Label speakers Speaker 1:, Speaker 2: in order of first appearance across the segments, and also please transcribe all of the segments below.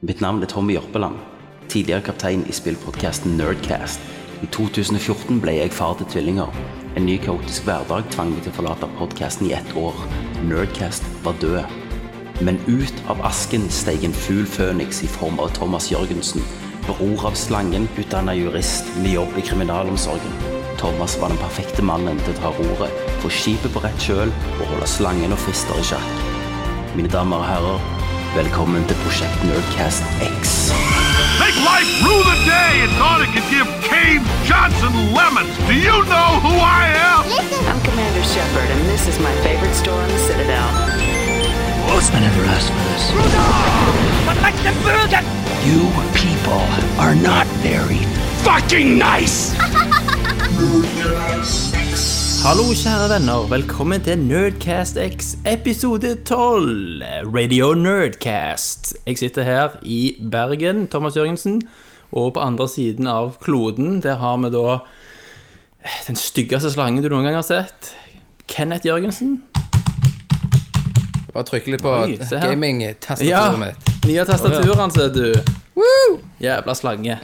Speaker 1: Mitt navn er Tommy Jørpeland, tidligere kaptein i spillpodcasten Nerdcast. I 2014 ble jeg far til tvillinger. En ny kaotisk hverdag tvang meg til å forlate podcasten i ett år. Nerdcast var død. Men ut av asken steg en fugl føniks i form av Thomas Jørgensen, bror av Slangen, utdanna jurist med jobb i kriminalomsorgen. Thomas var den perfekte mannen til å ta roret, få skipet på rett kjøl og holde slangen og fister i sjakk. Mine damer og herrer, velkommen til Prosjekt Nerdcast X.
Speaker 2: Make life rue the day and thought it could give Cave Johnson lemons. Do you know who I am?
Speaker 3: I'm Commander Shepard, and this is my favorite store on the Citadel.
Speaker 4: I never asked for this. You people are not very fucking nice!
Speaker 5: Hallo, kjære venner. Velkommen til Nerdcast X episode 12. Radio Nerdcast. Jeg sitter her i Bergen, Thomas Jørgensen. Og på andre siden av kloden, der har vi da eh, den styggeste slangen du noen gang har sett. Kenneth Jørgensen.
Speaker 6: Bare trykke litt på
Speaker 5: Oi, se her.
Speaker 6: gaming-tastaturet mitt.
Speaker 5: Nye tastaturen, ser du. Jævla slange.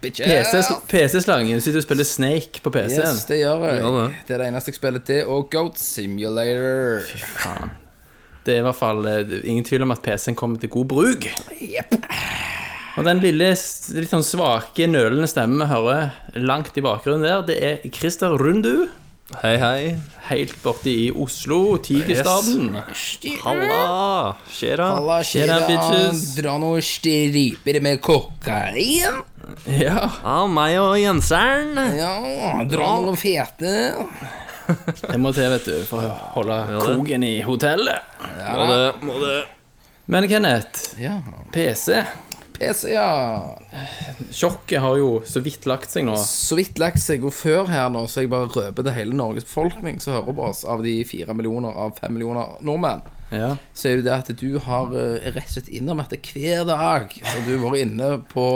Speaker 5: PC-sl- PC-slangen. Du sitter og spiller Snake på PC-en.
Speaker 6: Yes, det gjør jeg.
Speaker 5: Gjør
Speaker 6: det. er det eneste jeg spiller til. Og Goat Simulator.
Speaker 5: Det er i hvert fall eh, ingen tvil om at PC-en kommer til god bruk. Og den lille, s- litt sånn svake, nølende stemmen vi hører langt i bakgrunnen der, det er Christer Rundu.
Speaker 7: Hei, hei.
Speaker 5: Helt borte i Oslo, Tigerstaden.
Speaker 7: Halla! Skjer'a?
Speaker 6: Halla,
Speaker 5: Tjena, bitches.
Speaker 6: Dra noen striper med kokain.
Speaker 5: Ja.
Speaker 7: Ja, meg og Jenseren.
Speaker 6: Ja, dra noen fete.
Speaker 5: Det må til, vet du, for å holde kroken i hotellet.
Speaker 7: Må det, må det.
Speaker 5: Men Kenneth,
Speaker 6: Ja.
Speaker 5: PC.
Speaker 6: PC, ja.
Speaker 5: Sjokket har jo så vidt lagt seg nå.
Speaker 6: Så vidt lagt seg og før her nå, så jeg bare røper til hele Norges befolkning som hører på oss, av de fire millioner av fem millioner nordmenn.
Speaker 5: Ja.
Speaker 6: så er det jo det at du har eh, rett og slett innrømmet det hver dag. Så du har vært inne på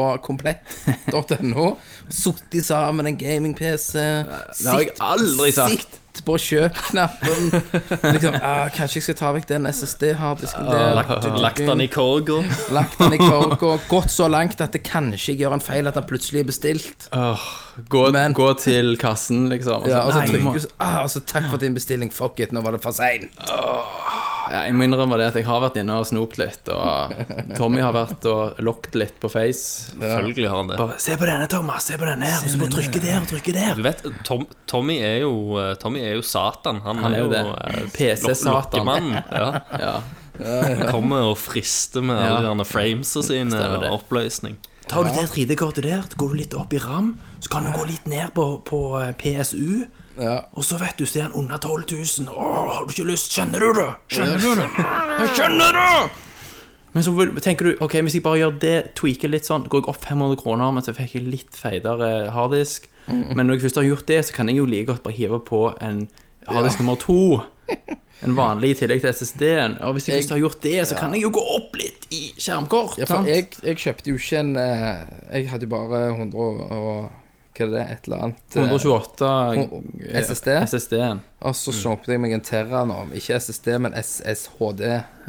Speaker 6: komplett.no, sittet sammen en gaming-PC Det
Speaker 5: har jeg aldri sagt.
Speaker 6: Sitt på kjøp-knappen. Liksom, ah, kanskje jeg skal ta vekk den
Speaker 5: Ah,
Speaker 6: SSD-harddisken der.
Speaker 7: Lagt, lagt den i korga.
Speaker 6: Lagt den i kork og gått så langt at det kanskje gjør en feil at den plutselig er bestilt.
Speaker 5: Altså, Gå,
Speaker 6: Men-
Speaker 5: gå til kassen, liksom. og så-
Speaker 6: Ja, og så
Speaker 5: Nei, jeg må-
Speaker 6: trykker du så- ah, og så takk for din bestilling, fuck it, nå var det for seint.
Speaker 5: Ja, jeg må innrømme det at jeg har vært inne og snopt litt, og Tommy har vært og lokket litt på Face.
Speaker 7: Selvfølgelig har han det.
Speaker 5: Bare, se på denne, Thomas, se på denne, og så bare trykke der og trykke der.
Speaker 7: Du vet, Tom, Tommy, er jo, eh, Tommy er jo Satan. Han,
Speaker 5: Han er jo det.
Speaker 7: eh,
Speaker 5: PC-Satan.
Speaker 7: lok- lokkemannen, Ja.
Speaker 5: Ja.
Speaker 7: Han kommer og frister med
Speaker 5: Ja.
Speaker 7: alle de framesa sine
Speaker 5: Stemmer det.
Speaker 7: og oppløsning.
Speaker 5: Tar du det 3D-kortet der, så går du litt opp i RAM, så kan du gå litt ned på, på eh, PSU, og så vet du, så er han under 12 000. Åh, har du ikke lyst? Skjønner du det? Skjønner du det? Jeg Skjønner du? Men så vil- tenker du, ok, hvis jeg bare gjør det, tweaker litt sånn, går jeg opp 500 kroner, men så fikk jeg litt feidere harddisk. Men når jeg først har gjort det, så kan jeg jo like godt bare hive på en harddisk nummer to, en vanlig i tillegg til SSD-en. Og hvis jeg først har gjort det, så kan jeg jo gå opp litt i skjermkort,
Speaker 6: Ja, for jeg, jeg kjøpte jo ikke en eh, Jeg hadde jo bare 100 og Hva er det? Et eller annet. eh,
Speaker 5: 128
Speaker 6: eh, SSD.
Speaker 5: SSD-en.
Speaker 6: Og så kjøpte jeg meg en Terra nå. Ikke SSD, men SSHD.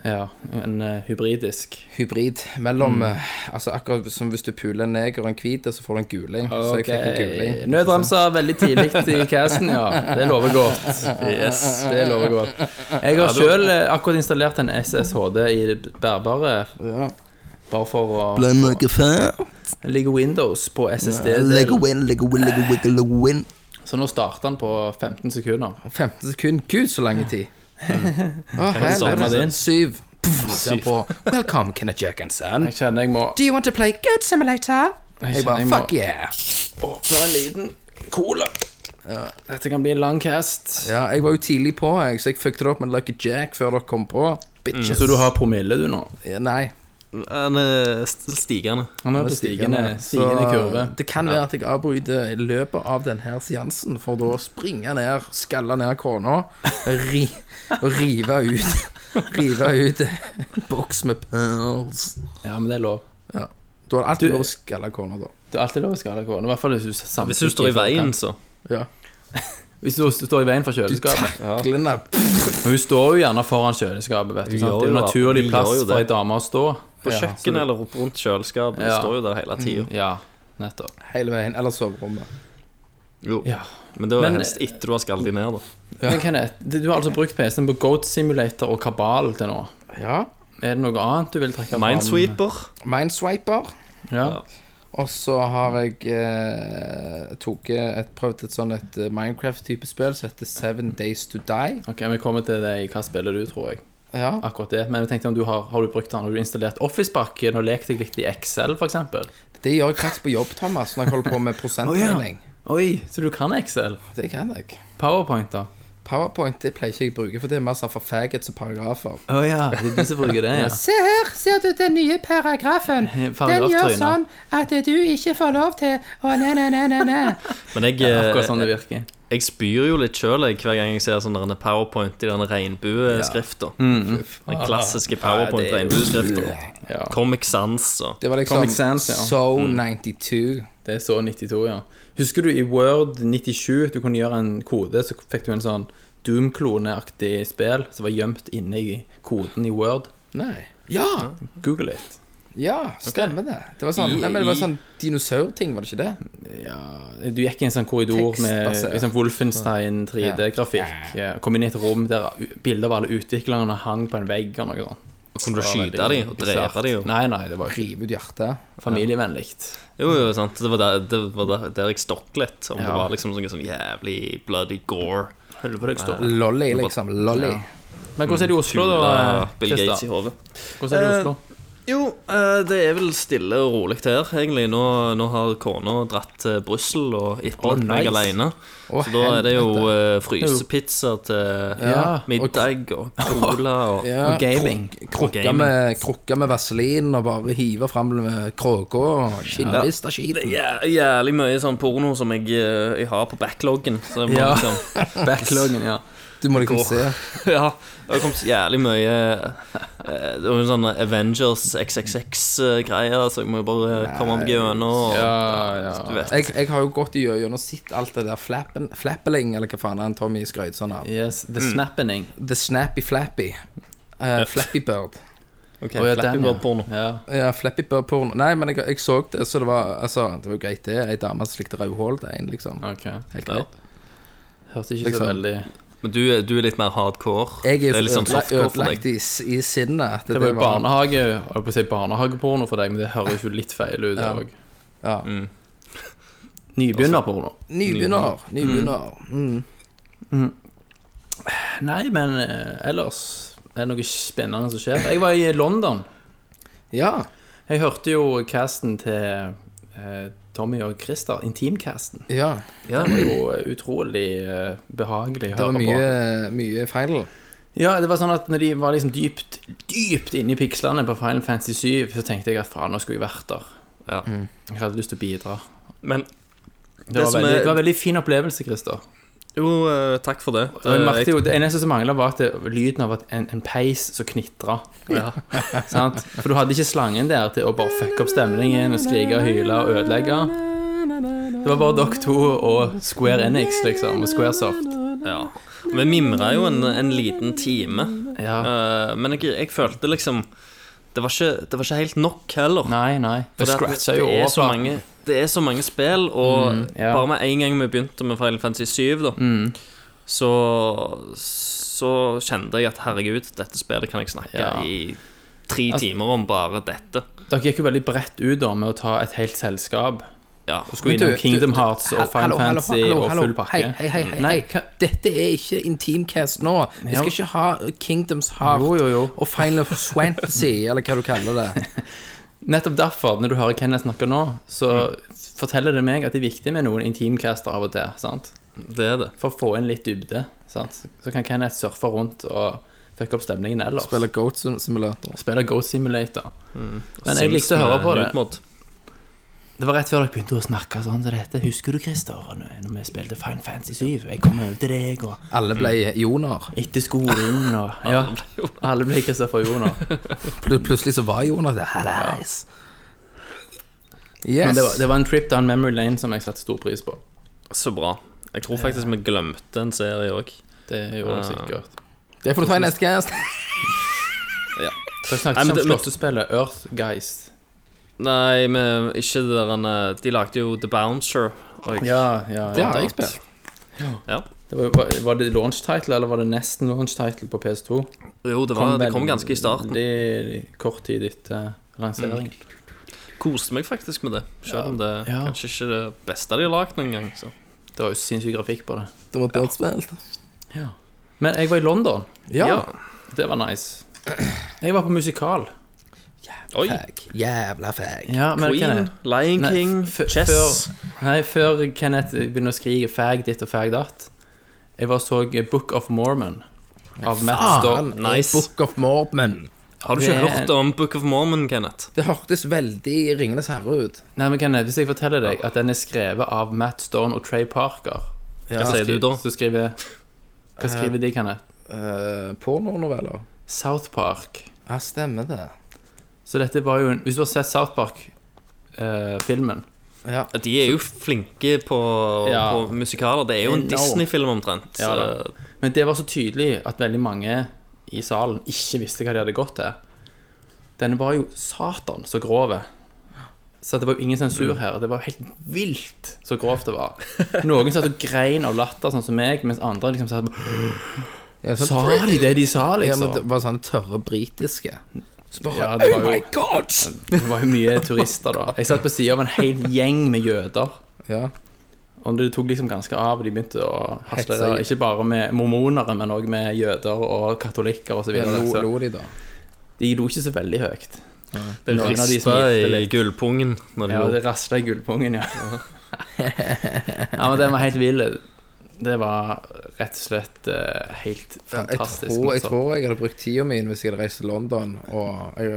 Speaker 5: Ja, en eh, hybridisk.
Speaker 6: Hybrid. Mellom
Speaker 5: Mm.
Speaker 6: eh, Altså akkurat som hvis du puler en neger og en hvit, så får du en guling. Så jeg fikk en guling.
Speaker 5: Nødbremsa veldig tidlig i casten, ja. Det lover godt.
Speaker 7: Yes.
Speaker 5: Det lover godt. Jeg har sjøl akkurat installert en SSHD i det bærbare. Bare for å ligge Windows på SSD. Så nå starter den på 15 sekunder.
Speaker 6: 15 sekunder. Gud, så lang tid. Å, her
Speaker 5: savne
Speaker 6: er
Speaker 5: din.
Speaker 6: det syv. Pff, ser på. Welcome, Kenneth Jackensen.
Speaker 5: Jeg kjenner jeg må
Speaker 6: Do you want to play Good Simulator? Jeg bare,
Speaker 5: jeg må-
Speaker 6: fuck yeah.
Speaker 5: åpne en liten cola. Dette kan bli en lang cast.
Speaker 6: Ja, jeg var jo tidlig på, jeg, så jeg fucket det opp med Lucky Jack før dere kom på. Bitches.
Speaker 5: Mm. Så du har promille, du, nå?
Speaker 6: Ja, Nei.
Speaker 7: Han er st- stigende.
Speaker 5: Han er på stigende, stigende kurve.
Speaker 6: det kan være at jeg avbryter i løpet av denne seansen, for da å springe ned, skalle ned kona, ri, og rive ut Rive ut en boks med pearls.
Speaker 5: Ja, men det er lov.
Speaker 6: Ja. Da er det alltid lov å skalle kona, da.
Speaker 5: Det er alltid lov å skade kålen. I hvert fall hvis du samtykker.
Speaker 7: Hvis du står i veien, så.
Speaker 6: Ja.
Speaker 5: Hvis du står i veien for kjøleskapet.
Speaker 6: Glenna,
Speaker 5: Men hun står jo gjerne foran kjøleskapet, vet du.
Speaker 7: Hun
Speaker 5: Sant?
Speaker 7: gjør
Speaker 5: Det er jo
Speaker 7: jo
Speaker 5: naturlig
Speaker 7: det. Hun
Speaker 5: plass
Speaker 7: gjør jo
Speaker 5: for ei
Speaker 7: det.
Speaker 5: dame å stå.
Speaker 7: på kjøkkenet eller opp rundt kjøleskapet. Det
Speaker 5: Ja.
Speaker 7: står jo der hele tida.
Speaker 5: Ja, nettopp.
Speaker 6: hele veien. Eller soverommet.
Speaker 7: Men det er jo
Speaker 5: Mm. Men-
Speaker 7: helst etter du har skallet deg ned, da.
Speaker 5: Men Kenneth, du har altså brukt PC-en på Goat Simulator og Kabal til nå.
Speaker 6: Ja.
Speaker 5: Er det noe annet du vil trekke fram?
Speaker 7: Minesweeper.
Speaker 6: Mineswiper.
Speaker 5: Ja.
Speaker 6: Og så har jeg eh, tok et, prøvd et sånn et eh, Minecraft-type spill som heter Seven Days To Die.
Speaker 5: Ok, vi kommer til det i hva spiller du, tror jeg.
Speaker 6: Ja.
Speaker 5: Akkurat det. Men jeg tenkte om du har, har du brukt den, har du installert Office-pakken og lekt deg litt i Excel, for eksempel?
Speaker 6: Det gjør jeg faktisk på jobb, Thomas, når jeg holder på med prosentregning.
Speaker 5: Oi, så du kan Excel?
Speaker 6: Det kan jeg.
Speaker 5: Powerpoint, da?
Speaker 6: Powerpoint det pleier ikke jeg å bruke, for det er mer sånn for faggots og paragrafer.
Speaker 5: Å ja, det er de som bruker det, ja.
Speaker 6: Se her, ser du den nye paragrafen? Den gjør
Speaker 5: Paragraftrynet.
Speaker 6: sånn at du ikke får lov til å ne, ne, ne, ne, ne.
Speaker 7: Men jeg,
Speaker 5: Akkurat
Speaker 7: eh,
Speaker 5: sånn det virker.
Speaker 7: jeg spyr jo litt sjøl hver gang jeg ser sånn der en powerpoint i den regnbueskrifta.
Speaker 5: Mm.
Speaker 7: Den klassiske powerpoint-regnbueskrifta. Comic Sans og
Speaker 6: Det var liksom
Speaker 5: Comic Sans, ja. Mm.
Speaker 6: So 92.
Speaker 5: Det er så 92, ja. Husker du i Word 97, du kunne gjøre en kode, så fikk du en sånn Doom-kloneaktig spill som var gjemt inne i koden i Word.
Speaker 6: Nei. Ja!
Speaker 5: Google it.
Speaker 6: Ja, stemmer det. Det var sånn,
Speaker 5: I-
Speaker 6: nei, men det var
Speaker 5: i-
Speaker 6: sånn dinosaurting, var det ikke det?
Speaker 5: Du gikk i en sånn korridor med
Speaker 6: Tekstbasert.
Speaker 5: liksom Wolfenstein 3D-grafikk. Ja. Kom inn i et rom der bilder av alle utviklerne hang på en vegg eller noe sånt.
Speaker 7: Kunne du skyte de og drepe de? og-
Speaker 5: Nei, nei, det var ikke
Speaker 6: Rive ut hjertet.
Speaker 5: familievennlig.
Speaker 7: Jo, jo, sant. Det var der, det var der, der jeg stokk litt. Om det
Speaker 5: Ja.
Speaker 7: var liksom sånn, sånn jævlig bloody gore.
Speaker 5: Helvete, jeg står.
Speaker 6: Lolly, liksom. Lolly.
Speaker 5: Men hvordan er det i Oslo, da? eh,
Speaker 7: Kula Bill Gates i
Speaker 5: Christer?
Speaker 7: hodet.
Speaker 5: Hvordan er det i Oslo?
Speaker 7: Jo, eh, det er vel stille og rolig her, egentlig. Nå, nå har kona dratt til Brussel og etterlatt meg
Speaker 5: nice.
Speaker 7: alene.
Speaker 6: Å,
Speaker 7: Så da er det jo
Speaker 6: helvete.
Speaker 7: eh, frysepizza til
Speaker 5: Ja,
Speaker 7: middag og cola og
Speaker 6: ja,
Speaker 5: Og gaming.
Speaker 6: krok- Krukka
Speaker 7: gaming.
Speaker 6: med, krukka med vaselin og bare hive fram med kråka og skinnlista skiten.
Speaker 7: Jæ- Jævlig mye sånn porno som jeg, eh, jeg har på backloggen. Så jeg må
Speaker 5: Ja.
Speaker 7: liksom
Speaker 5: Backloggen, ja.
Speaker 6: Du må liksom se.
Speaker 7: Ja, det har kommet jævlig mye eh, Det var jo sånne Avengers XXX-greier, eh, så jeg må jo bare komme meg gjennom. og- Du vet.
Speaker 6: Jeg, jeg har jo gått i gjennom sett alt det der flappen, flappeling, eller hva faen han Tommy skrøt sånn av.
Speaker 5: Yes, The Snappening.
Speaker 6: The Snappy Flappy. Eh, Flappy Bird.
Speaker 5: Å,
Speaker 7: Ok,
Speaker 5: ja,
Speaker 7: Flappy
Speaker 5: den, ja.
Speaker 7: Bird-porno.
Speaker 5: Ja.
Speaker 6: Ja, Flappy Bird-porno. Nei, men jeg, jeg så det, så det var altså, det var jo greit, det. Ei dame som likte rødhål til en, liksom.
Speaker 5: Ok.
Speaker 6: Helt
Speaker 7: Ja.
Speaker 6: greit.
Speaker 5: Hørte ikke så
Speaker 6: Liksom.
Speaker 5: veldig
Speaker 7: Men du, er- du er litt mer hardcore.
Speaker 6: Jeg er
Speaker 7: det
Speaker 6: jo
Speaker 7: er litt
Speaker 6: så
Speaker 7: sånn
Speaker 6: ødelagt,
Speaker 7: softcore for
Speaker 6: ødelagt i,
Speaker 7: deg.
Speaker 6: s- i sinnet. etter
Speaker 5: Det var jo
Speaker 6: var-
Speaker 5: barnehage, jeg holdt på å si barnehageporno for deg, men det høres jo litt feil ut. det
Speaker 6: Ja.
Speaker 5: også.
Speaker 6: Ja.
Speaker 5: Nybegynnerporno.
Speaker 6: Nybegynner. Nybegynner. Mm.
Speaker 5: Nei, men eh, ellers er det noe spennende som skjer. Jeg var i London.
Speaker 6: Ja.
Speaker 5: Jeg hørte jo casten til eh, Tommy og Christer, Intimcasten.
Speaker 6: ja.
Speaker 5: Den var jo eh, utrolig eh, behagelig å
Speaker 6: Det var
Speaker 5: høre
Speaker 6: mye,
Speaker 5: på.
Speaker 6: mye feil.
Speaker 5: Ja, det var sånn at når de var liksom dypt, dypt inne i pikslene på Final Fantasy 7, så tenkte jeg at faen, nå skulle jeg vært der.
Speaker 7: Ja.
Speaker 6: Mm.
Speaker 5: Jeg hadde lyst til å bidra.
Speaker 7: Men
Speaker 5: Det var,
Speaker 7: som
Speaker 5: veldig,
Speaker 7: er-
Speaker 5: det var en veldig fin opplevelse, Christer.
Speaker 7: jo, eh, takk for det.
Speaker 5: Og jeg merkte
Speaker 7: jeg,
Speaker 5: jo, Det eneste som mangla, var at det, lyden av at en, en peis som knitra. Sant? For du hadde ikke slangen der til å bare fucke opp stemningen og skrike og hyle og ødelegge. Det var bare dere to og Square Enix, liksom, og Squaresoft.
Speaker 7: ja. Vi mimra jo en, en liten time.
Speaker 5: Ja.
Speaker 7: Eh, men jeg, jeg følte liksom det var, ikke, det var ikke helt nok heller.
Speaker 5: Nei, nei.
Speaker 7: For
Speaker 5: Det
Speaker 7: det, at
Speaker 5: scratcha
Speaker 7: det,
Speaker 5: jo
Speaker 7: er så
Speaker 5: overflaten.
Speaker 7: mange, det er så mange spill, og
Speaker 5: ja.
Speaker 7: bare med en gang vi begynte med Final Fantasy 7, da, så, så kjente jeg at herregud, dette spillet kan jeg snakke
Speaker 5: Ja.
Speaker 7: i tre timer om bare dette.
Speaker 5: Dere gikk jo veldig bredt ut da med å ta et helt selskap.
Speaker 7: Ja.
Speaker 5: Skulle
Speaker 6: Men du,
Speaker 5: innom Kingdom
Speaker 6: du-
Speaker 5: Hearts og Final
Speaker 6: Hallo, hallo,
Speaker 5: Fantasy
Speaker 6: hallo,
Speaker 5: og
Speaker 6: hallo.
Speaker 5: full pakke.
Speaker 6: Hei, hei, hei.
Speaker 5: Nei,
Speaker 6: hei.
Speaker 5: hva-
Speaker 6: Dette er ikke Intimcast nå. Vi skal ikke ha Kingdoms Heart
Speaker 5: Jo, jo, jo.
Speaker 6: og Final Fantasy, eller hva du kaller det.
Speaker 5: Nettopp derfor, når du hører Kenneth snakke nå, så
Speaker 7: Mm.
Speaker 5: forteller det meg at det er viktig med noen intimcaster av og til. sant?
Speaker 7: Det er det.
Speaker 5: For å få inn litt dybde. sant? Så kan Kenneth surfe rundt og fucke opp stemningen ellers.
Speaker 6: Spiller Goat Sim- Simulator.
Speaker 5: Spille Goat Simulator.
Speaker 7: Mm.
Speaker 5: Men jeg likte å høre på det.
Speaker 7: Nudemod.
Speaker 5: Det var rett før dere begynte å snakke sånn som dette. Husker du, Christer, når når vi spilte Fine Fancy 7? Jeg kom over til deg, og
Speaker 6: Alle ble Joner.
Speaker 5: etter skolen, og Ja, alle ble Christopher Joner.
Speaker 6: Pl plutselig så var Joner det. Hallais. Yes.
Speaker 5: Men det var, det var en trip down memory lane som jeg satte stor pris på.
Speaker 7: Så bra. Jeg tror faktisk vi glemte en serie òg. Ah.
Speaker 5: Det gjorde jeg sikkert.
Speaker 6: Det får du ta i neste cast.
Speaker 7: Ja.
Speaker 5: Dere
Speaker 7: Nei,
Speaker 5: snakket
Speaker 7: men
Speaker 5: ikke
Speaker 7: det-
Speaker 5: om
Speaker 7: men-
Speaker 5: slåssespillet Earthgeist.
Speaker 7: Nei, men ikke det der eh, De lagde jo The Bouncer. Og jeg,
Speaker 5: Ja, ja,
Speaker 6: Det har jeg spilt.
Speaker 7: ja.
Speaker 5: Det var, var, var det launch title, eller var det nesten launch title på PS2?
Speaker 7: Jo, det, var, det kom
Speaker 5: vel
Speaker 7: ganske i starten.
Speaker 5: veldig kort tid etter lansering.
Speaker 7: Koste meg faktisk med det. Selv om det
Speaker 5: Ja.
Speaker 7: kanskje ikke er det beste de har lagd noen gang. Så.
Speaker 5: Det var jo sinnssyk grafikk på det.
Speaker 6: Det var dødsspill.
Speaker 5: Men jeg var i London.
Speaker 6: Ja.
Speaker 7: Ja.
Speaker 5: Det var nice. Jeg var på musikal.
Speaker 7: Oi.
Speaker 6: Fag. Jævla fag.
Speaker 5: Ja, men
Speaker 7: Queen, Lion
Speaker 5: Nei,
Speaker 7: King,
Speaker 5: f-
Speaker 7: Chess
Speaker 5: Før, nei, før Kenneth begynner å skrike 'fag ditt' og 'fag datt', jeg var og så Book of Mormon av Matt Storm.
Speaker 6: Faen,
Speaker 7: nice.
Speaker 6: Book of Mormon.
Speaker 7: Har du ikke
Speaker 5: Det-
Speaker 7: hørt om Book of Mormon, Kenneth?
Speaker 6: Det hørtes veldig Ringenes herre ut.
Speaker 5: Nei, men Kenneth, Hvis jeg forteller deg at den er skrevet av Matt Stone og Trey Parker
Speaker 7: Hva sier du da?
Speaker 5: Så skriver Hva skriver de, Kenneth?
Speaker 6: Uh, Pornonoveller.
Speaker 5: South Park.
Speaker 6: Ja, stemmer det.
Speaker 5: Så dette var jo en Hvis du har sett South eh, Park-filmen
Speaker 6: Ja.
Speaker 7: De er jo flinke på,
Speaker 5: Ja.
Speaker 7: på musikaler. Det er jo en
Speaker 5: Enormt.
Speaker 7: Disney-film omtrent.
Speaker 5: Ja, da.
Speaker 7: så-
Speaker 5: Men det var så tydelig at veldig mange i salen ikke visste hva de hadde gått til. Denne var jo satan så grov. Så det var jo ingen
Speaker 6: Mm.
Speaker 5: sensur her. Det var helt vilt så grovt det var. Noen satt og grein av latter, sånn som meg, mens andre liksom satt og
Speaker 6: Ja, sånn-
Speaker 5: Sa de det de sa,
Speaker 6: Ja, men
Speaker 5: liksom?
Speaker 6: det var sånn tørre britiske. Så bare,
Speaker 5: Ja, det var
Speaker 6: oh
Speaker 5: jo-
Speaker 6: my god!
Speaker 5: Det var jo mye turister, da. Jeg satt på sida av en hel gjeng med jøder.
Speaker 6: Ja,
Speaker 5: Og det tok liksom ganske av. De begynte å hasle.
Speaker 6: Hetse.
Speaker 5: da. Ikke bare med mormonere, men òg med jøder og katolikker osv.
Speaker 6: ja lo, lo de da.
Speaker 5: De lo ikke så veldig høyt.
Speaker 7: Det
Speaker 5: Noen av de som
Speaker 7: rispa
Speaker 5: gifter
Speaker 7: i
Speaker 5: litt.
Speaker 7: gullpungen. Når de
Speaker 5: Ja,
Speaker 7: gjorde
Speaker 5: det rasla i gullpungen, ja. ja, men den var helt vill. Det var rett og slett eh, helt
Speaker 6: Ja, jeg,
Speaker 5: fantastisk.
Speaker 6: tror, jeg
Speaker 5: altså.
Speaker 6: tror jeg hadde brukt tida mi hvis jeg hadde reist til London, og jeg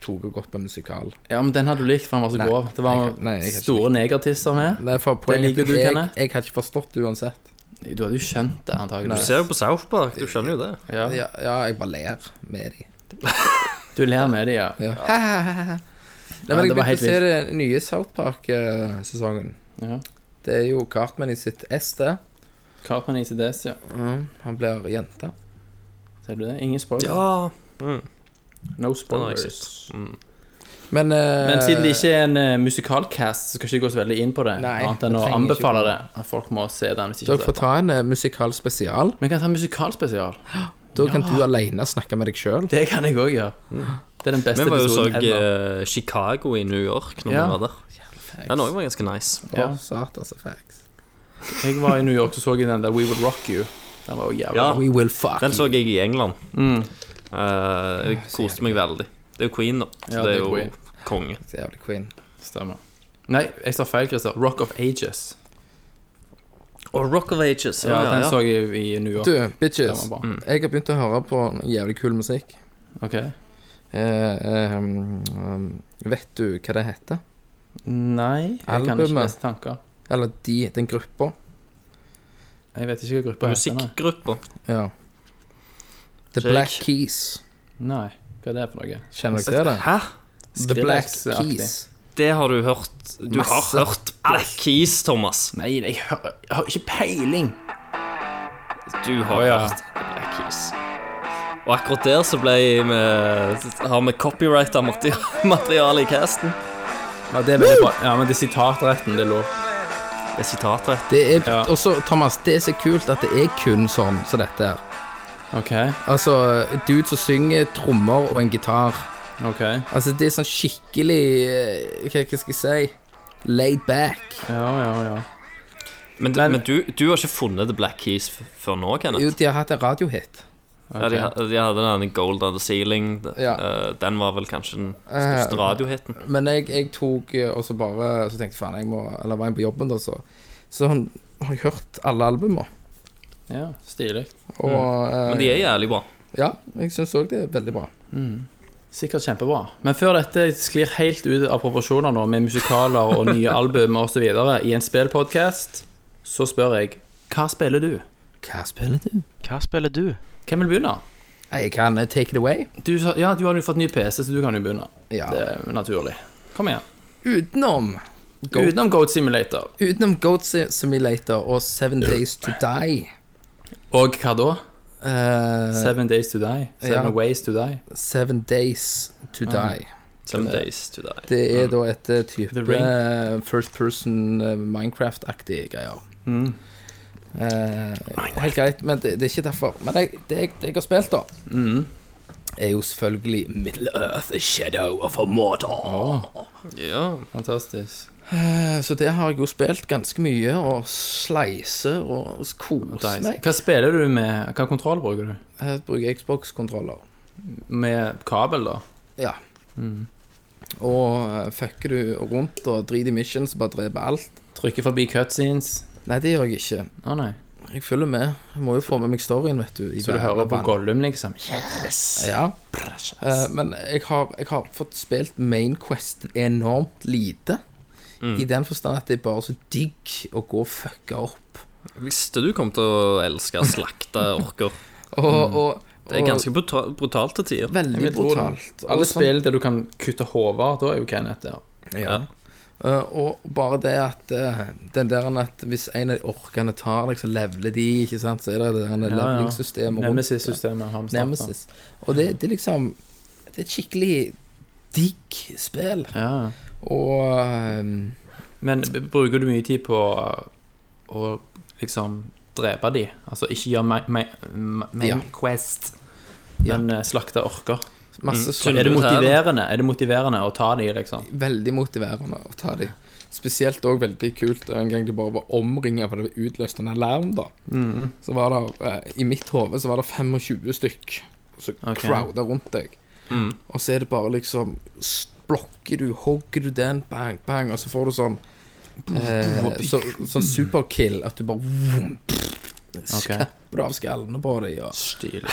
Speaker 6: tok og gått på musikal.
Speaker 5: Ja, men den hadde du likt, for den var så
Speaker 6: Nei,
Speaker 5: grov. Det var
Speaker 6: jeg kan- nei, jeg kan ikke
Speaker 5: store negertisser med.
Speaker 6: Nei, for poenget
Speaker 5: liker du,
Speaker 6: jeg,
Speaker 5: Kenneth?
Speaker 6: jeg hadde ikke forstått det uansett.
Speaker 5: Du hadde jo skjønt det,
Speaker 7: Du
Speaker 5: antakelig.
Speaker 7: ser jo på South Park, du skjønner jo det.
Speaker 5: Ja.
Speaker 6: Ja, ja jeg bare ler med de.
Speaker 5: Du ler med det, ja.
Speaker 6: Ja. Nei, men
Speaker 5: det
Speaker 6: jeg
Speaker 5: var
Speaker 6: begynte
Speaker 5: helt
Speaker 6: å se den nye South Park-sesongen.
Speaker 5: ja.
Speaker 6: Det er jo Cartman i sitt ess, det.
Speaker 5: Carpen ICDs, ja.
Speaker 6: Han blir jente.
Speaker 5: Ser du det? Ingen spoiler. No
Speaker 7: Ja. Den har jeg
Speaker 5: spoilers.
Speaker 7: sett. Mm.
Speaker 6: Men, eh,
Speaker 5: Men siden det ikke er en eh, musikalcast, så skal jeg ikke gå så veldig inn på det.
Speaker 6: Nei,
Speaker 5: annet enn
Speaker 6: det
Speaker 5: å
Speaker 6: trenger ikke
Speaker 5: anbefale
Speaker 6: gå.
Speaker 5: det. At folk må se den hvis de
Speaker 6: Dere
Speaker 5: ikke
Speaker 6: får
Speaker 5: ser den.
Speaker 6: ta en eh, musikal spesial.
Speaker 5: Vi kan ta en musikalspesial.
Speaker 6: Da kan du aleine snakke med deg sjøl.
Speaker 5: Det kan jeg òg gjøre. Det er den beste
Speaker 7: Mm. Vi var jo så
Speaker 5: episoden ever.
Speaker 7: eh, Chicago i New York når
Speaker 5: Ja.
Speaker 7: vi var der. Den òg var ganske nice.
Speaker 5: Ja. Jeg var i New York og så i den der We Would Rock You. Den var jo jævlig
Speaker 7: Ja.
Speaker 5: bra. Mm,
Speaker 6: We will
Speaker 5: Ah,
Speaker 6: fuck.
Speaker 7: Den så jeg i England. Eh, jeg koste meg veldig. Det er jo Queen, da. Så
Speaker 5: Ja,
Speaker 7: det
Speaker 5: det er
Speaker 7: er jo
Speaker 5: Queen.
Speaker 7: konge.
Speaker 6: Jævlig queen.
Speaker 5: Stemmer. Nei, jeg sa feil, Christer. Rock of Ages.
Speaker 7: Og Rock of Ages.
Speaker 5: Ja, den så jeg i, i New York.
Speaker 6: Du,
Speaker 5: Den
Speaker 6: bitches. Mm.
Speaker 5: var bra.
Speaker 6: Jeg har begynt å høre på jævlig kul musikk.
Speaker 5: Ok.
Speaker 6: Eh, eh, um, um, vet du hva det heter?
Speaker 5: Nei, jeg kan ikke
Speaker 6: Albumet.
Speaker 5: lese tanker.
Speaker 6: Eller de, den gruppa?
Speaker 5: Jeg vet ikke hva gruppa heter. nei.
Speaker 7: Musikkgruppa.
Speaker 6: Ja. The
Speaker 7: Jake.
Speaker 6: Black Keys.
Speaker 5: Nei, hva er det for noe?
Speaker 6: Kjenner dere til det?
Speaker 7: Hæ?
Speaker 6: The Black
Speaker 5: Skrillex-aktig.
Speaker 6: Keys.
Speaker 7: Det har du hørt. Du har hørt Black Keys, Thomas.
Speaker 5: Nei, jeg, hører- jeg har ikke peiling.
Speaker 7: Du har hørt Black Keys. Og akkurat der så ble vi Har vi copyrighta materiale i casten.
Speaker 5: Ja, det er veldig bra. Ja, men det er sitatretten, det er lov.
Speaker 7: Det er sitatrett.
Speaker 6: Det er
Speaker 5: Ja.
Speaker 6: også, Thomas, det er så kult at det er kun sånn som dette her.
Speaker 5: Ok,
Speaker 6: Altså, dude som synger trommer og en gitar.
Speaker 5: ok.
Speaker 6: Altså, det er sånn skikkelig eh, Hva hva skal jeg si? Laid back.
Speaker 5: Ja, ja, ja.
Speaker 7: Men,
Speaker 5: Men-
Speaker 7: men du, du har ikke funnet The Black Keys f- før nå, Kenneth?
Speaker 6: Jo, de har hatt en radiohit.
Speaker 7: Ja, de, ha- de hadde den Gold on the Ceiling. d-
Speaker 6: Ja. Eh,
Speaker 7: eh, den var vel kanskje den største radiohiten.
Speaker 6: Men jeg, jeg tok eh, og så bare Så tenkte jeg faen, jeg må Eller var jeg på jobben, da, så Så han, har jeg hørt alle albumene.
Speaker 5: Ja, stilig.
Speaker 6: Og
Speaker 7: Men
Speaker 6: eh,
Speaker 7: de er jævlig bra.
Speaker 6: Ja, jeg syns òg det er veldig bra.
Speaker 5: Sikkert kjempebra. Men før dette sklir helt ut av proporsjoner nå, med musikaler og nye album og så videre i en spillpodcast, så spør jeg, hva spiller du?
Speaker 6: Hva spiller du?
Speaker 8: Hva spiller du?
Speaker 5: Hvem vil begynne?
Speaker 6: Jeg kan eh, take it away.
Speaker 5: Du, sa- ja, du har jo fått ny PC, så du kan jo begynne.
Speaker 6: Ja.
Speaker 5: Det er naturlig. Kom igjen.
Speaker 6: Utenom Goat,
Speaker 5: Utenom Goat Simulator.
Speaker 6: utenom Goat Si- Simulator og Seven Days To Die.
Speaker 5: Og hva da?
Speaker 6: Eh,
Speaker 5: Seven Days To Die. Seven
Speaker 6: Ja.
Speaker 5: Ways To Die.
Speaker 6: Seven Days To
Speaker 5: Ah.
Speaker 6: Die.
Speaker 7: Seven days to die.
Speaker 6: Det er da et eh, type
Speaker 5: The Ring.
Speaker 6: eh, first person eh, Minecraft-aktige greier.
Speaker 5: Mm.
Speaker 6: Eh, helt greit, men det, det er ikke derfor. Men jeg, det, jeg, det jeg har spilt, da,
Speaker 5: Mm.
Speaker 6: er jo selvfølgelig Middle Earth A Shadow of a Mordor.
Speaker 5: Ah.
Speaker 7: Ja.
Speaker 5: Fantastisk.
Speaker 6: Eh, Så det har jeg jo spilt ganske mye, og slice og kose meg.
Speaker 5: Hva spiller du med Hva kontroll bruker du?
Speaker 6: Jeg bruker Xbox-kontroller.
Speaker 5: Med kabel, da?
Speaker 6: Ja.
Speaker 5: Mm.
Speaker 6: Og eh, fucker du rundt og driter i missions og bare dreper alt?
Speaker 5: Trykker forbi cutscenes?
Speaker 6: Nei, det gjør jeg ikke.
Speaker 5: Å nei.
Speaker 6: Jeg følger med. Jeg må jo få med meg storyen, vet du. i
Speaker 5: Så du
Speaker 6: hver
Speaker 5: hører på
Speaker 6: band.
Speaker 5: Gollum, liksom?
Speaker 6: Ja. Eh, men jeg har, jeg har fått spilt Main Quest enormt lite.
Speaker 5: Mm.
Speaker 6: I den forstand at det er bare så digg å gå og fucke opp.
Speaker 7: Visste du kom til å elske å slakte orker.
Speaker 5: Mm.
Speaker 6: Og, og,
Speaker 7: Det er ganske brutal, brutalt til tider.
Speaker 6: og veldig
Speaker 5: Jeg tror det.
Speaker 6: brutalt.
Speaker 5: Alle
Speaker 6: Og sånn-
Speaker 5: spill der du kan kutte hoder, da er jo Kenneth der.
Speaker 6: Ja. Eh, og bare det at eh, den der at hvis en av orkene tar deg, så leveler de, ikke sant? Så er det det der levelingssystemet rundt det.
Speaker 5: Nemesis-systemet har vi startet.
Speaker 6: Nemesis. Og det, det er liksom Det er et skikkelig digg spill.
Speaker 5: Ja.
Speaker 6: Og ehm,
Speaker 5: Men b- bruker du mye tid på uh, å liksom drepe de? Altså ikke gjøre ma- ma- ma- main
Speaker 6: Ja.
Speaker 5: quest,
Speaker 6: Ja.
Speaker 5: men eh, slakte orker?
Speaker 6: masse
Speaker 7: så
Speaker 6: sånn
Speaker 5: Mm. Er det
Speaker 7: Brutale.
Speaker 5: motiverende Er det motiverende å ta de, liksom?
Speaker 6: veldig motiverende å ta dem. Spesielt òg veldig kult det var en gang de bare var omringa for det var utløst en alarm, da.
Speaker 5: Mm.
Speaker 6: Så var det, eh, I mitt hode så var det 25 stykk som
Speaker 5: Ok. Mm.
Speaker 6: crowda rundt deg. Og så er det bare liksom s- Blokker du, hogger du den, bang, bang, og så får du sånn eh, så, Sånn superkill at du bare vroom, Skapper av skallene på dem. Og,
Speaker 5: Stilig.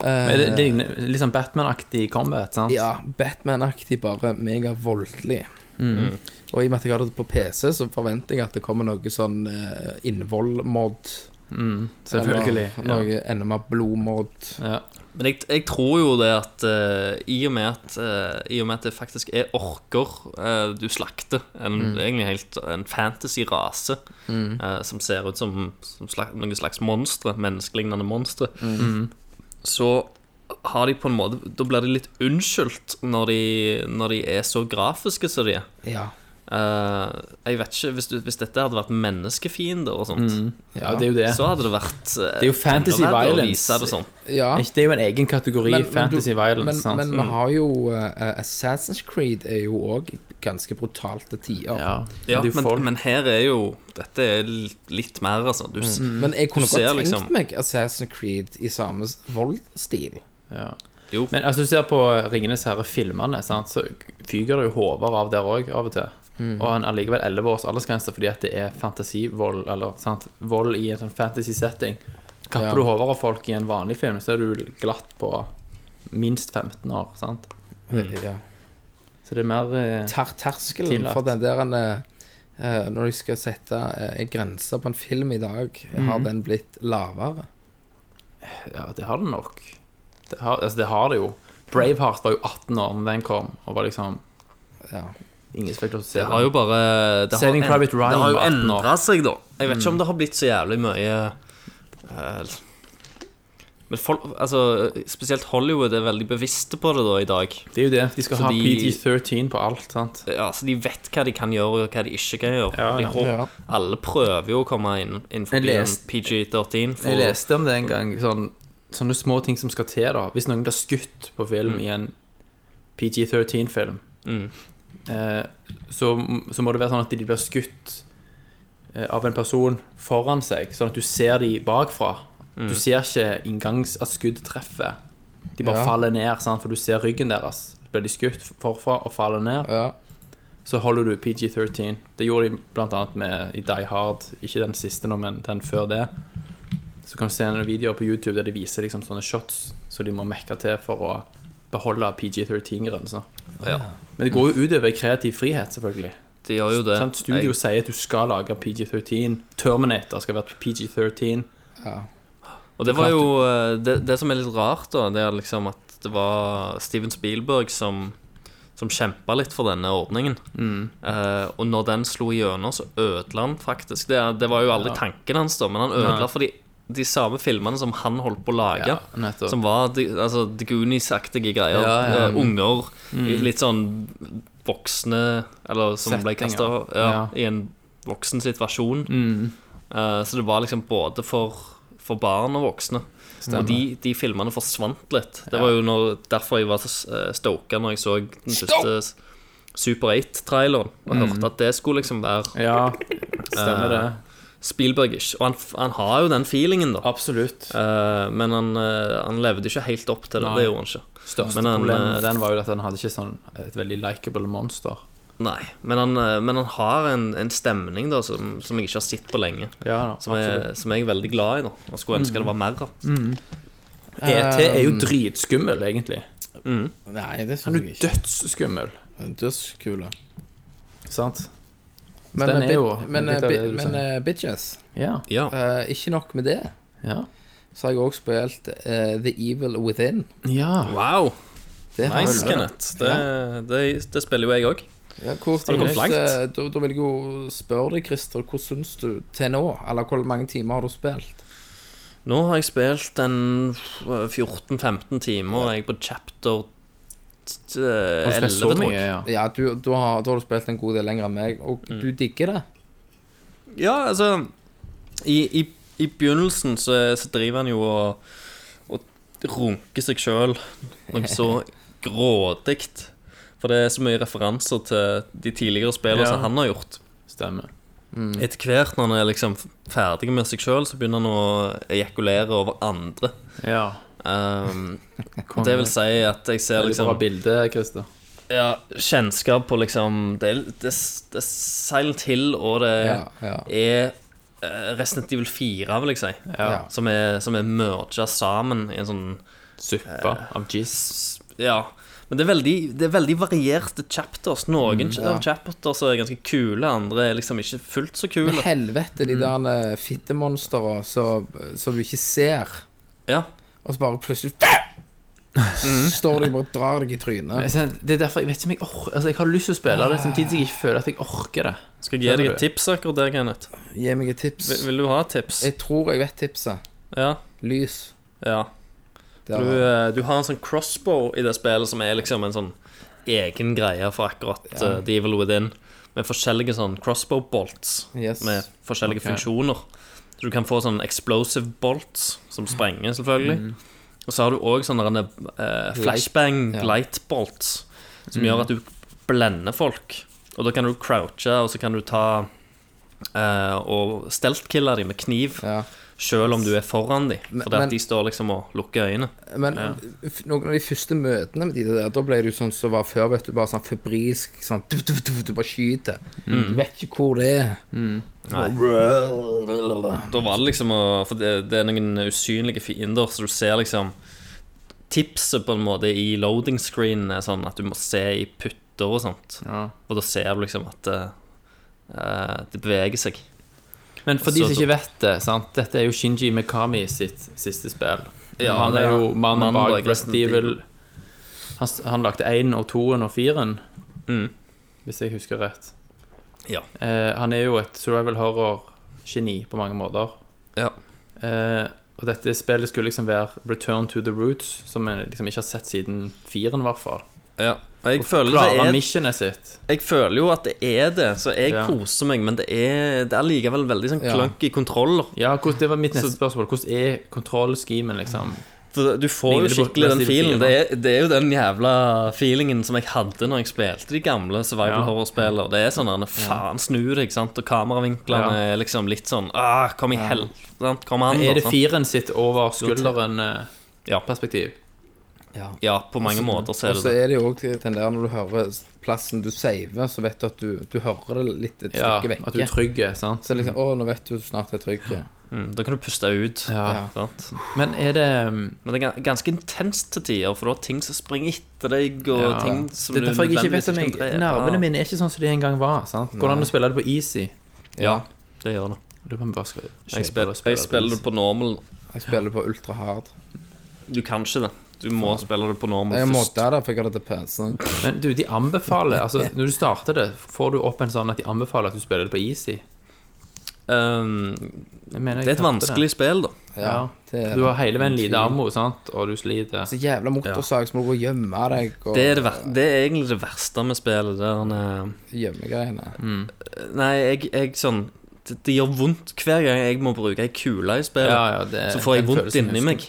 Speaker 6: eh,
Speaker 5: Er det, det er litt sånn Batman-aktig combat, sant?
Speaker 6: Ja, Batman-aktig, bare megavoldelig.
Speaker 5: Mm.
Speaker 6: Og i og med at jeg har det på PC, så forventer jeg at det kommer noe sånn eh, innvoll-mod.
Speaker 5: Mm, Selvfølgelig.
Speaker 6: Eller Noe enda mer blod-mod.
Speaker 5: Ja.
Speaker 7: Men jeg, jeg tror jo det at eh, i, og med at eh, i og med at det faktisk er orker eh, du slakter, en,
Speaker 5: Mm.
Speaker 7: egentlig helt en fantasy-rase eh, som ser ut som, som sla- noen slags monstre, menneskelignende monstre,
Speaker 5: Mm.
Speaker 7: så har de på en måte Da blir de litt unnskyldt når de, når de er så grafiske som de er.
Speaker 6: Ja.
Speaker 7: Eh, jeg vet ikke, hvis, du, hvis dette hadde vært menneskefiender og sånt,
Speaker 5: Mm. ja, det er jo det.
Speaker 7: så hadde det vært uh,
Speaker 5: Det er jo fantasy violence.
Speaker 7: det sånn.
Speaker 6: ja.
Speaker 5: Ikke- Det er jo en egen kategori,
Speaker 6: Men- men
Speaker 5: fantasy
Speaker 6: du-
Speaker 5: violence.
Speaker 6: Men,
Speaker 5: sant? Mm.
Speaker 6: men vi har jo eh, Assassin's Creed er jo òg ganske brutalt til tider.
Speaker 5: ja.
Speaker 7: Ja,
Speaker 5: Det er jo folk-
Speaker 7: men, men her er jo Dette er l- litt mer, altså. Du, s-
Speaker 5: Mm.
Speaker 6: Men jeg kunne
Speaker 7: Du
Speaker 6: godt
Speaker 7: ser
Speaker 6: tenkt
Speaker 7: liksom-
Speaker 6: meg Assassin's Creed i samme s- voldstil.
Speaker 7: jo,
Speaker 5: Men altså, du ser på Ringenes herre-filmene, sant, så fyker det jo hoder av der òg, av og til.
Speaker 6: Mm.
Speaker 5: Og han er likevel 11 års aldersgrense fordi at det er fantasivold, eller sant, vold i en sånn fantasy-setting. Kapper
Speaker 6: Ja.
Speaker 5: du hoder av folk i en vanlig film, så er du glatt på minst 15 år, sant.
Speaker 6: Eh, Ja.
Speaker 5: Så det er mer eh,
Speaker 6: ter terskelen
Speaker 5: Tillatt.
Speaker 6: for den der eh, Når de skal sette eh, en grense på en film i dag,
Speaker 5: Mm.
Speaker 6: har den blitt lavere?
Speaker 5: Ja, det har det nok. Det har, altså, det har det jo. Braveheart var jo 18 år da den kom, og var liksom
Speaker 6: Ja.
Speaker 5: Ingen som fikk lov til å se
Speaker 7: det har jo bare det har,
Speaker 5: Saving
Speaker 7: en-
Speaker 5: Private Ryan Mm.
Speaker 7: det har jo
Speaker 5: var 18 år.
Speaker 7: endra seg, da. Jeg vet ikke om det har blitt så jævlig mye eh, Men folk, altså, spesielt Hollywood er veldig bevisste på det da i dag.
Speaker 5: Det er jo det. De skal
Speaker 7: Så
Speaker 5: ha
Speaker 7: de-
Speaker 5: PG-13 på alt, sant.
Speaker 7: Ja, så altså, De vet hva de kan gjøre, og hva de ikke kan gjøre.
Speaker 5: Ja,
Speaker 7: de
Speaker 5: ja.
Speaker 7: hå- Alle prøver jo å komme inn
Speaker 5: Jeg
Speaker 7: innenfor
Speaker 5: leste-
Speaker 7: PG-13. for-
Speaker 5: Jeg leste om det en gang, sånn, sånne små ting som skal til da. Hvis noen blir skutt på film i en PG-13-film,
Speaker 7: Mm.
Speaker 5: eh, så, så må det være sånn at de blir skutt eh, av en person foran seg, sånn at du ser de bakfra. Du ser ikke inngangs at skudd treffer. De bare
Speaker 6: Ja.
Speaker 5: faller ned, sant? for du ser ryggen deres. Blir de skutt forfra og faller ned,
Speaker 6: Ja.
Speaker 5: så holder du PG-13. Det gjorde de blant annet med i Die Hard, ikke den siste nå, men den før det. Så kan du se noen videoer på YouTube der de viser liksom sånne shots som de må mekke til for å beholde PG-13-grensa.
Speaker 7: ja,
Speaker 5: Men det går jo utover kreativ frihet, selvfølgelig.
Speaker 7: de gjør jo det.
Speaker 5: Sant? Studio
Speaker 7: Jeg-
Speaker 5: sier at du skal lage PG-13. Terminator skal være PG-13.
Speaker 7: Og det var jo eh, det, det som er litt rart, da, det er liksom at det var Steven Spielberg som som kjempa litt for denne ordningen.
Speaker 6: Mm.
Speaker 7: Eh, og når den slo igjennom, så ødela han faktisk det, det var jo aldri tanken hans, da, men han ødela for de de samme filmene som han holdt på å lage.
Speaker 6: Ja, nettopp.
Speaker 7: som var de, altså, The Goonies-aktige
Speaker 6: Ja,
Speaker 7: greier.
Speaker 6: ja. Mm.
Speaker 7: Eh, Unger. Litt sånn voksne Eller som ble kasta
Speaker 5: Settinger.
Speaker 7: ja,
Speaker 5: Ja.
Speaker 7: i en voksen situasjon.
Speaker 5: Mm.
Speaker 7: Eh, så det var liksom både for, for barn og voksne. Og de, de filmene forsvant litt. Det var jo når, derfor jeg var så eh, stoka når jeg så den første Super 8-traileren og hørte at det skulle liksom være
Speaker 5: Ja, stemmer det.
Speaker 7: Spielbergish. Og han, han har jo den feelingen, da.
Speaker 5: Absolutt.
Speaker 7: Eh, men han, eh, han levde ikke helt opp til det.
Speaker 5: Nei.
Speaker 7: Det gjorde han ikke.
Speaker 5: Største
Speaker 7: Men han,
Speaker 5: problemet
Speaker 7: eh,
Speaker 5: med den var jo at den hadde ikke sånn et veldig likeable monster.
Speaker 7: Nei, Men han, eh, men han har en, en stemning da som, som jeg ikke har sett på lenge.
Speaker 5: Ja,
Speaker 7: Som, er, som jeg er veldig glad i. da Og skulle ønske det var mer av.
Speaker 5: ET E er jo dritskummel, egentlig.
Speaker 6: Nei, det
Speaker 5: Han Ehm, er
Speaker 6: syns jeg
Speaker 5: jo
Speaker 6: ikke.
Speaker 5: dødsskummel,
Speaker 6: Dødskule.
Speaker 5: sant?
Speaker 6: Men,
Speaker 5: den er
Speaker 6: eh, bit-
Speaker 5: jo
Speaker 6: men,
Speaker 5: litt av
Speaker 6: eh,
Speaker 5: det
Speaker 6: bi-
Speaker 5: du
Speaker 6: men
Speaker 5: sier.
Speaker 6: eh, bitches
Speaker 5: Ja.
Speaker 7: Ja.
Speaker 6: eh, Ikke nok med det,
Speaker 5: Ja.
Speaker 6: så har jeg også spilt eh, The Evil Within.
Speaker 5: ja.
Speaker 7: Wow!
Speaker 6: Det har
Speaker 7: Nice,
Speaker 6: jeg-
Speaker 7: Kenneth. Det, det, det spiller jo jeg òg.
Speaker 6: Ja, hvor,
Speaker 7: du kommet
Speaker 6: hvordan-
Speaker 7: langt?
Speaker 6: eh, Da, da vil jeg jo spørre deg, Christer, hva syns du til nå? Eller hvor mange timer har du spilt?
Speaker 7: Nå har jeg spilt en 14-15 timer. Jeg er på chapter t- eh, 11,
Speaker 5: så
Speaker 7: tror
Speaker 5: mye,
Speaker 7: jeg.
Speaker 5: ja. Mm.
Speaker 6: Ja, du, du har, da har du spilt en god del lenger enn meg, og du digger det.
Speaker 7: Ja, altså I, i, i begynnelsen så, så driver han jo og, og runker seg sjøl noe så grådig. For det er så mye referanser til de tidligere spillene
Speaker 5: Ja. Mm.
Speaker 7: som han har gjort.
Speaker 5: Stemmer.
Speaker 7: Etter hvert når han er liksom ferdig med seg sjøl, så begynner han å ejakulere over andre.
Speaker 5: Ja.
Speaker 7: Ehm, det vil si at jeg ser
Speaker 5: Veldig
Speaker 7: liksom
Speaker 5: bra bilde, Christer.
Speaker 7: ja, kjennskap på liksom Det, er- det, det er Silent Hill, og det
Speaker 6: Ja, ja.
Speaker 7: er eh, Resident Evil 4, vil jeg si,
Speaker 6: Ja.
Speaker 7: som er, som er merga sammen i en sånn
Speaker 5: Suppe
Speaker 6: Eh.
Speaker 5: av jizz.
Speaker 7: s- Ja. Men det er veldig, det er veldig varierte chapters.
Speaker 6: Mm,
Speaker 7: Noen av chapters er ganske kule, andre er liksom ikke fullt så
Speaker 6: Men
Speaker 7: kule.
Speaker 6: helvete,
Speaker 5: Mm.
Speaker 6: de der eh, fittemonstrene som som du ikke ser,
Speaker 7: Ja,
Speaker 6: og så bare plutselig Står de og bare drar deg i trynet.
Speaker 5: Det er derfor jeg vet ikke om jeg orker Altså, jeg har lyst til å spille
Speaker 6: Eh.
Speaker 5: det, samtidig som jeg ikke føler at jeg orker det.
Speaker 7: Skal jeg gi deg et tips akkurat der, Kenneth?
Speaker 6: Gi meg et tips.
Speaker 7: Vil, vil du ha et tips?
Speaker 6: Jeg tror jeg vet tipset.
Speaker 7: Ja.
Speaker 6: Lys.
Speaker 7: ja.
Speaker 6: Der.
Speaker 7: Du, eh, du har en sånn crossbow i det spillet som er liksom en sånn egen greie for akkurat eh, The Evil Within. Med forskjellige sånn crossbow bolts
Speaker 6: Yes.
Speaker 7: med forskjellige funksjoner. Så du kan få sånn explosive bolts som sprenger, selvfølgelig. Og så har du òg sånne eh, flashbang
Speaker 6: Mhm. Light, ja. Mhm.
Speaker 7: light bolts som gjør at du blender folk. Og da kan du crouche, og så kan du ta eh, og stelt-kille dem med kniv.
Speaker 6: Ja.
Speaker 7: Selv om du er foran dem,
Speaker 6: Men-
Speaker 7: fordi
Speaker 6: men-
Speaker 7: at de står liksom og lukker øynene.
Speaker 6: Men f- noen av de første møtene med de der, da ble det jo sånn som var før, vet du, bare sånn febrilsk sånn du, du, du, du bare skyter.
Speaker 5: Mm.
Speaker 6: Du vet ikke hvor det er.
Speaker 7: Da var det liksom å For det, det er noen usynlige fiender, så du ser liksom Tipset på en måte i loading screen er sånn at du må se i putter og sånt. Og da ser du liksom at eh, eh, det beveger seg.
Speaker 5: Men for de som
Speaker 7: Så-
Speaker 5: ikke vet det, sant? dette er jo Shinji Mikami sitt siste spill.
Speaker 7: Ja,
Speaker 5: han er
Speaker 7: det er
Speaker 5: jo mannen
Speaker 7: mannen
Speaker 5: bak
Speaker 7: bak
Speaker 5: Resident
Speaker 7: Resident
Speaker 5: Evil. Han, s- han lagde én og toen og firen,
Speaker 7: Mm.
Speaker 5: hvis jeg husker rett.
Speaker 7: Ja.
Speaker 5: Eh, han er jo et survival horror-geni på mange måter.
Speaker 7: Ja.
Speaker 5: Eh, og dette spillet skulle liksom være Return to the Roots, som jeg liksom ikke har sett siden firen, i hvert fall.
Speaker 7: ja. Og jeg, føler det
Speaker 5: Klarer
Speaker 7: er,
Speaker 5: missionet sitt.
Speaker 7: jeg føler jo at det er det, så jeg
Speaker 5: Ja.
Speaker 7: koser meg, men det er, det er likevel veldig sånn
Speaker 6: Ja.
Speaker 7: klunky kontroller.
Speaker 5: Ja, hvordan, det var mitt neste spørsmål. Hvordan er kontrollskimen, liksom?
Speaker 7: For eh, du får
Speaker 5: Ligner
Speaker 7: jo
Speaker 5: det på
Speaker 7: skikkelig den
Speaker 5: Resident Evil
Speaker 7: feelen. Det
Speaker 5: fire,
Speaker 7: er, det er jo den jævla feelingen som jeg hadde når jeg spilte de gamle survival
Speaker 5: Ja.
Speaker 7: horror-spillene. Det er sånn der, faen, snu deg, sant. Og kameravinklene
Speaker 5: Ja.
Speaker 7: er liksom litt sånn ah, Kom i hell, sant. Kom an,
Speaker 5: Er det
Speaker 7: sant?
Speaker 5: firen sitt over
Speaker 7: eh,
Speaker 5: skulderen-perspektiv?
Speaker 7: Ja. Ja, på
Speaker 5: Altså,
Speaker 7: mange måter så
Speaker 6: Og
Speaker 7: er
Speaker 6: så
Speaker 7: det det.
Speaker 6: er det jo også den der når du hører plassen du saver, så vet du at du, du hører det litt et
Speaker 5: Ja,
Speaker 6: stykke
Speaker 5: at du er
Speaker 6: vekke.
Speaker 5: trygg,
Speaker 7: eh,
Speaker 5: sant?
Speaker 6: Så liksom, å, nå vet du snart det er trykket.
Speaker 7: Mm, da kan du puste ut.
Speaker 5: Ja.
Speaker 7: Sant?
Speaker 5: Men er det um,
Speaker 7: Men det er ga- ganske intenst til tider, for du har ting som springer etter deg, og
Speaker 5: Ja.
Speaker 7: ting som
Speaker 5: Det er derfor jeg ikke vet om
Speaker 7: nødvendigvis
Speaker 5: jeg
Speaker 7: ikke kan drepe.
Speaker 5: Nervene mine er ikke sånn som de en gang var. sant? Går det an å spille det på easy?
Speaker 7: Ja, det gjør det.
Speaker 5: Lurer på om jeg bare skal
Speaker 7: Jeg spiller, jeg spiller det på normal.
Speaker 6: Jeg spiller på ultra hard.
Speaker 7: Du kan ikke det. Du må spille det på normal
Speaker 6: Jeg
Speaker 7: først.
Speaker 6: måtte det, for jeg hadde det til PC-en.
Speaker 5: Men du, de anbefaler altså Når du starter det, får du opp en sånn at de anbefaler at du spiller det på easy.
Speaker 7: Ehm,
Speaker 5: Jeg mener, jeg
Speaker 7: det er et
Speaker 5: tapte
Speaker 7: vanskelig spill, da.
Speaker 5: Ja.
Speaker 6: det er-
Speaker 5: Du har hele veien lite ammo, sant, og du sliter.
Speaker 6: Så jævla motorsag, så må du gå og gjemme deg og
Speaker 7: Det er, det, ver- det er egentlig det verste med spillet. Der, han,
Speaker 6: gjemmegreiene.
Speaker 5: Mm.
Speaker 7: eh, nei, jeg, jeg sånn det, det gjør vondt hver gang jeg må bruke ei kule i spillet.
Speaker 5: Ja, ja, det-
Speaker 7: så får jeg
Speaker 5: den
Speaker 7: vondt
Speaker 5: følelsen
Speaker 7: inni
Speaker 5: husker
Speaker 7: meg.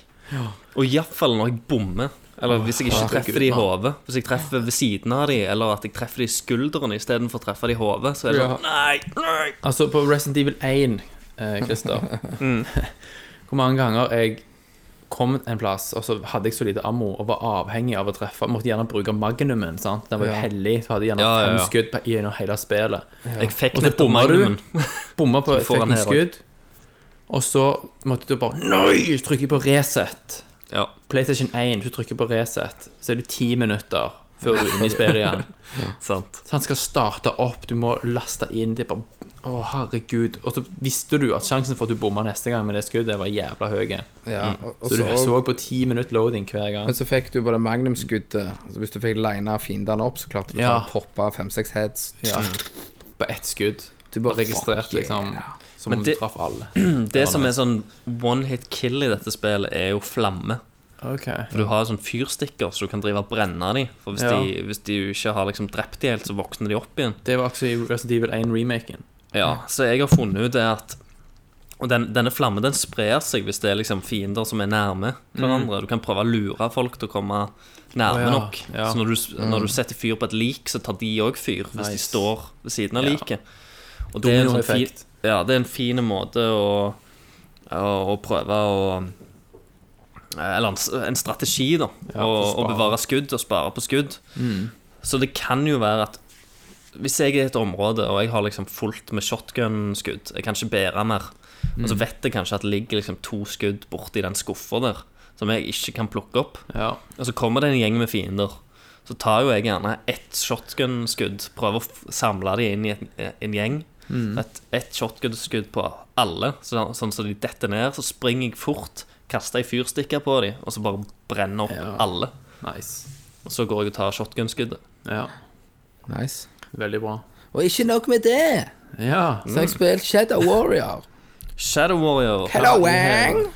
Speaker 7: Og iallfall når jeg bommer. Eller hvis jeg ikke treffer de i hodet. Hvis jeg treffer ved siden av de, eller at jeg treffer de i skulderen istedenfor å treffe de i hodet, så er det sånn Nei! nei.
Speaker 5: Altså, på Resident Evil 1, eh, Christer Hvor mange ganger jeg kom en plass, og så hadde jeg så lite ammo og var avhengig av å treffe Måtte gjerne bruke magnumen. sant? Den var jo
Speaker 6: Ja.
Speaker 5: hellig. Så hadde jeg gjerne
Speaker 7: Ja, ja, ja.
Speaker 5: fem skudd på- gjennom hele spillet.
Speaker 7: Jeg fikk
Speaker 5: Og så
Speaker 7: nettopp
Speaker 5: bommer du.
Speaker 7: magnumen.
Speaker 5: Bomma på
Speaker 7: får han
Speaker 5: fikk en
Speaker 7: her
Speaker 5: skudd, og så måtte du bare Nei! Trykke på reset.
Speaker 7: Ja.
Speaker 5: PlayStation 1, du trykker på reset, så er det ti minutter før du er inne i spillet igjen.
Speaker 7: Sant.
Speaker 5: Så han skal starte opp, du må laste inn. Det er bare Å, herregud. Og så visste du at sjansen for at du bomma neste gang med det skuddet, var jævla høy.
Speaker 6: Ja, og,
Speaker 5: Mm. Så
Speaker 6: og
Speaker 5: du
Speaker 6: så,
Speaker 5: så på ti minutt loading hver gang.
Speaker 6: men så fikk du både magnumskuddet så Hvis du fikk lina fiendene opp, så klarte du
Speaker 5: Ja.
Speaker 6: å poppe fem-seks heads.
Speaker 5: Ja. På ett skudd.
Speaker 6: Du bare
Speaker 5: Registrert,
Speaker 6: fuck yeah.
Speaker 5: liksom. Som
Speaker 7: Men
Speaker 5: om du
Speaker 7: det-
Speaker 5: traff alle.
Speaker 7: Det som er sånn one hit kill i dette spillet, er jo flamme.
Speaker 5: Ok.
Speaker 7: For du har sånn fyrstikker, så du kan drive og brenne dem. For hvis,
Speaker 5: Ja.
Speaker 7: de, hvis de ikke har liksom drept de helt, så våkner de opp igjen.
Speaker 5: Det var også i Resident Evil 1-remaken.
Speaker 7: Ja, så jeg har funnet ut det at og den, denne flammen den sprer seg hvis det er liksom fiender som er nærme hverandre. Du kan prøve å lure folk til å komme
Speaker 5: Mm. Å,
Speaker 7: nærme
Speaker 5: ja,
Speaker 7: nok.
Speaker 5: ja. Mm.
Speaker 7: Så når du, når du setter fyr på et lik, så tar de òg fyr hvis de
Speaker 5: Nice.
Speaker 7: står ved siden av
Speaker 5: Ja.
Speaker 7: liket. Og det er, en sånn fin,
Speaker 5: Dominoeffekt.
Speaker 7: ja, det er en fin måte å, å, å prøve å Eh, Eller en, s- en strategi, da. å, å
Speaker 5: spare.
Speaker 7: bevare skudd og spare på skudd. Så det kan jo være at hvis jeg er i et område og jeg har liksom fullt med shotgun-skudd Jeg kan ikke bære mer. Og så vet jeg kanskje at det ligger liksom to skudd borti den skuffa der som jeg ikke kan plukke opp.
Speaker 5: Ja.
Speaker 7: Og så kommer det en gjeng med fiender. Så tar jo jeg gjerne ett shotgun-skudd, prøver å f- samle de inn i et, en gjeng. Et, ett shotgun-skudd på alle, så, sånn som de detter ned. Så springer jeg fort, kaster ei fyrstikker på de, og så bare brenner opp
Speaker 5: Ja.
Speaker 7: alle.
Speaker 5: Nice.
Speaker 7: Og så går jeg og tar shotgun-skuddet.
Speaker 5: Ja.
Speaker 6: Nice.
Speaker 5: Veldig bra.
Speaker 6: Og ikke nok med det,
Speaker 5: Ja.
Speaker 6: så har jeg spilt Shadow Warrior.
Speaker 7: Shadow Warrior.
Speaker 6: Hello, eh. Wang! Mm.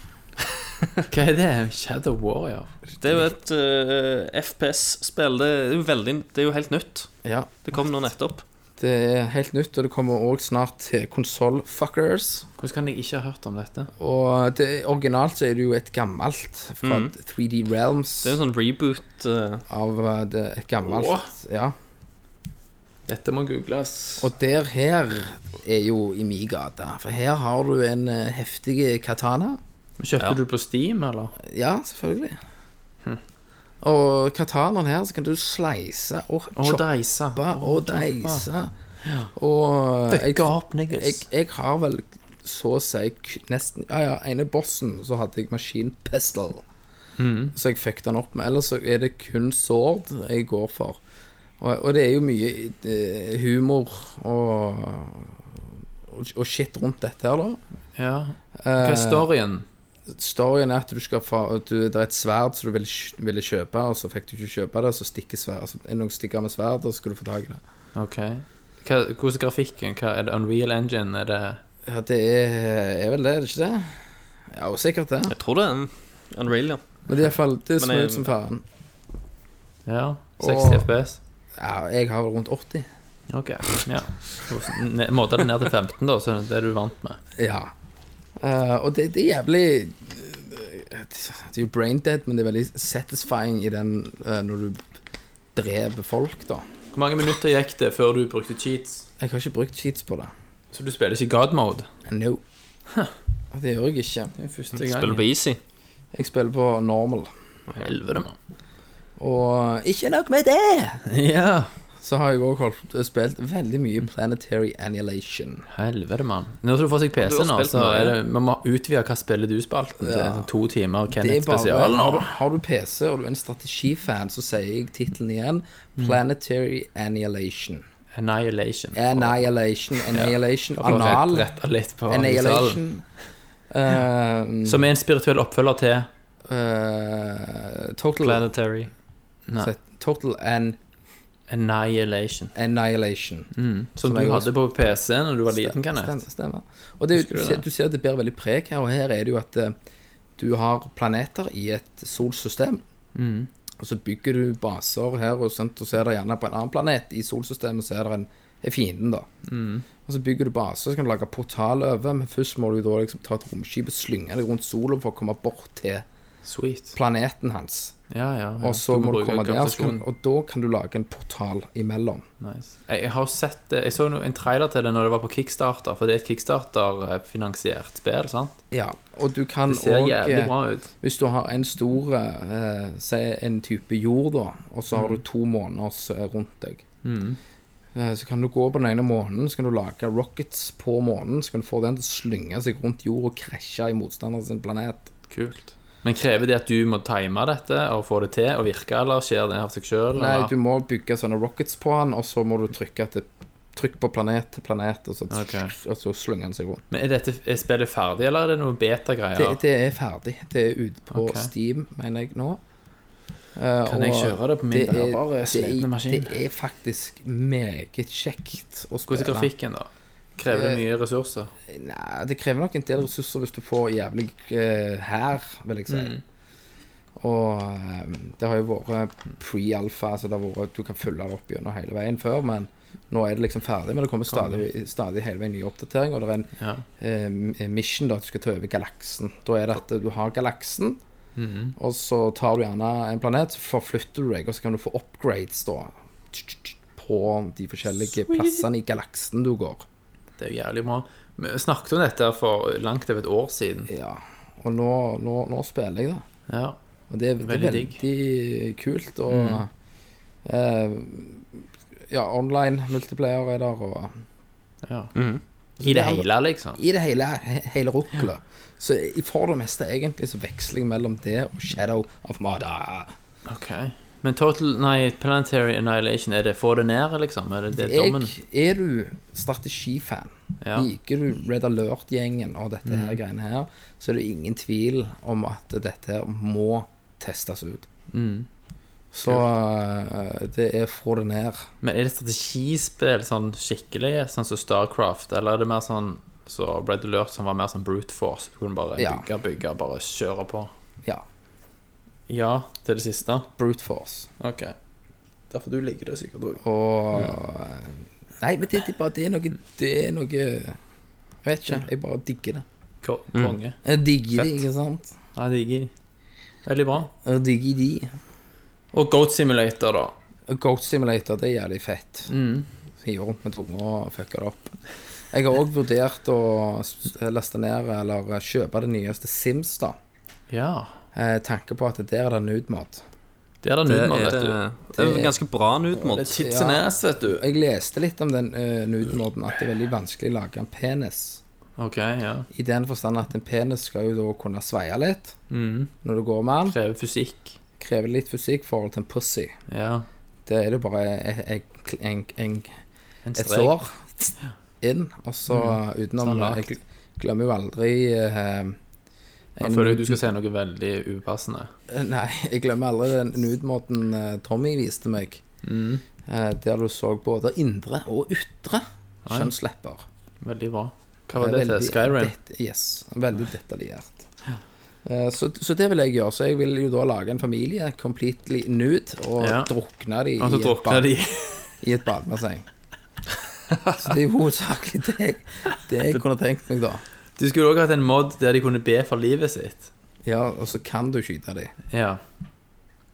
Speaker 5: Hva er det? Shadow Warrior?
Speaker 7: Det er jo et eh, FPS-spill. Det er jo veldig Det er jo helt nytt.
Speaker 6: Ja,
Speaker 7: Det kom nå nettopp.
Speaker 6: det er helt nytt, og det kommer òg snart til konsollfuckers.
Speaker 5: Hvordan kan jeg ikke ha hørt om dette?
Speaker 6: Og det, originalt så er det jo et gammelt fra
Speaker 5: Mm.
Speaker 6: 3D Realms
Speaker 7: Det er jo en sånn reboot eh,
Speaker 6: av eh, det, et gammelt Ja.
Speaker 5: Dette må googles.
Speaker 6: Og der her er jo i min gate. For her har du en eh, heftig katana.
Speaker 5: Kjøpte du på Steam, eller?
Speaker 6: Ja, selvfølgelig. Og katanaen her, så kan du slice og
Speaker 5: Å,
Speaker 6: choppe
Speaker 5: deisa.
Speaker 6: og deise. Og eh, jeg,
Speaker 5: opp, niggas.
Speaker 6: jeg, jeg har vel så å si k- nesten Ja, ja, ene bossen, så hadde jeg maskinpistol.
Speaker 5: Mm.
Speaker 6: Så jeg fikk den opp med. Ellers så er det kun sword jeg går for. Og, og det er jo mye eh, humor og, og, og shit rundt dette her, da. Eh,
Speaker 5: Ja. Hva er storyen?
Speaker 6: Storyen er at du skal få at du, Det er et sverd som du ville, kj- ville kjøpe, og så fikk du ikke kjøpe det, og så stikker sverd, altså, er det noen stikker med sverd, og så skal du få tak i det.
Speaker 5: Ok. Hva, hvordan er grafikken? Hva, er det Unreal Engine? Er det
Speaker 6: Ja, det er, er vel det, er det ikke det? Ja, og sikkert det.
Speaker 7: Jeg tror det er en Unreal, ja.
Speaker 6: Men det er iallfall Det
Speaker 7: Men
Speaker 6: ser
Speaker 7: jeg-
Speaker 6: ut som faen.
Speaker 5: Ja.
Speaker 6: Og-
Speaker 5: 60 FPS?
Speaker 6: Ja, jeg har vel rundt 80.
Speaker 5: Ok. Ja. Ne- Måte det ned til 15, da, så det er du vant med.
Speaker 6: Ja. Eh, og det, det er jævlig eh, Det er jo brain dead, men det er veldig satisfying i den eh, når du dreper folk, da.
Speaker 5: Hvor mange minutter gikk det før du brukte cheats?
Speaker 6: Jeg har ikke brukt cheats på det.
Speaker 5: Så du spiller ikke god mode?
Speaker 6: No. Det gjør jeg ikke.
Speaker 5: Det er første gang.
Speaker 7: Spiller på Easy.
Speaker 6: Jeg spiller på normal.
Speaker 5: Helvete, mann.
Speaker 6: Og ikke nok med det,
Speaker 5: Ja.
Speaker 6: så har jeg òg spilt veldig mye Planetary Annihilation.
Speaker 5: Helvete, mann. Nå som du får seg PC,
Speaker 7: Du har
Speaker 5: nå,
Speaker 7: spilt
Speaker 5: så
Speaker 7: mye.
Speaker 5: er det, vi må utvide hva spiller du-spalten til.
Speaker 6: Ja.
Speaker 5: sånn To timer
Speaker 6: Det
Speaker 5: Kenneth
Speaker 6: er bare,
Speaker 5: spesial.
Speaker 6: har, du, har du PC og du er en strategifan, så sier jeg tittelen igjen. Planetary Annihilation.
Speaker 5: Annihilation.
Speaker 6: Annihilation, annihilation,
Speaker 5: For å
Speaker 6: anal,
Speaker 5: rett- rette litt på
Speaker 6: annihilation. Ehm,
Speaker 5: Som er en spirituell oppfølger til
Speaker 6: eh, total,
Speaker 7: Planetary.
Speaker 6: total and
Speaker 5: Annihilation.
Speaker 6: Annihilation.
Speaker 5: Som,
Speaker 6: jeg
Speaker 5: du
Speaker 6: også-
Speaker 5: hadde på PC når du var liten, kan jeg?
Speaker 6: Stemmer. stemmer. Og det, er jo-
Speaker 5: Husker du
Speaker 6: du, ser,
Speaker 5: det?
Speaker 6: du ser at det bærer veldig preg her, og her er det jo at eh, du har planeter i et solsystem.
Speaker 5: Mm.
Speaker 6: Og så bygger du baser her, og, sånt, og så er det gjerne på en annen planet i solsystemet, så er det en er fienden, da.
Speaker 5: Mm.
Speaker 6: Og så bygger du baser, så kan du lage portal over, men først må du da liksom ta et romskip og slynge deg rundt sola for å komme bort til
Speaker 5: Sweet.
Speaker 6: planeten hans.
Speaker 5: Ja, ja. ja.
Speaker 6: Og så må du
Speaker 5: bruke
Speaker 6: komme der, så kan,
Speaker 5: gravitasjon.
Speaker 6: og da kan du lage en portal imellom.
Speaker 5: Nice. Jeg, jeg har sett det. Jeg så no- en trailer til det når det var på Kickstarter, for det er et Kickstarter-finansiert spill, sant?
Speaker 6: Ja, og eh, du kan
Speaker 5: Det ser
Speaker 6: også-
Speaker 5: jævlig bra ut.
Speaker 6: Hvis du har en stor eh, Si en type jord, da, og så
Speaker 5: Mm.
Speaker 6: har du to måneders eh, rundt deg. Eh, så kan du gå på den ene måneden, så kan du lage rockets på månen. Så kan du få den til å slynge seg rundt jord og krasje i motstanderen sin planet.
Speaker 5: Kult. Men krever det at du må time dette og få det til og virke, eller skjer det av seg sjøl?
Speaker 6: Nei, du må bygge sånne rockets på den, og så må du trykke til Trykk på planet til planet, og så,
Speaker 5: Ok.
Speaker 6: og så slynger den seg rundt.
Speaker 5: Men er, dette, er spillet ferdig, eller er det noe
Speaker 6: Det,
Speaker 5: beta-greier?
Speaker 6: det er ferdig. Det er ute på
Speaker 5: Ok.
Speaker 6: Steam, mener jeg nå. Eh,
Speaker 5: Kan jeg kjøre det på min bærbare, slitne maskin?
Speaker 6: Det er faktisk meget kjekt å spille.
Speaker 5: Hvordan er grafikken, da? Krever det mye ressurser?
Speaker 6: Nei, det krever nok en del ressurser hvis du får jævlig eh, hær, vil jeg si. Og eh, det har jo vært pre-alfa, så det har vært, du kan følge det opp gjennom hele veien før, men nå er det liksom ferdig, men det kommer stadig, stadig hele veien nye oppdateringer, og det er en
Speaker 5: Ja.
Speaker 6: eh, mission da, at du skal ta over galaksen. Da er det at du har galaksen, og så tar du gjerne en planet, så forflytter du deg, og så kan du få upgrades da, på de forskjellige plassene i galaksen du går.
Speaker 5: Det er jo jævlig bra. Vi snakket om dette for langt over et år siden.
Speaker 6: Ja, og nå, nå, nå spiller jeg da.
Speaker 5: Ja.
Speaker 6: Og det, er- det er
Speaker 5: Veldig digg. Mm.
Speaker 6: veldig kult, og eh, ja, online multiplayer er der, og
Speaker 5: ja. I det hele, liksom.
Speaker 6: Mhm. i det hele, he- hele ruklet. Så i- for det meste egentlig så veksler jeg mellom det og Shadow of Mada.
Speaker 5: Ok. Men Total Nei, Planetary Annihilation, er det få det ned, liksom? Er det, det er dommen?
Speaker 6: Jeg, er du strategifan,
Speaker 5: Ja.
Speaker 6: liker du Red Alert-gjengen og dette her greiene her, så er det ingen tvil om at dette her må testes ut. Så eh, det er fra det ned.
Speaker 5: Men er det strategispill sånn skikkelig, sånn som Starcraft, eller er det mer sånn så Red Alert som var mer sånn brute force? Du kunne bare
Speaker 6: Ja.
Speaker 5: bygge, bygge, bare kjøre på.
Speaker 6: Ja.
Speaker 5: Ja, til det siste.
Speaker 6: Brute force.
Speaker 5: Ok. Derfor du liker det sikkert òg.
Speaker 6: Og Nei, men det, det, er bare, det er noe Det er noe Jeg vet ikke. Jeg bare digger det. Mm.
Speaker 5: Konge.
Speaker 6: Jeg digger det, ikke sant?
Speaker 5: Ja, digger. Veldig bra.
Speaker 6: Jeg digger de.
Speaker 5: Og Goat Simulator, da.
Speaker 6: Og Goat Simulator, det er jævlig fett. Hive rundt med tunga og fucke det opp. Jeg har òg vurdert å s- eh, laste ned eller eh, kjøpe det nyeste Sims, da.
Speaker 5: Ja.
Speaker 6: Eh, tanke på at der er det nudemat.
Speaker 5: Det er det
Speaker 7: Det
Speaker 5: nå,
Speaker 7: er,
Speaker 5: vet du.
Speaker 7: det er ganske bra nudemod.
Speaker 5: Tits and ass, vet du.
Speaker 6: Jeg leste litt om den uh, nudemoden, at det er veldig vanskelig å lage en penis.
Speaker 5: Ok, ja.
Speaker 6: I den forstand at en penis skal jo da kunne sveie litt
Speaker 5: Mm.
Speaker 6: når du går med den.
Speaker 5: Krever fysikk.
Speaker 6: Krever litt fysikk i forhold til en pussy.
Speaker 5: Ja.
Speaker 6: Det er det bare en, en, en, en,
Speaker 5: En
Speaker 6: et
Speaker 5: strek.
Speaker 6: sår inn, og så utenom
Speaker 5: Sånn rart.
Speaker 6: Jeg glemmer jo aldri eh,
Speaker 5: Jeg føler du skal si noe veldig upassende.
Speaker 6: Nei, jeg glemmer aldri den nudemåten eh, Tommy viste meg.
Speaker 5: Mm.
Speaker 6: Eh, der du så både indre og ytre kjønnslepper.
Speaker 5: Veldig bra. Hva var det til?
Speaker 6: Veldig
Speaker 5: Skyrim?
Speaker 6: det- yes. Veldig detaljert. Eh, Så, så det vil jeg gjøre. Så jeg vil jo da lage en familie completely nude og
Speaker 5: Ja.
Speaker 6: drukne de,
Speaker 5: Og så
Speaker 6: i, et
Speaker 5: drukner
Speaker 6: bad,
Speaker 5: de.
Speaker 6: i et badebasseng. Så det er jo hovedsakelig det, jeg- det jeg kunne tenkt meg, da.
Speaker 5: Du skulle òg hatt en mod der de kunne be for livet sitt.
Speaker 6: Ja, og så kan du skyte de.
Speaker 5: Ja.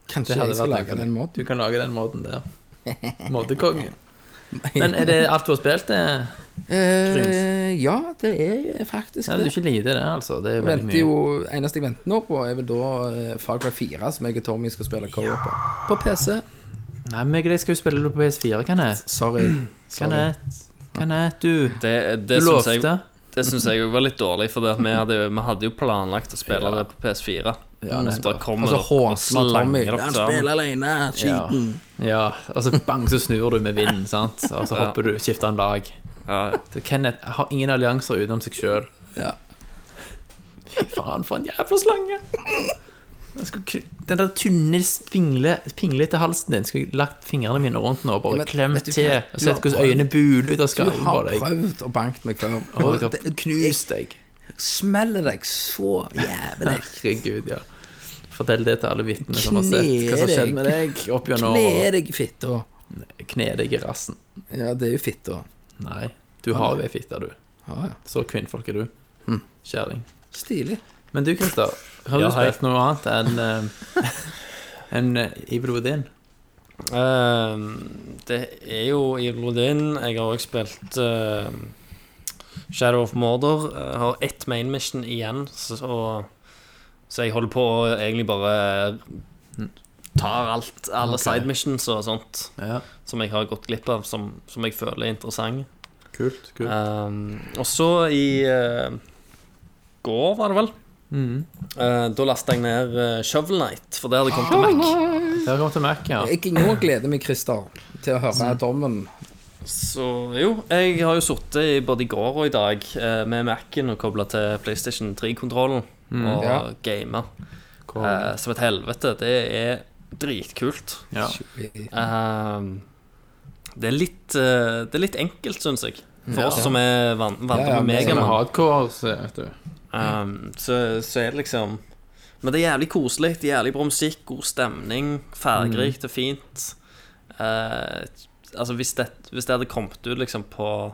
Speaker 6: Kanskje
Speaker 5: Det hadde
Speaker 6: jeg skal
Speaker 5: vært
Speaker 6: lage den
Speaker 5: Du
Speaker 6: måten.
Speaker 5: kan lage den moden der. Moddekongen. Men er det alt du har spilt? det?
Speaker 6: Eh, ja, det er faktisk
Speaker 5: Ja, det er jo
Speaker 6: det.
Speaker 5: ikke lite, det, altså. Det er
Speaker 6: Jeg
Speaker 5: veldig
Speaker 6: venter
Speaker 5: mye.
Speaker 6: jo, eneste jeg venter nå på, er vel da eh, Far Cry 4, som jeg og Tommy skal spille cover på. På PC.
Speaker 5: Nei, men jeg skal jo spille det på PS4, kan jeg?
Speaker 6: Sorry.
Speaker 5: Kan jeg? Kan jeg, du?
Speaker 7: Det, det
Speaker 5: Du
Speaker 7: syns jeg
Speaker 5: lovte.
Speaker 7: Det synes jeg jo var litt dårlig, for det at vi, hadde, jo- vi hadde jo planlagt å spille det på PS4. Ja, så bare kommer
Speaker 6: Altså,
Speaker 7: dere og
Speaker 6: håsla Tommy.
Speaker 7: slanger dere sammen.
Speaker 6: alene,
Speaker 5: skiten. Ja, og så bang, så snur du med vinden, sant? Og så hopper du, skifter en lag.
Speaker 7: Ja,
Speaker 5: Så Kenneth har ingen allianser utenom seg sjøl.
Speaker 6: Ja.
Speaker 5: Fy faen, for en jævla slange! Jeg skulle ku- Den der tynne, spingle- pinglete halsen din skulle jeg lagt fingrene mine rundt nå og bare
Speaker 6: Men
Speaker 5: klemt
Speaker 6: vet du
Speaker 5: til
Speaker 6: hva?
Speaker 5: og
Speaker 6: Du
Speaker 5: sett
Speaker 6: har
Speaker 5: hvordan
Speaker 6: prøvd.
Speaker 5: øynene buler ut av
Speaker 6: Du
Speaker 5: skallen på
Speaker 6: har
Speaker 5: deg.
Speaker 6: prøvd å banke meg før.
Speaker 5: Og jeg
Speaker 6: Og
Speaker 5: har
Speaker 6: det
Speaker 5: knust deg.
Speaker 6: smeller deg så jævlig.
Speaker 5: Herregud, ja. Fortell det til alle vitnene som har
Speaker 6: Kne
Speaker 5: sett hva som
Speaker 6: deg.
Speaker 5: skjedde med deg opp gjennom
Speaker 6: Kle
Speaker 5: året.
Speaker 6: deg i fitta.
Speaker 5: Kne deg i rassen.
Speaker 6: Ja, det er jo fitta.
Speaker 5: Nei, du har jo ei fitte, du.
Speaker 6: Ja, ja.
Speaker 5: Så kvinnfolk er du. Kjerring.
Speaker 6: Stilig.
Speaker 5: Men du, Christer, har du
Speaker 7: Ja, hei.
Speaker 5: spilt noe annet enn eh, enn eh, i blodet din?
Speaker 7: Ehm, det er jo i Lodin. Jeg har også spilt ehm, Shadow of Mordor. Jeg har ett main mission igjen, så, så jeg holder på å egentlig bare tar alt, alle side missions og sånt
Speaker 5: Ja.
Speaker 7: som jeg har gått glipp av, som, som jeg føler er interessant.
Speaker 5: Kult. kult.
Speaker 7: Um, og så i eh, går, var det vel,
Speaker 5: Mhm.
Speaker 7: eh, da lasta jeg ned eh, Shovel Knight, for det hadde kommet til Mac.
Speaker 5: Det har kommet til Mac, ja. Mm.
Speaker 6: Jeg nå gleder meg, Christer, til å høre dommen.
Speaker 7: Så jo, jeg har jo sittet både i går og i dag eh, med Mac-en og kobla til PlayStation 3-kontrollen og
Speaker 6: Mm, Ja.
Speaker 7: gama
Speaker 5: Cool.
Speaker 7: eh, som et helvete. Det er dritkult.
Speaker 5: ja.
Speaker 7: Um, det, er litt, eh, det er litt enkelt, syns jeg,
Speaker 5: Ja.
Speaker 7: for oss som er van vant
Speaker 6: Ja, ja,
Speaker 7: med
Speaker 6: men-
Speaker 5: Jeg er
Speaker 7: Megaman.
Speaker 5: hardcore, så vet du.
Speaker 7: Um, så, så er det liksom Men det er jævlig koselig. det er Jævlig bra musikk, god stemning, fargerikt og fint. Eh, altså hvis det, hvis det hadde kommet ut liksom på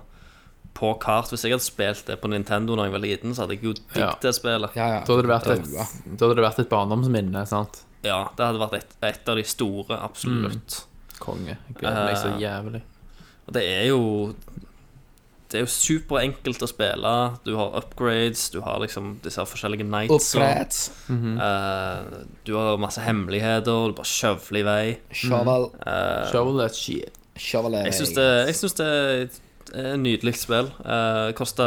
Speaker 7: På kart Hvis jeg hadde spilt det på Nintendo da jeg var liten, så hadde jeg jo digget
Speaker 5: Ja.
Speaker 7: det spillet.
Speaker 6: Ja, ja.
Speaker 5: Da hadde det vært et, da hadde det vært et barndomsminne, sant?
Speaker 7: Ja, det hadde vært et, et av de store, absolutt.
Speaker 5: Konge. Jeg gleder meg så
Speaker 7: Eh.
Speaker 5: jævlig.
Speaker 7: Og det er jo Det er jo superenkelt å spille. Du har upgrades, du har liksom disse her forskjellige nights.
Speaker 6: Opplært.
Speaker 7: Eh, du har masse hemmeligheter, og du bare skjøvler i vei.
Speaker 6: Shovel.
Speaker 5: Mm.
Speaker 7: eh,
Speaker 5: Show that shit.
Speaker 6: Shovel
Speaker 7: Jeg syns det, jeg synes det er et et nydelig spill. Uh, Kosta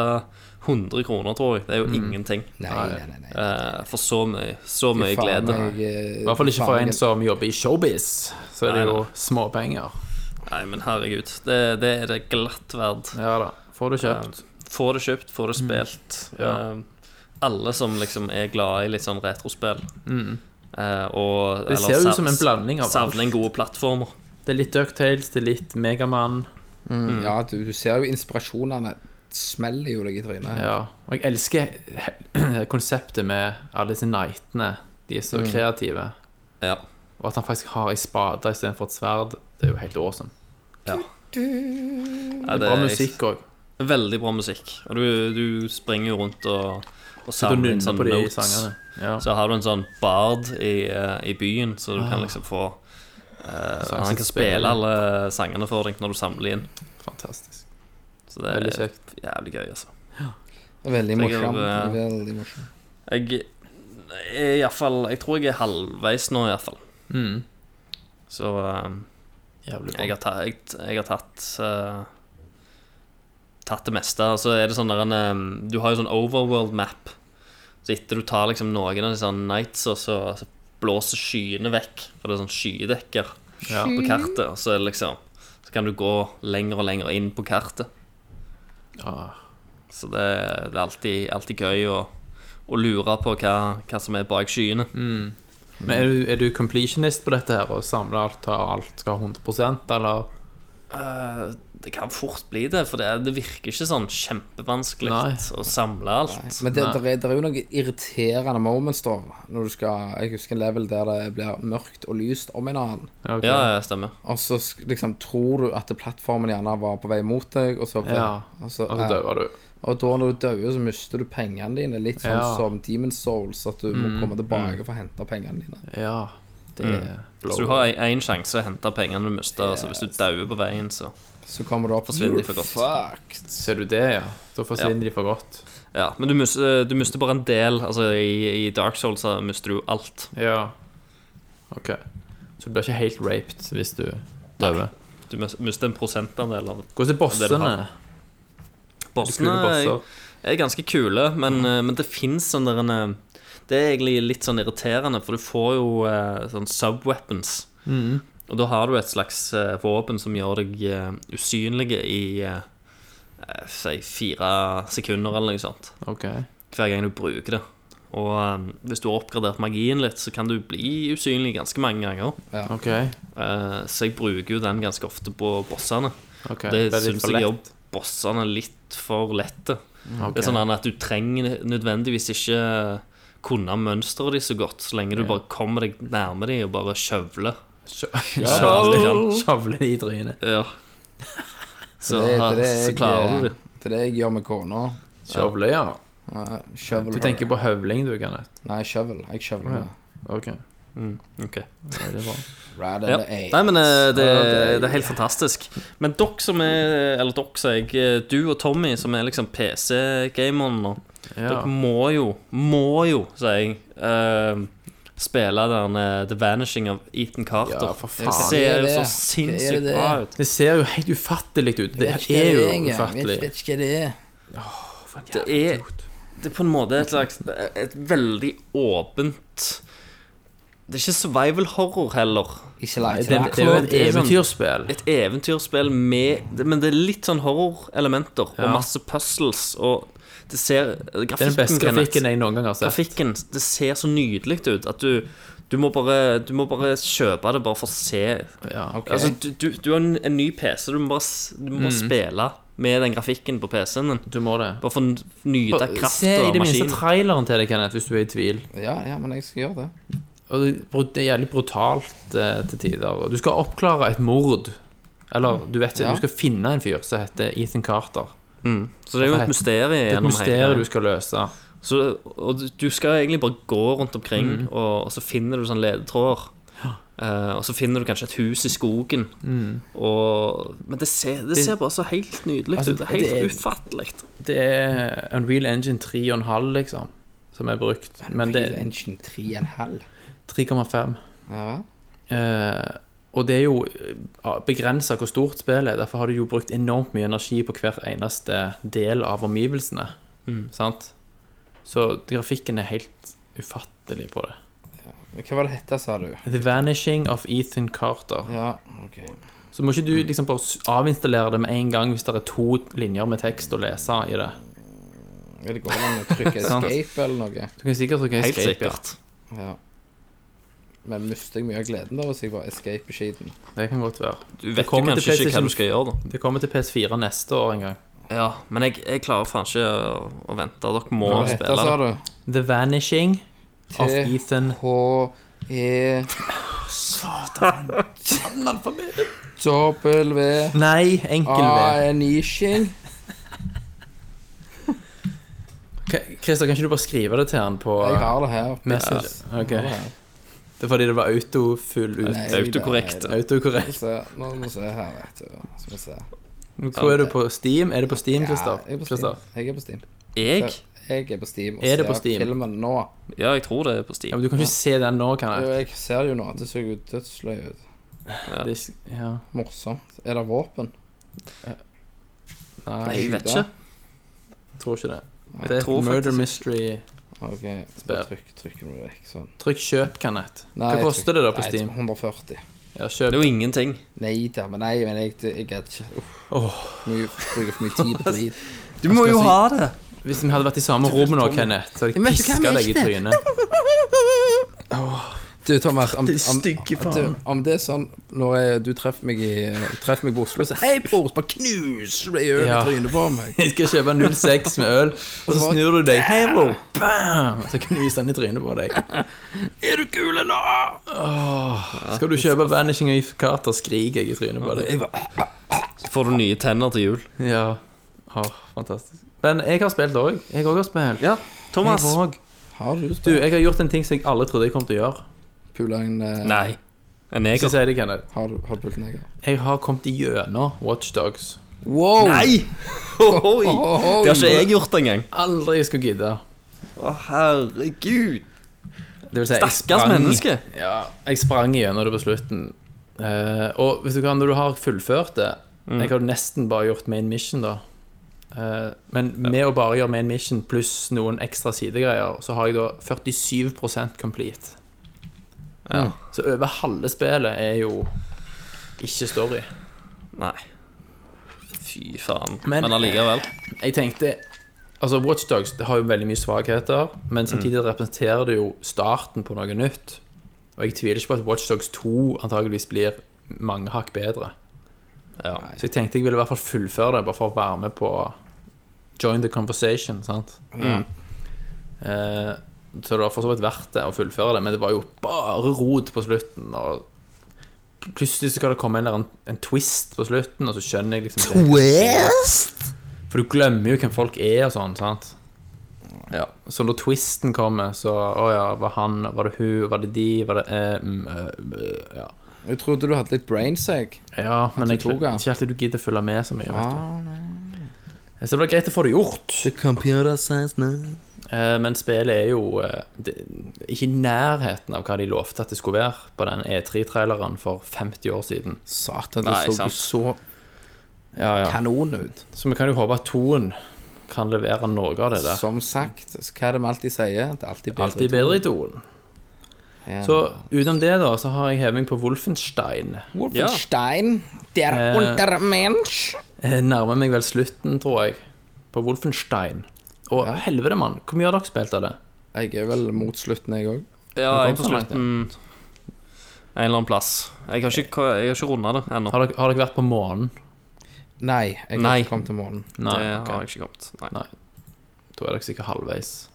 Speaker 7: 100 kroner, tror jeg. Det er jo
Speaker 5: Mm.
Speaker 7: ingenting.
Speaker 6: Nei, nei, nei. nei.
Speaker 7: Eh, for så mye, så mye glede.
Speaker 6: eh,
Speaker 5: I hvert fall ikke for en som jobber i showbiz, så er det
Speaker 7: Nei,
Speaker 5: jo småpenger.
Speaker 7: Nei, men herregud. Det, det er det glatt verd.
Speaker 5: Ja da. Får du
Speaker 7: Eh,
Speaker 5: kjøpt.
Speaker 7: Få det kjøpt, få det spilt.
Speaker 5: Mm. Ja.
Speaker 7: Eh, alle som liksom er glad i litt sånn retrospill. Eh,
Speaker 5: Mm.
Speaker 7: og
Speaker 5: Det
Speaker 7: eller
Speaker 5: ser
Speaker 7: sav-
Speaker 5: ut som en blanding av
Speaker 7: Savner en gode plattformer.
Speaker 5: Det er litt Ducktales, det er litt Megamann. Mm.
Speaker 6: Ja, du, du ser jo inspirasjonene smeller jo deg i trynet.
Speaker 5: Ja. Og jeg elsker he- konseptet med alle disse knightene. De er så kreative.
Speaker 7: Ja.
Speaker 5: Og at han faktisk har ei spade istedenfor et sverd, det er jo helt awesome.
Speaker 7: Nei,
Speaker 5: Bra musikk òg.
Speaker 7: Veldig bra musikk. Og du, du springer jo rundt og, og
Speaker 5: Du
Speaker 7: samler inn
Speaker 5: nynner
Speaker 7: sånne
Speaker 5: på de
Speaker 7: sånn notes.
Speaker 5: sangene. Ja.
Speaker 7: Så har du en sånn bard i, eh, i byen, så du kan liksom få eh,
Speaker 5: Så
Speaker 7: Han
Speaker 5: han
Speaker 7: kan
Speaker 5: Ah. spiller.
Speaker 7: spille alle sangene for deg når du samler inn.
Speaker 5: Fantastisk.
Speaker 7: Så det
Speaker 5: Veldig
Speaker 7: er
Speaker 5: kjekt.
Speaker 7: jævlig gøy, altså.
Speaker 6: Veldig
Speaker 7: Jeg
Speaker 6: morsom.
Speaker 7: har, eh,
Speaker 6: Veldig morsom.
Speaker 7: Jeg er iallfall Jeg tror jeg er halvveis nå, iallfall.
Speaker 5: Mm.
Speaker 7: Så eh,
Speaker 5: Jævlig bra.
Speaker 7: jeg har, ta, jeg, jeg har tatt eh, Tatt det meste. Og så er det sånn der en eh, Du har jo sånn overworld-map. Så etter du tar liksom noen av disse nights, og så, så blåser skyene vekk. For det er sånn skydekker
Speaker 5: Ja.
Speaker 7: på kartet. Og så er det liksom Så kan du gå lenger og lenger inn på kartet.
Speaker 5: Ah.
Speaker 7: Så det, det er alltid, alltid gøy å, å lure på hva, hva som er bak skyene.
Speaker 5: Mm. Men er du, er du completionist på dette her og samler alt, tar alt, skal ha 100 eller?
Speaker 7: Eh, det kan fort bli det, for det, er- det virker ikke sånn kjempevanskelig
Speaker 5: Nei.
Speaker 7: å samle alt.
Speaker 6: Men det, der er, der er jo noen irriterende moments, da. Når du skal Jeg husker en level der det blir mørkt og lyst om en annen.
Speaker 5: Ok.
Speaker 7: Ja, ja, stemmer.
Speaker 6: Og så sk- liksom tror du at plattformen gjerne var på vei mot deg, og så
Speaker 5: Ja.
Speaker 6: og, så,
Speaker 5: Og så
Speaker 6: ja.
Speaker 5: dauer du.
Speaker 6: og da når du dør, så mister du pengene dine. Litt sånn
Speaker 5: Ja. Mm,
Speaker 6: som Demon Souls, at du må komme tilbake for å hente pengene dine.
Speaker 5: Ja. Det er
Speaker 7: Så du har én sjanse å hente pengene du mister, og så hvis du dauer på veien, så
Speaker 6: Så kommer du opp
Speaker 7: forsvinner de for godt.
Speaker 6: Fucked.
Speaker 5: Ser du det, ja? Da forsvinner de for godt.
Speaker 7: Ja, Men du mister, du mister bare en del. Altså I, i Dark Souls så mister du jo alt.
Speaker 5: Ja. OK. Så du blir ikke helt raped hvis du dauer.
Speaker 7: Du mis- mister en prosentandel av
Speaker 5: Hvordan er
Speaker 7: Det du
Speaker 5: bossene?
Speaker 7: har.
Speaker 5: Kule
Speaker 7: bossene.
Speaker 5: bosser.
Speaker 7: er- Er ganske kule, men, eh, men det fins sånn der en eh, Det er egentlig litt sånn irriterende, for du får jo eh, sånn subweapons.
Speaker 5: Mm.
Speaker 7: Og da har du et slags eh, våpen som gjør deg eh, usynlig i eh, eh, Si fire sekunder eller noe sånt.
Speaker 5: OK.
Speaker 7: Hver gang du bruker det. Og eh, hvis du har oppgradert magien litt, så kan du bli usynlig ganske mange ganger.
Speaker 5: OK.
Speaker 7: Eh, så jeg bruker jo den ganske ofte på bossene.
Speaker 5: ok
Speaker 7: Det,
Speaker 5: Ble
Speaker 7: synes
Speaker 5: litt for
Speaker 7: jeg
Speaker 5: lett?
Speaker 7: gjør bossene litt for lette.
Speaker 5: Ok.
Speaker 7: Det er sånn at du trenger nødvendigvis ikke kunne mønsteret de så godt, så lenge du bare kommer deg nærme de og bare kjøvler.
Speaker 5: Ja.
Speaker 7: Så alt du kan.
Speaker 5: Shavle de i trynet.
Speaker 7: Ja. Så,
Speaker 6: Det er det
Speaker 7: så
Speaker 6: jeg-
Speaker 7: klarer du det.
Speaker 6: Det er det jeg gjør med kona.
Speaker 5: Shavle, ja.
Speaker 6: Nei, Eh, Shovel.
Speaker 5: Du tenker på høvling, du, Kenneth.
Speaker 6: Nei, shovel. Jeg shoveler.
Speaker 5: OK.
Speaker 7: Mm, Ok.
Speaker 5: Ja, det er bra.
Speaker 6: Rather
Speaker 7: Ja.
Speaker 6: than a-
Speaker 7: Nei, men eh, det,
Speaker 5: Ja, det er-
Speaker 7: det er helt fantastisk. Men dere som er Eller dere, sier jeg. eh, Du og Tommy, som er liksom PC-gameren nå.
Speaker 5: Ja.
Speaker 7: Dere må jo, må jo, sier jeg, eh, spille den eh, The Vanishing of Ethan Carter.
Speaker 5: Ja, for faen.
Speaker 7: Det ser jo
Speaker 6: Det er det.
Speaker 7: så
Speaker 6: Det er
Speaker 7: sinnssykt
Speaker 6: det.
Speaker 7: bra ut.
Speaker 5: Det ser jo helt ufattelig ut. Det
Speaker 6: Vet ikke
Speaker 5: er jo
Speaker 6: hva det engang.
Speaker 5: ufattelig.
Speaker 6: Vet ikke hva det er.
Speaker 7: Det er, det er på en måte et slags Et veldig åpent Det er ikke survival horror heller.
Speaker 6: Ikke langt.
Speaker 5: Det, det er jo et
Speaker 7: Det er sånn-
Speaker 5: eventyrspill.
Speaker 7: Et eventyrspill med Men det er litt sånn horrorelementer
Speaker 5: Ja.
Speaker 7: og masse puzzles og det ser Grafikken,
Speaker 5: Det er den beste
Speaker 7: Kenneth,
Speaker 5: grafikken jeg noen gang har sett.
Speaker 7: grafikken Det ser så nydelig ut at du du må, bare, du må bare kjøpe det bare for å se.
Speaker 5: Ja.
Speaker 7: Altså, du, du, du har en, en ny PC, du må bare s- du må
Speaker 5: Mm.
Speaker 7: spille med den grafikken på PC-en din.
Speaker 5: Du må det.
Speaker 7: Bare for å n- nyte
Speaker 5: Se
Speaker 7: kraften
Speaker 5: i
Speaker 7: av
Speaker 5: det minste
Speaker 7: maskinen.
Speaker 5: traileren til det, Kenneth, hvis du er i tvil.
Speaker 6: Ja, ja, men jeg skal gjøre det.
Speaker 5: Og det bru- det er jævlig brutalt eh, til tider. Og du skal oppklare et mord. Eller du vet ikke,
Speaker 6: Ja.
Speaker 5: du skal finne en fyr som heter Ethan Carter.
Speaker 7: Så det er jo
Speaker 5: Nei,
Speaker 7: et mysterium
Speaker 5: Det er et
Speaker 7: gjennom
Speaker 5: mysterium
Speaker 7: hele
Speaker 5: du skal løse.
Speaker 7: Så, og du- du skal egentlig bare gå rundt omkring,
Speaker 5: Mm.
Speaker 7: og, og så finner du sånne ledetråder. Eh, og så finner du kanskje et hus i skogen.
Speaker 5: Mm.
Speaker 7: Og, men det ser, det ser bare så helt nydelig
Speaker 5: Altså,
Speaker 7: ut. Det er helt
Speaker 5: det er-
Speaker 7: ufattelig.
Speaker 5: Det er Unreal Engine 3,5, liksom, som er brukt. Men det
Speaker 6: Real
Speaker 5: er
Speaker 6: Engine 3,5.
Speaker 5: 3,5.
Speaker 6: Ja.
Speaker 5: Eh, og det er jo begrensa hvor stort spillet er. Derfor har du jo brukt enormt mye energi på hver eneste del av omgivelsene. Sant? Så grafikken er helt ufattelig på det.
Speaker 6: Hva var det hette, sa du?
Speaker 5: The Vanishing of Ethan Carter.
Speaker 6: Ja, ok.
Speaker 5: Så må ikke du liksom bare s- avinstallere det med en gang hvis det er to linjer med tekst å lese i det.
Speaker 6: Er det går an å trykke
Speaker 5: Sant.
Speaker 6: escape eller noe?
Speaker 5: Du kan sikkert trykke
Speaker 7: Helt
Speaker 5: escape. ja.
Speaker 7: sikkert.
Speaker 6: Ja. Men mister jeg mye av gleden da hvis jeg bare escaper skiten?
Speaker 5: Det kan godt være.
Speaker 7: Du
Speaker 5: Det
Speaker 7: vet jo
Speaker 5: kommer til
Speaker 7: kanskje ikke hva
Speaker 5: PlayStation
Speaker 7: du skal gjøre, da.
Speaker 5: Det kommer til PS4 neste år en gang.
Speaker 7: Ja, men jeg, jeg klarer faen ikke å, å vente. Dere må
Speaker 6: Hva var det hette,
Speaker 7: spille.
Speaker 6: sa
Speaker 5: altså,
Speaker 7: det.
Speaker 6: du?
Speaker 5: The Vanishing of
Speaker 6: T-
Speaker 5: Ethan
Speaker 6: H-E
Speaker 5: Satan!
Speaker 6: W
Speaker 5: Nei, enkel V.
Speaker 6: A-N-I-Shing.
Speaker 5: K- Christer, kan ikke du bare skrive det til han på
Speaker 6: Jeg har det her.
Speaker 5: Messenger? Ok.
Speaker 6: Jeg har det her.
Speaker 5: Det er fordi det var autofull ut.
Speaker 6: Nei,
Speaker 7: Autokorrekt.
Speaker 6: nei,
Speaker 5: Autokorrekt.
Speaker 6: Se, nå må vi se her, vet du. Så må vi se.
Speaker 5: Hvor er du på Steam? Er det på Steam,
Speaker 6: Ja,
Speaker 5: Christer?
Speaker 6: jeg er på
Speaker 5: Christer?
Speaker 6: Steam. Jeg er på Steam.
Speaker 7: Jeg?
Speaker 5: altså.
Speaker 6: Jeg er på Steam og
Speaker 5: Er det på
Speaker 6: ser
Speaker 5: Steam?
Speaker 6: filmen nå.
Speaker 7: Ja, jeg tror det er
Speaker 5: Ja,
Speaker 7: på
Speaker 5: men
Speaker 7: Steam.
Speaker 5: du kan ikke se den nå, kan
Speaker 6: Jo,
Speaker 5: jeg?
Speaker 6: jeg ser jo nå at det ser jo dødsløy ut.
Speaker 5: Det er- Ja.
Speaker 6: Morsomt. Er det våpen?
Speaker 5: Nei,
Speaker 7: Jeg vet
Speaker 6: da.
Speaker 7: ikke.
Speaker 5: jeg tror ikke det. Det er et
Speaker 7: tror
Speaker 5: murder
Speaker 7: faktisk-
Speaker 5: mystery.
Speaker 6: OK,
Speaker 5: Spør.
Speaker 6: bare trykk, trykker du vekk sånn.
Speaker 5: Trykk kjøp, Kenneth.
Speaker 6: Nei,
Speaker 5: Hva
Speaker 6: jeg
Speaker 5: koster det da på
Speaker 6: Nei,
Speaker 5: Steam?
Speaker 6: 140.
Speaker 5: Ja,
Speaker 7: Det
Speaker 5: kjøp.
Speaker 7: er jo ingenting.
Speaker 6: Nei da, men nei, men jeg, jeg gadd ikke. Uff. Mye, bruker for mye tid på drit.
Speaker 7: Du må jo ha det.
Speaker 5: Hvis vi hadde vært i samme rom nå, Kenneth, så hadde jeg
Speaker 6: vet ikke
Speaker 5: piska
Speaker 6: hva jeg
Speaker 5: deg i trynet.
Speaker 6: Du, Thomas, om,
Speaker 5: er stygge
Speaker 6: om,
Speaker 5: faen.
Speaker 6: du, om det er sånn når jeg, du treffer meg i Treffer meg på Oslo, så Hei, bror! Bare knuser du i øret
Speaker 5: Ja.
Speaker 6: i trynet på meg.
Speaker 5: Jeg skal kjøpe 06 med øl, og så snur du deg. Hei, bro! Bam! Så knuser han i trynet på deg.
Speaker 6: Er du kul eller?
Speaker 5: Skal du kjøpe Vanishing of Carter, skriker jeg i trynet på deg.
Speaker 7: Så får du nye tenner til jul.
Speaker 5: Ja. Åh, fantastisk. Men jeg har spilt òg. Jeg òg har spilt.
Speaker 7: Ja, Thomas.
Speaker 5: Jeg òg.
Speaker 6: Har du
Speaker 5: Du,
Speaker 6: spilt
Speaker 5: jeg har gjort en ting som jeg aldri trodde jeg kom til å gjøre.
Speaker 6: pula en eh,
Speaker 7: Nei. En
Speaker 5: Jeg skal
Speaker 7: neger.
Speaker 5: si det, Kenneth.
Speaker 6: Har du har du pult en neger?
Speaker 5: Jeg har kommet igjennom Watchdogs.
Speaker 6: Wow!
Speaker 7: Nei! Ohoi!
Speaker 6: Ohoi!
Speaker 7: Det har ikke jeg gjort engang.
Speaker 5: Aldri jeg skulle gidde.
Speaker 7: Å, herregud.
Speaker 5: Det vil si, jeg
Speaker 7: Stakkars
Speaker 5: sprang-
Speaker 7: menneske.
Speaker 5: Ja, jeg sprang igjennom det på slutten. Eh, og vet du hva, når du har fullført det Jeg har nesten bare gjort main mission, da. Eh, men med å bare gjøre main mission pluss noen ekstra sidegreier, så har jeg da 47 complete.
Speaker 7: Ja.
Speaker 5: Så over halve spillet er jo ikke story.
Speaker 7: Nei. Fy faen.
Speaker 5: Men-
Speaker 7: Men allikevel.
Speaker 5: Jeg tenkte Altså, Watchdogs har jo veldig mye svakheter, men samtidig representerer det jo starten på noe nytt. Og jeg tviler ikke på at Watchdogs 2 antageligvis blir mange hakk bedre.
Speaker 7: Ja.
Speaker 5: Så jeg tenkte jeg ville i hvert fall fullføre det, bare for å være med på Join the conversation, sant? Mm. Eh, så det var for så vidt verdt det å fullføre det, men det var jo bare rot på slutten. Og plutselig så skal det komme en, eller annen- en twist på slutten, og så skjønner jeg liksom Twist? For du glemmer jo hvem folk er og sånn, sant? Ja. Så når twisten kommer, så Å ja, var han, var det hun, var det de, var det eh, mm, eh, eh, Ja.
Speaker 6: Jeg trodde du hadde litt brains, jeg.
Speaker 5: Ja, men jeg
Speaker 6: du tok
Speaker 5: tror ikke Ah.
Speaker 6: han?
Speaker 5: alltid du gidder følge med så mye.
Speaker 6: Ah,
Speaker 5: Vet du. Så det var greit å få det gjort,
Speaker 6: The computer says no.
Speaker 5: eh, men spillet er jo eh, det, ikke i nærheten av hva de lovte at det skulle være på den E3-traileren for 50 år siden.
Speaker 6: Satan,
Speaker 7: Nei,
Speaker 6: det så
Speaker 7: sant.
Speaker 6: jo så
Speaker 5: Ja, ja.
Speaker 6: kanon ut.
Speaker 5: Så vi kan jo håpe at toen kan levere noe av det der.
Speaker 6: Som sagt, så hva er det vi alltid sier? Det er alltid bedre.
Speaker 5: Alltid bedre i toen.
Speaker 6: Ja.
Speaker 5: Så utenom det, da, så har jeg heving på Wolfenstein.
Speaker 6: Wolfenstein, der
Speaker 5: Eh.
Speaker 6: Untermensch.
Speaker 5: Jeg Eh, nærmer meg vel slutten, tror jeg, på Wolfenstein. Og helvete, mann, hvor mye har dere spilt av det?
Speaker 6: Jeg er vel mot slutten, jeg òg.
Speaker 7: Ja,
Speaker 5: kom
Speaker 7: jeg er på
Speaker 5: så langt,
Speaker 7: slutten en eller annen plass. Jeg har ikke, jeg har ikke runda det ennå.
Speaker 5: Har dere, har dere vært på månen?
Speaker 6: Nei, jeg
Speaker 7: Nei.
Speaker 6: har ikke kommet til månen.
Speaker 7: Det
Speaker 5: Nei, ok.
Speaker 7: har jeg ikke kommet. Nei.
Speaker 5: Nei. Da er dere sikkert halvveis.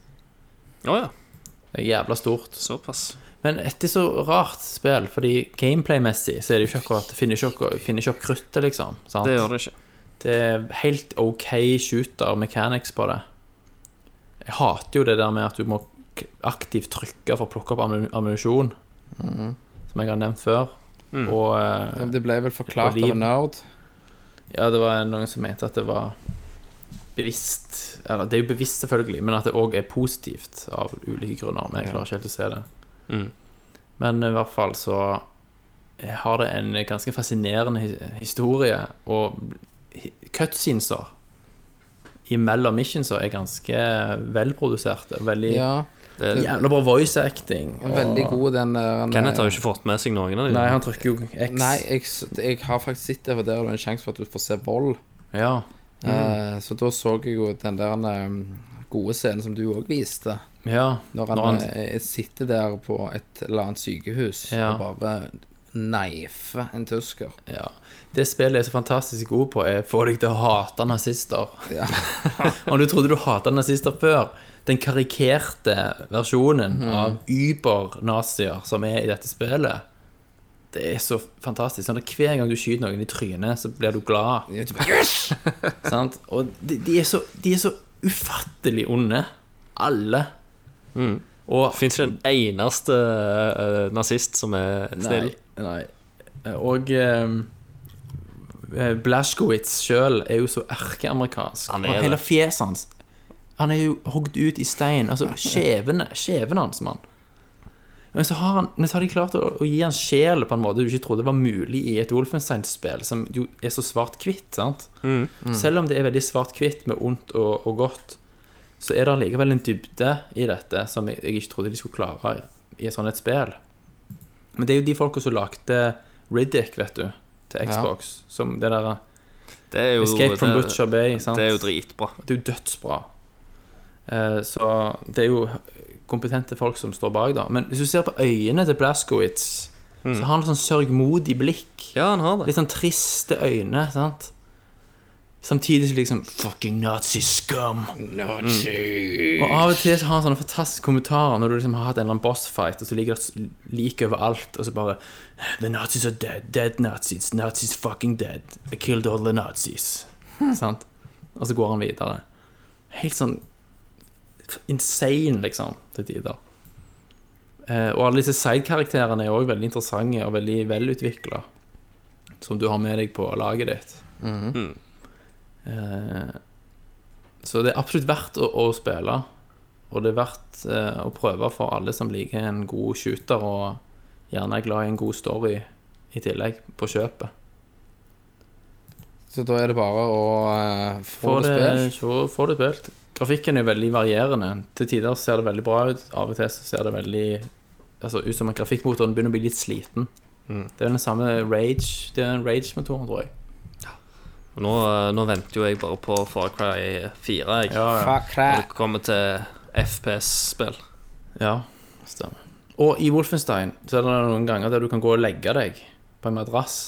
Speaker 7: Å ja,
Speaker 5: Det er jævla stort.
Speaker 7: såpass.
Speaker 5: Men dette er så rart spill, fordi gameplay-messig så er det jo ikke akkurat Finner ikke, akkurat- finner ikke opp kruttet, liksom. Sant?
Speaker 7: Det gjør det ikke.
Speaker 5: Det er helt OK shooter mechanics på det. Jeg hater jo det der med at du må k- aktivt trykke for å plukke opp ammu- ammunisjon, som jeg har nevnt før. Og eh,
Speaker 6: Det ble vel forklart
Speaker 5: Og liv.
Speaker 6: av en nerd.
Speaker 5: ja, det var noen som mente at det var bevisst Eller det er jo bevisst, selvfølgelig, men at det òg er positivt av ulike grunner. Men jeg klarer ikke helt å se det.
Speaker 7: Mm.
Speaker 5: Men i hvert fall så har det en ganske fascinerende hi- historie, og hi- cutsceneser imellom missionser er ganske velproduserte. Veldig
Speaker 6: Ja,
Speaker 7: Det,
Speaker 5: Jævla bra voice acting. og-
Speaker 6: veldig god den eh, der
Speaker 7: Kenneth har jo ikke fått med seg noen av dem.
Speaker 5: Nei, han trykker jo X.
Speaker 6: Nei, jeg, s- jeg har faktisk sett det, for der er det en sjanse for at du får se vold.
Speaker 5: Ja.
Speaker 6: Eh, så da så jeg jo den der um, gode scenen som du òg viste.
Speaker 5: ja.
Speaker 6: Når han,
Speaker 5: Når han-
Speaker 6: eh, sitter der på et eller annet sykehus
Speaker 5: Ja.
Speaker 6: og bare neifer en tysker.
Speaker 5: Ja. Det spillet er så fantastisk god på, er å få deg til å hate nazister.
Speaker 6: Ja.
Speaker 5: Om du trodde du hata nazister før, den karikerte versjonen
Speaker 7: Mm.
Speaker 5: av über-nazier som er i dette spillet, det er så fantastisk. Sånn at hver gang du skyter noen i trynet, så blir du glad. sant? Og de, de, er så, de er så ufattelig onde, alle. Og
Speaker 7: Fins ikke Mm. en eneste eh, nazist som er snill.
Speaker 5: Nei. nei. Og eh, Blashkowitz sjøl Eh, er jo så erkeamerikansk.
Speaker 7: Han er
Speaker 5: og
Speaker 7: det.
Speaker 5: hele fjeset hans Han er jo hogd ut i stein. Altså skjevene, skjeven hans, mann. Men så har, han, men så har de klart å, å gi han sjel på en måte du ikke trodde var mulig i et Wolfenstein-spill, som jo er så svart-hvitt. sant?
Speaker 7: Mm,
Speaker 5: Selv om det er veldig svart-hvitt med ondt og, og godt, så er det allikevel en dybde i dette som jeg, jeg ikke trodde de skulle klare i et sånt et spill. Men det er jo de folka som lagde Riddick, vet du, til Xbox. Som det der
Speaker 7: Det er jo,
Speaker 5: Escape from
Speaker 7: det,
Speaker 5: Butcher Bay. Sant?
Speaker 7: det er jo dritbra.
Speaker 5: Det er jo dødsbra. Eh, så det er jo kompetente folk som står bak, da. Men hvis du ser på øynene til Blaskowitz,
Speaker 7: Mm.
Speaker 5: så har han sånn sørgmodig blikk.
Speaker 7: Ja, han har det.
Speaker 5: Litt sånn triste øyne, sant? Samtidig så liksom Fucking nazi-scum! Og av og til så har han sånne fantastiske kommentarer når du liksom har hatt en eller annen bossfight, og så ligger det et lik overalt, og så bare The Nazis are dead. Dead Nazis. Nazis fucking dead. I killed all the Nazis. Sant? Og så går han videre. Helt sånn insane, liksom, til tider. Eh, og alle disse sidekarakterene er òg veldig interessante og veldig velutvikla som du har med deg på laget ditt.
Speaker 6: Mhm.
Speaker 5: Eh, så det er absolutt verdt å, å spille, og det er verdt eh, å prøve for alle som liker en god shooter og gjerne er glad i en god story i tillegg, på kjøpet.
Speaker 6: Så da er det bare å eh, få
Speaker 5: Få
Speaker 6: det
Speaker 5: det,
Speaker 6: spilt.
Speaker 5: se- få det spilt. Grafikken er veldig varierende. Til tider ser det veldig bra ut, av og til så ser det veldig altså, ut som at grafikkmotoren begynner å
Speaker 6: Mm.
Speaker 5: bli litt sliten. Det er den samme Rage, det er den Rage-motoren, tror jeg.
Speaker 7: Nå, nå venter jo jeg bare på Far Cry 4, jeg.
Speaker 6: Fuck
Speaker 7: Når det kommer til FPS-spill.
Speaker 5: Ja, stemmer. Og i Wolfenstein så er det noen ganger der du kan gå og legge deg på en madrass.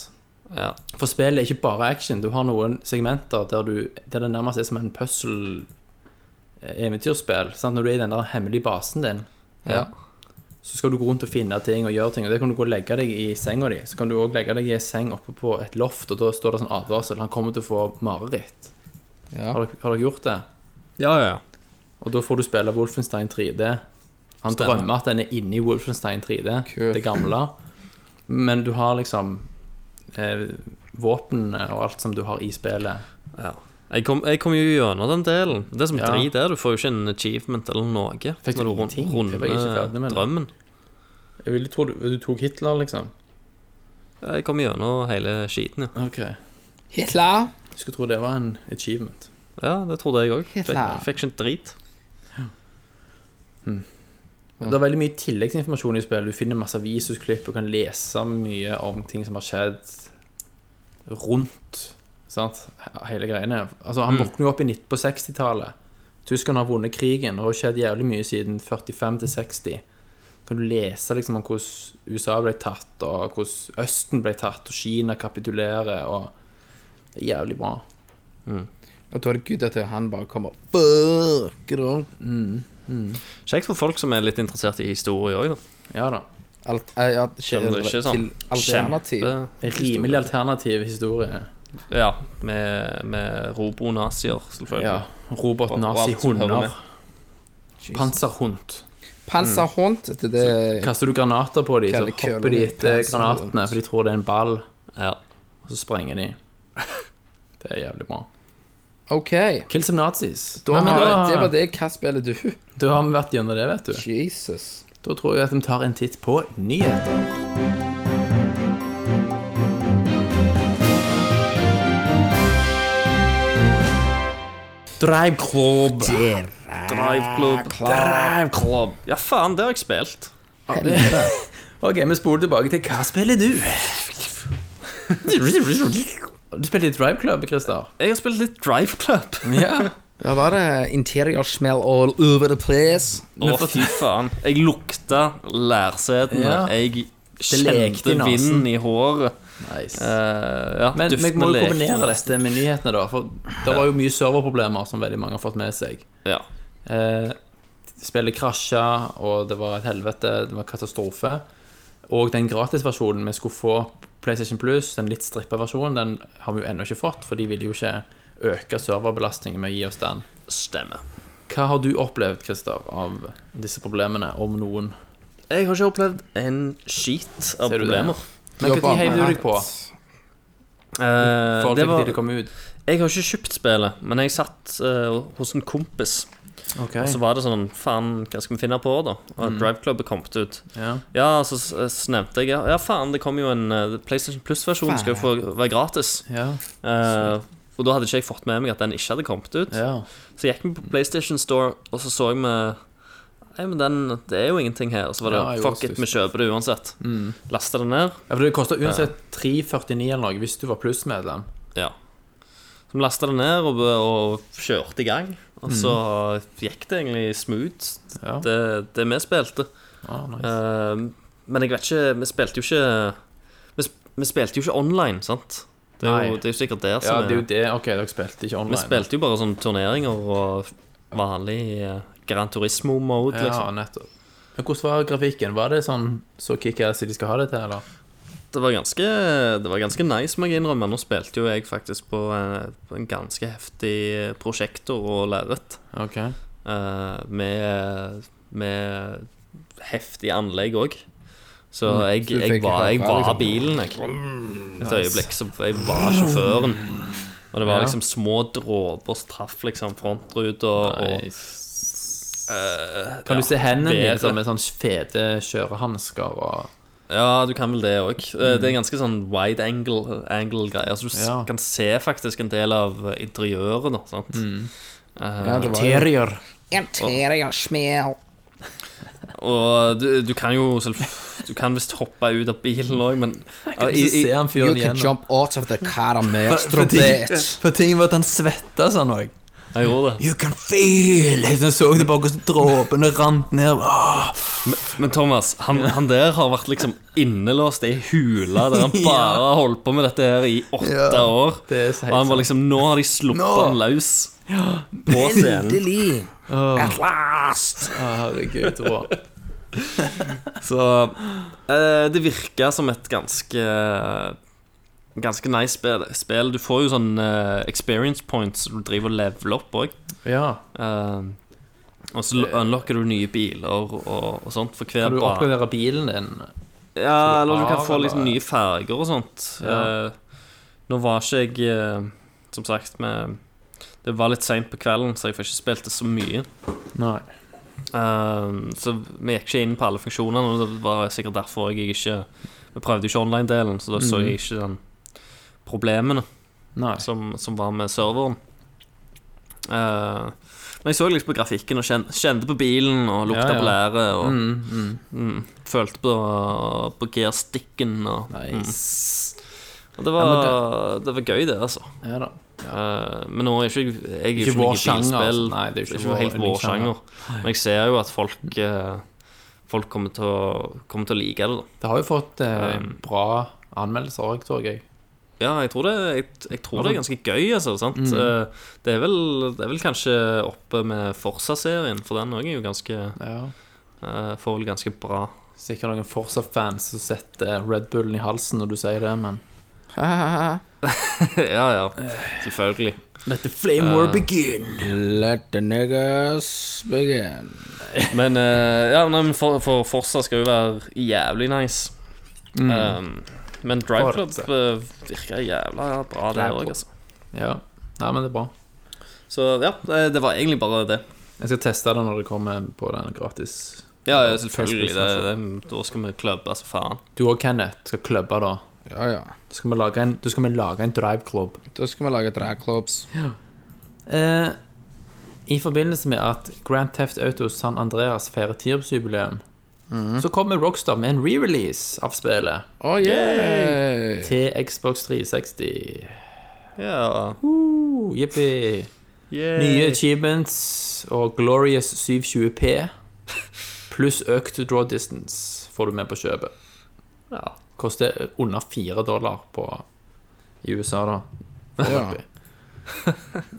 Speaker 7: Ja.
Speaker 5: For spillet er ikke bare action. Du har noen segmenter der, du, der det nærmest er som en puzzle-eventyrspill. sant? Når du er i den der hemmelige basen din,
Speaker 7: Ja.
Speaker 5: så skal du gå rundt og finne ting og gjøre ting. Og det kan du gå og legge deg i senga di. Så kan du òg legge deg i en seng oppe på et loft, og da står det sånn advarsel. Han kommer til å få mareritt.
Speaker 6: Ja.
Speaker 5: Har, dere, har dere gjort det?
Speaker 7: ja, ja.
Speaker 5: Og da får du spille Wolfenstein 3D. Han
Speaker 7: Stemmer.
Speaker 5: drømmer at den er inni Wolfenstein 3D,
Speaker 6: Kult.
Speaker 5: det gamle. Men du har liksom eh, våpen og alt som du har i spillet.
Speaker 7: ja. Jeg kom, jeg kom jo gjennom den delen. Det som
Speaker 5: Ja.
Speaker 7: drit er, du får jo ikke en achievement eller noe
Speaker 5: Fikk du
Speaker 7: når du rund-
Speaker 5: ingenting? Jeg var ikke ferdig med
Speaker 7: runder
Speaker 5: det.
Speaker 7: drømmen.
Speaker 5: Jeg ville tro du, du tok Hitler, liksom.
Speaker 7: Jeg kom gjennom hele skiten, ja.
Speaker 5: Ok.
Speaker 6: Hitler.
Speaker 5: Jeg skulle tro det var en achievement.
Speaker 7: ja. Det trodde jeg òg. Fikk,
Speaker 6: Hitler.
Speaker 7: fikk ikke en drit.
Speaker 5: Det er veldig mye tilleggsinformasjon i spillet. Du finner masse visusklipp og kan lese mye om ting som har skjedd rundt sant? he- hele greiene. Altså,
Speaker 7: Mm.
Speaker 5: han våkner jo opp i 19 på 60-tallet. Tyskerne har vunnet krigen. Det har jo skjedd jævlig mye siden 45 til 60. Kan du lese liksom om hvordan USA ble tatt, og hvordan Østen ble tatt, og Kina kapitulerer, og Det er jævlig bra.
Speaker 6: Og da er det gud at han bare kommer Fuck it all.
Speaker 7: Kjekt for folk som er litt interessert i historie òg, da.
Speaker 5: Ja da.
Speaker 6: Alt, eh, ja,
Speaker 7: Selv om det ikke er sånn Mm.
Speaker 6: til alternativ.
Speaker 7: kjempe-
Speaker 5: Rimelig alternativ historie.
Speaker 7: Ja, med, med robonazier, selvfølgelig.
Speaker 5: Ja. Robot,
Speaker 7: Og- og
Speaker 5: nazi,
Speaker 7: alt som hører med.
Speaker 5: hunder. Panserhund.
Speaker 6: Panzerhund. Det, det
Speaker 5: Kaster du granater på dem, så
Speaker 6: Kalle køller
Speaker 5: hopper de
Speaker 6: i
Speaker 5: etter
Speaker 6: plasser
Speaker 5: granatene,
Speaker 6: rundt.
Speaker 5: for de tror det er en ball,
Speaker 7: Ja.
Speaker 5: og så sprenger de. Det er jævlig bra.
Speaker 6: OK.
Speaker 5: Kill some Nazis. Da,
Speaker 6: Nei, men
Speaker 5: har-
Speaker 6: det, det var det. Hva spiller du?
Speaker 5: da har vi vært gjennom det, vet du.
Speaker 6: Jesus.
Speaker 5: Da tror jeg at vi tar en titt på nyheter. Drivklubb. Ah,
Speaker 7: Driveklubb. Driveklubb. Ja, faen, det har jeg spilt.
Speaker 5: Ok, vi spoler tilbake til hva spiller du? Du spilte i Drive Club, Christer.
Speaker 7: Jeg har spilt litt Drive Club.
Speaker 5: Ja.
Speaker 6: Da var det interior smell all over the place.
Speaker 7: Å, fy faen. Jeg lukta lærsetene.
Speaker 5: Ja.
Speaker 7: Jeg
Speaker 5: lekte i
Speaker 7: kjente
Speaker 5: nasen.
Speaker 7: vinden i håret.
Speaker 5: Nice.
Speaker 7: Eh, ja,
Speaker 5: Men vi
Speaker 7: duftene
Speaker 5: må jo
Speaker 7: lekte.
Speaker 5: kombinere dette med nyhetene, da. For det var jo mye serverproblemer som veldig mange har fått med seg.
Speaker 7: Ja.
Speaker 5: Eh, spillet krasja, og det var et helvete. Det var katastrofe. Og den gratisversjonen vi skulle få på PlayStation Plus, den litt strippa versjonen, den har vi jo ennå ikke fått, for de ville jo ikke øke serverbelastningen med å gi oss den.
Speaker 7: Stemmer.
Speaker 5: Hva har du opplevd, Christer, av disse problemene, om noen?
Speaker 7: Jeg har ikke opplevd en skit av
Speaker 5: Ser du det?
Speaker 7: problemer.
Speaker 5: Men hva tid heiv du deg på?
Speaker 7: Eh,
Speaker 5: Forhold
Speaker 7: det
Speaker 5: til
Speaker 7: var,
Speaker 5: til det kom ut?
Speaker 7: jeg har ikke kjøpt spillet, men jeg satt eh, hos en kompis. Og
Speaker 5: Altså,
Speaker 7: så var det sånn Faen, hva skal vi finne på, da? Og Drive Club er kommet ut.
Speaker 5: Ja.
Speaker 7: Ja, så s- s- nevnte jeg Ja, faen, det kom jo en eh, PlayStation Plus-versjon. Skal jo få være gratis.
Speaker 5: Ja.
Speaker 7: Eh, og da hadde ikke jeg fått med meg at den ikke hadde kommet ut.
Speaker 5: ja.
Speaker 7: Så gikk vi på PlayStation Store, og så så jeg vi Nei, men den, det er jo ingenting her. Og så var det
Speaker 5: Ja, jeg
Speaker 7: fuck
Speaker 5: også
Speaker 7: it, vi kjøper det uansett.
Speaker 5: Mm.
Speaker 7: Lasta det ned.
Speaker 5: Ja, for det koster uansett 3,49 eller noe hvis du var plussmedlem.
Speaker 7: Ja. Så vi lasta det ned og, og kjørte i gang. Og så gikk det egentlig smooth,
Speaker 5: Mm. Ja.
Speaker 7: det, det vi spilte.
Speaker 5: Ah, nice.
Speaker 7: Eh, men jeg vet ikke Vi spilte jo ikke Vi, sp- vi spilte jo ikke online, sant? Det er, jo,
Speaker 5: Nei.
Speaker 7: det er jo sikkert der
Speaker 5: Ja,
Speaker 7: som
Speaker 5: det Sånn er jo det. Ok, dere spilte ikke
Speaker 7: Vi
Speaker 5: online.
Speaker 7: spilte jo bare sånn turneringer og vanlig eh, Gran Turismo-mode,
Speaker 5: ja,
Speaker 7: liksom.
Speaker 5: nettopp. Men hvordan var grafikken? Var det sånn så kickass de skal ha det til, eller?
Speaker 7: Det var ganske, det var ganske nice, må jeg innrømme. Nå spilte jo jeg faktisk på eh, på en ganske heftig prosjektor og lerret.
Speaker 5: Ok.
Speaker 7: eh, Med, med heftig anlegg òg. Så jeg,
Speaker 6: Mm. du
Speaker 7: jeg,
Speaker 6: fikk
Speaker 7: var, jeg
Speaker 6: høre,
Speaker 7: var
Speaker 6: liksom.
Speaker 7: bilen, jeg. Et øyeblikk. Så jeg var sjåføren. Og det var liksom små dråper som traff liksom frontruta og
Speaker 5: Kan du se hendene
Speaker 7: bedre.
Speaker 5: dine sånn med sånn fete kjørehansker og
Speaker 7: Ja, du kan vel det òg. Det
Speaker 6: Mm.
Speaker 7: er ganske sånn wide angle, angle greier. Så du s-
Speaker 5: Ja.
Speaker 7: kan se faktisk en del av interiøret. Da, sant?
Speaker 6: Mm. Ja, det var jo
Speaker 5: Terrier.
Speaker 6: interior smell.
Speaker 7: Og du, du kan jo selv Du kan visst hoppe ut av bilen òg, men
Speaker 5: Og så ser han
Speaker 6: You
Speaker 5: fyren
Speaker 6: can
Speaker 5: igjen.
Speaker 6: jump out of the caramestro,
Speaker 5: For ting,
Speaker 6: bitch.
Speaker 5: for ting var at han svetta sånn òg.
Speaker 7: jeg gjorde det.
Speaker 5: You can feel it. Jeg så det bare hvordan dråpene rant ned. Åh.
Speaker 7: Men Thomas, han, han der har vært liksom innelåst i ei hule der han bare har holdt på med dette her i åtte
Speaker 5: Ja,
Speaker 7: år.
Speaker 5: det er så helt
Speaker 7: Og han var liksom Nå har de sluppet
Speaker 6: Nå!
Speaker 7: han løs på scenen.
Speaker 6: Endelig. At last.
Speaker 5: Å, herregud, rå.
Speaker 7: Så eh, det virker som et ganske Ganske nice spill. spill. Du får jo sånn eh, experience points du driver og leveler opp òg.
Speaker 5: Ja.
Speaker 7: Eh, og så unlocker du nye biler og, og sånt for hver
Speaker 5: Kan du
Speaker 7: bane.
Speaker 5: oppgradere bilen din?
Speaker 7: Ja, eller du kan
Speaker 5: av,
Speaker 7: få liksom
Speaker 5: eller?
Speaker 7: nye farger og sånt.
Speaker 5: Ja.
Speaker 7: Eh, nå var ikke jeg, eh, som sagt, med Det var litt seint på kvelden, så jeg fikk ikke spilt det så mye.
Speaker 5: Nei.
Speaker 7: Eh, så vi gikk ikke inn på alle funksjonene, og det var sikkert derfor jeg ikke Vi prøvde ikke online-delen, så da så jeg ikke den problemene
Speaker 5: Mhm. Nei.
Speaker 7: som, som var med serveren. Eh, men jeg så litt på grafikken og kjen- kjente på bilen og lukta
Speaker 5: Ja, ja.
Speaker 7: på læret og
Speaker 5: Mm, mm.
Speaker 7: mm, følte på, på gearstikken og mm.
Speaker 5: Nice.
Speaker 7: Og det var, det... var gøy, det, altså.
Speaker 5: Ja da.
Speaker 7: Eh, men nå er ikke jeg jeg er jo
Speaker 5: Ikke
Speaker 7: ikke
Speaker 5: vår
Speaker 7: noe
Speaker 5: sjanger,
Speaker 7: bilspill.
Speaker 5: altså. Nei, det er jo ikke vår
Speaker 7: helt vår
Speaker 5: yndlingssjanger.
Speaker 7: sjanger. Men jeg ser jo at folk eh, Folk kommer til å, kommer til å like det. da
Speaker 5: Det har jo fått eh, bra anmeldelser òg, tror jeg.
Speaker 7: Ja, jeg tror det, jeg, jeg tror det er ganske gøy, altså. sant?
Speaker 5: Mm.
Speaker 7: Eh, det, er vel, det er vel kanskje oppe med Forsa-serien, for den òg er jo ganske
Speaker 5: Ja.
Speaker 7: eh, Får vel ganske bra
Speaker 5: Sikkert noen Forsa-fans som setter Red Bullen i halsen når du sier det, men
Speaker 7: Ja, ja. Selvfølgelig.
Speaker 5: Let the flame war begin.
Speaker 6: Let the niggas begin.
Speaker 7: Men eh, ja, nei, men for, for Forza skal jo være jævlig nice.
Speaker 5: Mm.
Speaker 7: Um, men Drive Club
Speaker 5: Forza.
Speaker 7: eh, virker jævla bra, det òg, altså.
Speaker 5: Ja. Nei, men det er bra.
Speaker 7: Så ja, det, det var egentlig bare det.
Speaker 5: Jeg skal teste det når det kommer på den gratis.
Speaker 7: Ja, ja selvfølgelig.
Speaker 5: First
Speaker 7: Det,
Speaker 5: person,
Speaker 7: det, da skal vi klubbe, altså faen.
Speaker 5: Du og Kenneth skal klubbe, da.
Speaker 6: Ja, ja.
Speaker 5: Da skal vi lage en, da skal vi lage en driveklubb.
Speaker 6: Da skal vi lage dragklops.
Speaker 5: Eh, I forbindelse med at Grand Theft Auto San Andreas feirer tiårsjubileum, så kommer Rockstar med en re-release av spillet
Speaker 6: Oh, yeah.
Speaker 5: til Xbox 360.
Speaker 7: Ja.
Speaker 5: Uh, Jippi. Nye achievements og glorious 720p pluss økt draw distance får du med på kjøpet.
Speaker 7: Ja.
Speaker 5: Koster under fire dollar på, i USA, da.
Speaker 6: Ja.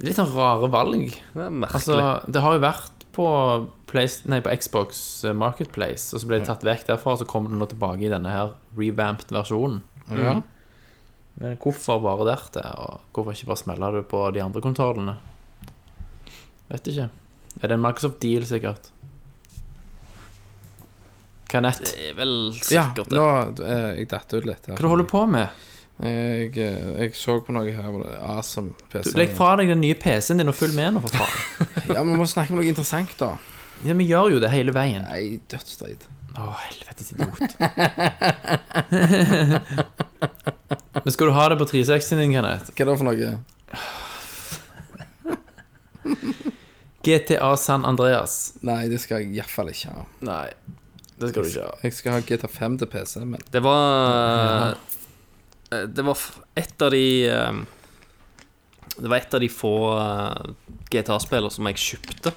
Speaker 5: Litt sånn rare valg.
Speaker 7: Det er merkelig.
Speaker 5: Altså, det har jo vært på, Playst- nei, på Xbox Marketplace, og så ble det tatt vekk derfra, og så kommer det nå tilbake i denne her revamped versjonen. Mm.
Speaker 6: Ja.
Speaker 5: Men hvorfor bare der til, og hvorfor ikke bare smelle det på de andre kontrollene? Vet ikke. Er det en Microsoft deal, sikkert? Kanett,
Speaker 7: det er vel
Speaker 6: ja
Speaker 7: sikkert det.
Speaker 6: nå eh, Jeg datt ut litt her.
Speaker 5: hva du holder på med?
Speaker 6: Jeg, eh, jeg så på noe her. hvor det- Awesome PC.
Speaker 5: Du, legg fra deg den nye PC-en din og følg med nå, for faen.
Speaker 6: Ja, Vi må snakke om noe interessant, da.
Speaker 5: Ja, vi gjør jo det hele veien.
Speaker 6: Nei, dødsdrit.
Speaker 5: Å, helvetes idiot. Men skal du ha det på 360-en din, Kenneth?
Speaker 6: Hva er det for noe?
Speaker 5: GTA San Andreas.
Speaker 6: Nei, det skal jeg iallfall ikke ha.
Speaker 5: Nei, det skal du ikke ha.
Speaker 6: Jeg skal ha GTA5 til PC, men
Speaker 7: Det var eh, Det var f- et av de eh, Det var et av de få eh, GTA-spillene som jeg kjøpte.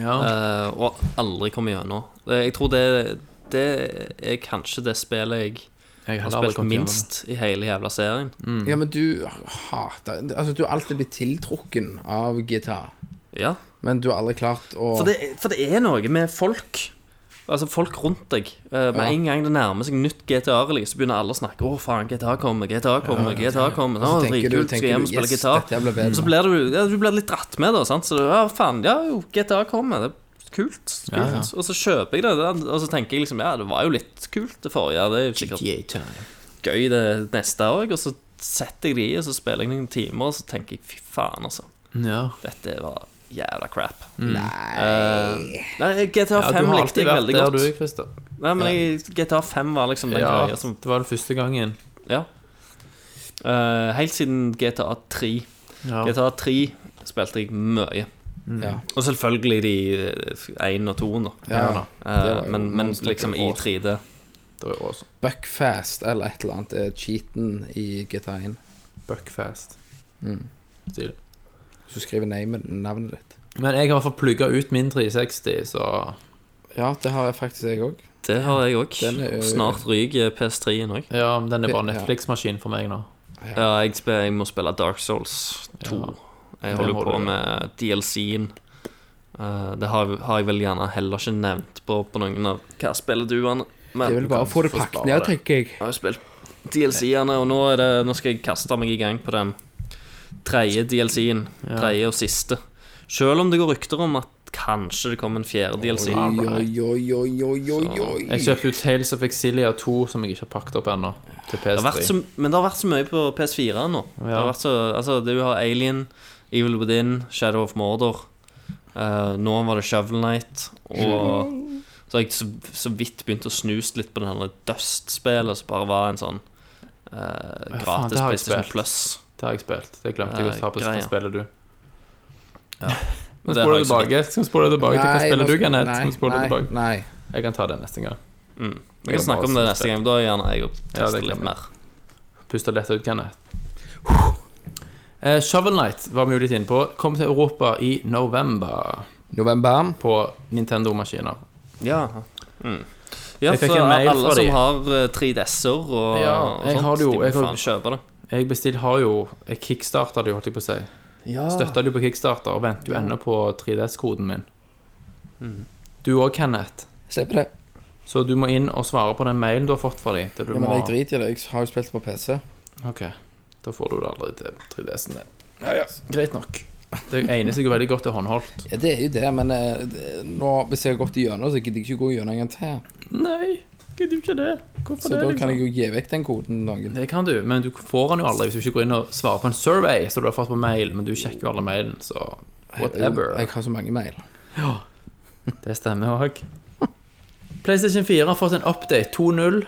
Speaker 5: Ja.
Speaker 7: Eh, og aldri kom gjennom. Eh, Jeg tror det, det er kanskje det spillet jeg
Speaker 5: Jeg
Speaker 7: har
Speaker 5: heller aldri
Speaker 7: spilt
Speaker 5: kommet
Speaker 7: minst i hele jævla serien.
Speaker 5: Mm.
Speaker 6: Ja, men du hater Altså, du har alltid blitt tiltrukken av GTA,
Speaker 7: Ja.
Speaker 6: men du har aldri klart å
Speaker 7: For, det, for det er noe med folk. Altså folk rundt deg. Eh, med
Speaker 6: Ja.
Speaker 7: en gang det nærmer seg nytt GTA-release, så begynner alle å snakke 'Å, faen, GTA kommer, GTA kommer, GTA kommer'.
Speaker 6: Så
Speaker 7: Å,
Speaker 6: tenker du,
Speaker 7: dritkult, skal
Speaker 6: tenker
Speaker 7: hjem
Speaker 6: du
Speaker 7: og spille
Speaker 6: yes,
Speaker 7: gitar.
Speaker 6: dette blir
Speaker 5: Mm.
Speaker 6: bedre.
Speaker 7: Så blir du, ja, du blir litt dratt med, da. Sant? Så du, ja, faen, ja, jo, GTA kommer. Det er kult. kult.
Speaker 5: Ja, ja.
Speaker 7: Og så kjøper jeg det, og så tenker jeg liksom Ja, det var jo litt kult, det forrige. Det er jo sikkert gøy det neste òg. Og så setter jeg det i, og så spiller jeg noen timer, og så tenker jeg fy faen, altså.
Speaker 5: Ja.
Speaker 7: Dette var jævla crap. Nei, Nei GTA
Speaker 5: ja,
Speaker 7: 5
Speaker 5: du har
Speaker 7: likte
Speaker 5: alltid
Speaker 7: jeg
Speaker 5: vært
Speaker 7: veldig
Speaker 5: der,
Speaker 7: godt.
Speaker 5: du, Christer.
Speaker 7: Nei, men jeg, GTA 5 var liksom den
Speaker 5: Ja,
Speaker 7: greia som
Speaker 5: altså, det var den første gangen.
Speaker 7: Ja. Eh, helt siden GTA 3.
Speaker 5: Ja. Mm.
Speaker 7: GTA 3 spilte jeg mye.
Speaker 6: Ja.
Speaker 7: Og selvfølgelig de eh, 1 og 2 da.
Speaker 6: Ja,
Speaker 7: Eh,
Speaker 6: det var jo
Speaker 7: men, men
Speaker 6: monster
Speaker 7: liksom i
Speaker 6: år.
Speaker 7: 3D.
Speaker 5: Det er jo også
Speaker 6: Buckfast eller et eller annet er cheaten i GTA1.
Speaker 5: Buckfast. Stilig.
Speaker 6: Mm. Hvis du skriver name- navnet ditt.
Speaker 5: Men jeg har i hvert fall plugga ut min 360, så
Speaker 6: Ja, det har jeg faktisk, jeg òg.
Speaker 7: Det har jeg òg.
Speaker 6: Den er jo-
Speaker 7: Snart ryker PS3-en òg.
Speaker 5: Ja, men den er bare
Speaker 6: Ja.
Speaker 5: Netflix-maskin for meg nå.
Speaker 7: Ja, jeg, spe- jeg må spille Dark Souls 2. Jeg
Speaker 5: Det
Speaker 7: holder
Speaker 5: må
Speaker 7: på
Speaker 5: du.
Speaker 7: med DLC-en. Eh, det har, har jeg vel gjerne heller ikke nevnt på, på noen av Hva spiller du, Anne? Men
Speaker 6: Jeg vil bare få det pakket ned, tenker jeg.
Speaker 7: jeg har spilt DLC-ene, og nå, er det, nå skal jeg kaste meg i gang på den tredje DLC-en. Tredje og siste. Selv om det går rykter om at kanskje det kommer en fjerde DLC.
Speaker 6: Oi, oi, oi, oi, oi, oi, oi.
Speaker 5: Jeg kjøpte jo Tales of Exilia 2, som jeg ikke har pakket opp ennå, til
Speaker 7: Det har vært
Speaker 5: PS3.
Speaker 7: så, men det har vært så mye på PS4 nå. Det har vært så, altså, du har Alien, Evil Within, Shadow of Mordor. Eh, nå var det Shovel Knight. Og så har jeg så, så vidt begynt å snuse litt på det her Dust-spillet, som bare var en sånn eh,
Speaker 5: faen,
Speaker 7: gratis
Speaker 5: det har jeg
Speaker 7: PlayStation
Speaker 5: spilt.
Speaker 7: Plus.
Speaker 5: Det har jeg spilt. Det glemte jeg å
Speaker 7: Eh,
Speaker 5: ta på
Speaker 7: greia.
Speaker 5: spillet du. Nå
Speaker 7: Men det har
Speaker 5: spoler
Speaker 7: jeg
Speaker 5: du
Speaker 7: ikke-
Speaker 5: tilbake. Skal vi spole tilbake til hva
Speaker 6: Nei,
Speaker 5: spiller du,
Speaker 6: nå-
Speaker 5: Kenneth?
Speaker 6: nei,
Speaker 5: Skal vi spole
Speaker 6: nei,
Speaker 5: tilbake?
Speaker 6: Nei.
Speaker 5: Jeg kan ta det neste gang.
Speaker 7: Mm. Vi kan snakke om det neste gang. Da er gjerne jeg og
Speaker 5: det
Speaker 7: tester
Speaker 5: kan
Speaker 7: litt
Speaker 5: vi.
Speaker 7: mer.
Speaker 5: Puste lett ut, Kenneth. Eh, Shovel Knight var vi jo litt inne på. Kom til Europa i november
Speaker 6: November.
Speaker 5: på Nintendo-maskiner.
Speaker 7: Ja. Ja,
Speaker 5: Mm. Jeg fikk
Speaker 7: for
Speaker 5: en mail
Speaker 7: alle
Speaker 5: fra
Speaker 7: som
Speaker 5: de.
Speaker 7: har eh, 3DS-er og,
Speaker 5: Ja,
Speaker 7: og
Speaker 5: jeg har det jo.
Speaker 7: sånt, de
Speaker 5: Jeg
Speaker 7: må
Speaker 5: har-
Speaker 7: faen kjøpe det.
Speaker 5: Jeg bestill har jo Jeg kickstarta det, jo, holdt jeg på å si. Ja.
Speaker 6: Ah.
Speaker 5: Støtta det jo på kickstarter og venter jo ennå på 3DS-koden min.
Speaker 6: Mm.
Speaker 5: Du òg, Kenneth.
Speaker 6: Slipp det.
Speaker 5: Så du må inn og svare på den mailen du har fått fra dem.
Speaker 6: Ja, men jeg driter i det. Jeg har jo spilt på PC.
Speaker 5: Ok, da får du det aldri til 3DS-en din. Greit nok. Det egner seg jo veldig godt til håndholdt.
Speaker 6: Ja, det er jo det, men eh, det- nå, hvis jeg har gått igjennom, så gidder jeg ikke gå igjennom en gang til.
Speaker 5: Nei, gidder du ikke det? sånn. Hvorfor
Speaker 6: Så da kan jeg jo gi vekk den koden noen.
Speaker 5: Det kan du, men du får den jo aldri hvis du ikke går inn og svarer på en survey som du har fått på mail, men du sjekker jo alle mailen, så whatever.
Speaker 6: Jeg har så mange mail.
Speaker 5: Det stemmer òg. PlayStation 4 har fått en update 2.0.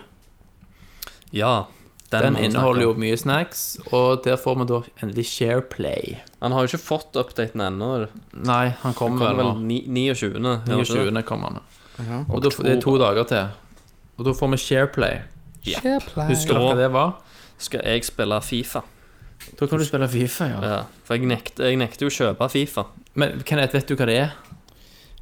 Speaker 7: Ja.
Speaker 5: Den
Speaker 7: må vi snakke om.
Speaker 5: inneholder jo mye snacks, og der får vi da endelig Shareplay.
Speaker 7: Han har jo ikke fått updaten ennå. er det?
Speaker 5: Nei, han kommer
Speaker 7: Kommer
Speaker 5: vel nå.
Speaker 7: vel ni- 29. hører du det?
Speaker 5: 29. kommer han. Og da, det er to dager til. Og da får vi Shareplay. Husker dere
Speaker 7: Da-
Speaker 5: hva det var?
Speaker 7: Skal jeg spille Fifa?
Speaker 5: Da kan du spille Fifa, ja.
Speaker 7: Ja, for jeg nekter, jeg nekter jo å kjøpe Fifa.
Speaker 5: Men Kenneth, vet du hva det er?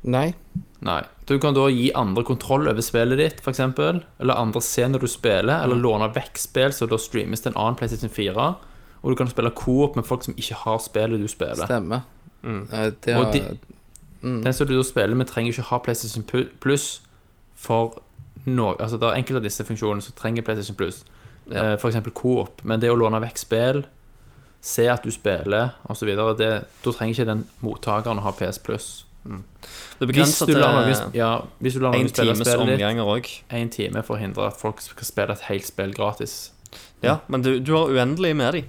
Speaker 6: Nei.
Speaker 5: Nei. Du kan da gi andre kontroll over spillet ditt, f.eks. Eller andre se når du spiller,
Speaker 6: Mm.
Speaker 5: eller låne vekk spill, så da streames det en annen PlayStation 4. Og du kan spille coop med folk som ikke har spillet du spiller.
Speaker 6: Stemmer.
Speaker 5: Mm.
Speaker 6: Eh, Det
Speaker 5: Og
Speaker 6: har, mm.
Speaker 5: de, Den som du da spiller med, trenger ikke ha PlayStation Pu- Plus for noe Altså, det er enkelte av disse funksjonene som trenger PlayStation Plus. Eh, For eksempel coop. Men det å låne vekk spill, se at du spiller, osv., da trenger ikke den mottakeren å ha PS Plus.
Speaker 7: Det er
Speaker 5: Hvis
Speaker 7: begrenset
Speaker 5: du
Speaker 7: til eh,
Speaker 5: lar noen, ja, hvis du lar
Speaker 7: en
Speaker 5: noen spille
Speaker 7: times
Speaker 5: spillet ditt
Speaker 7: omganger òg.
Speaker 5: en time for å hindre at folk skal spille et helt spill gratis
Speaker 7: Ja, men du, du har uendelig med de.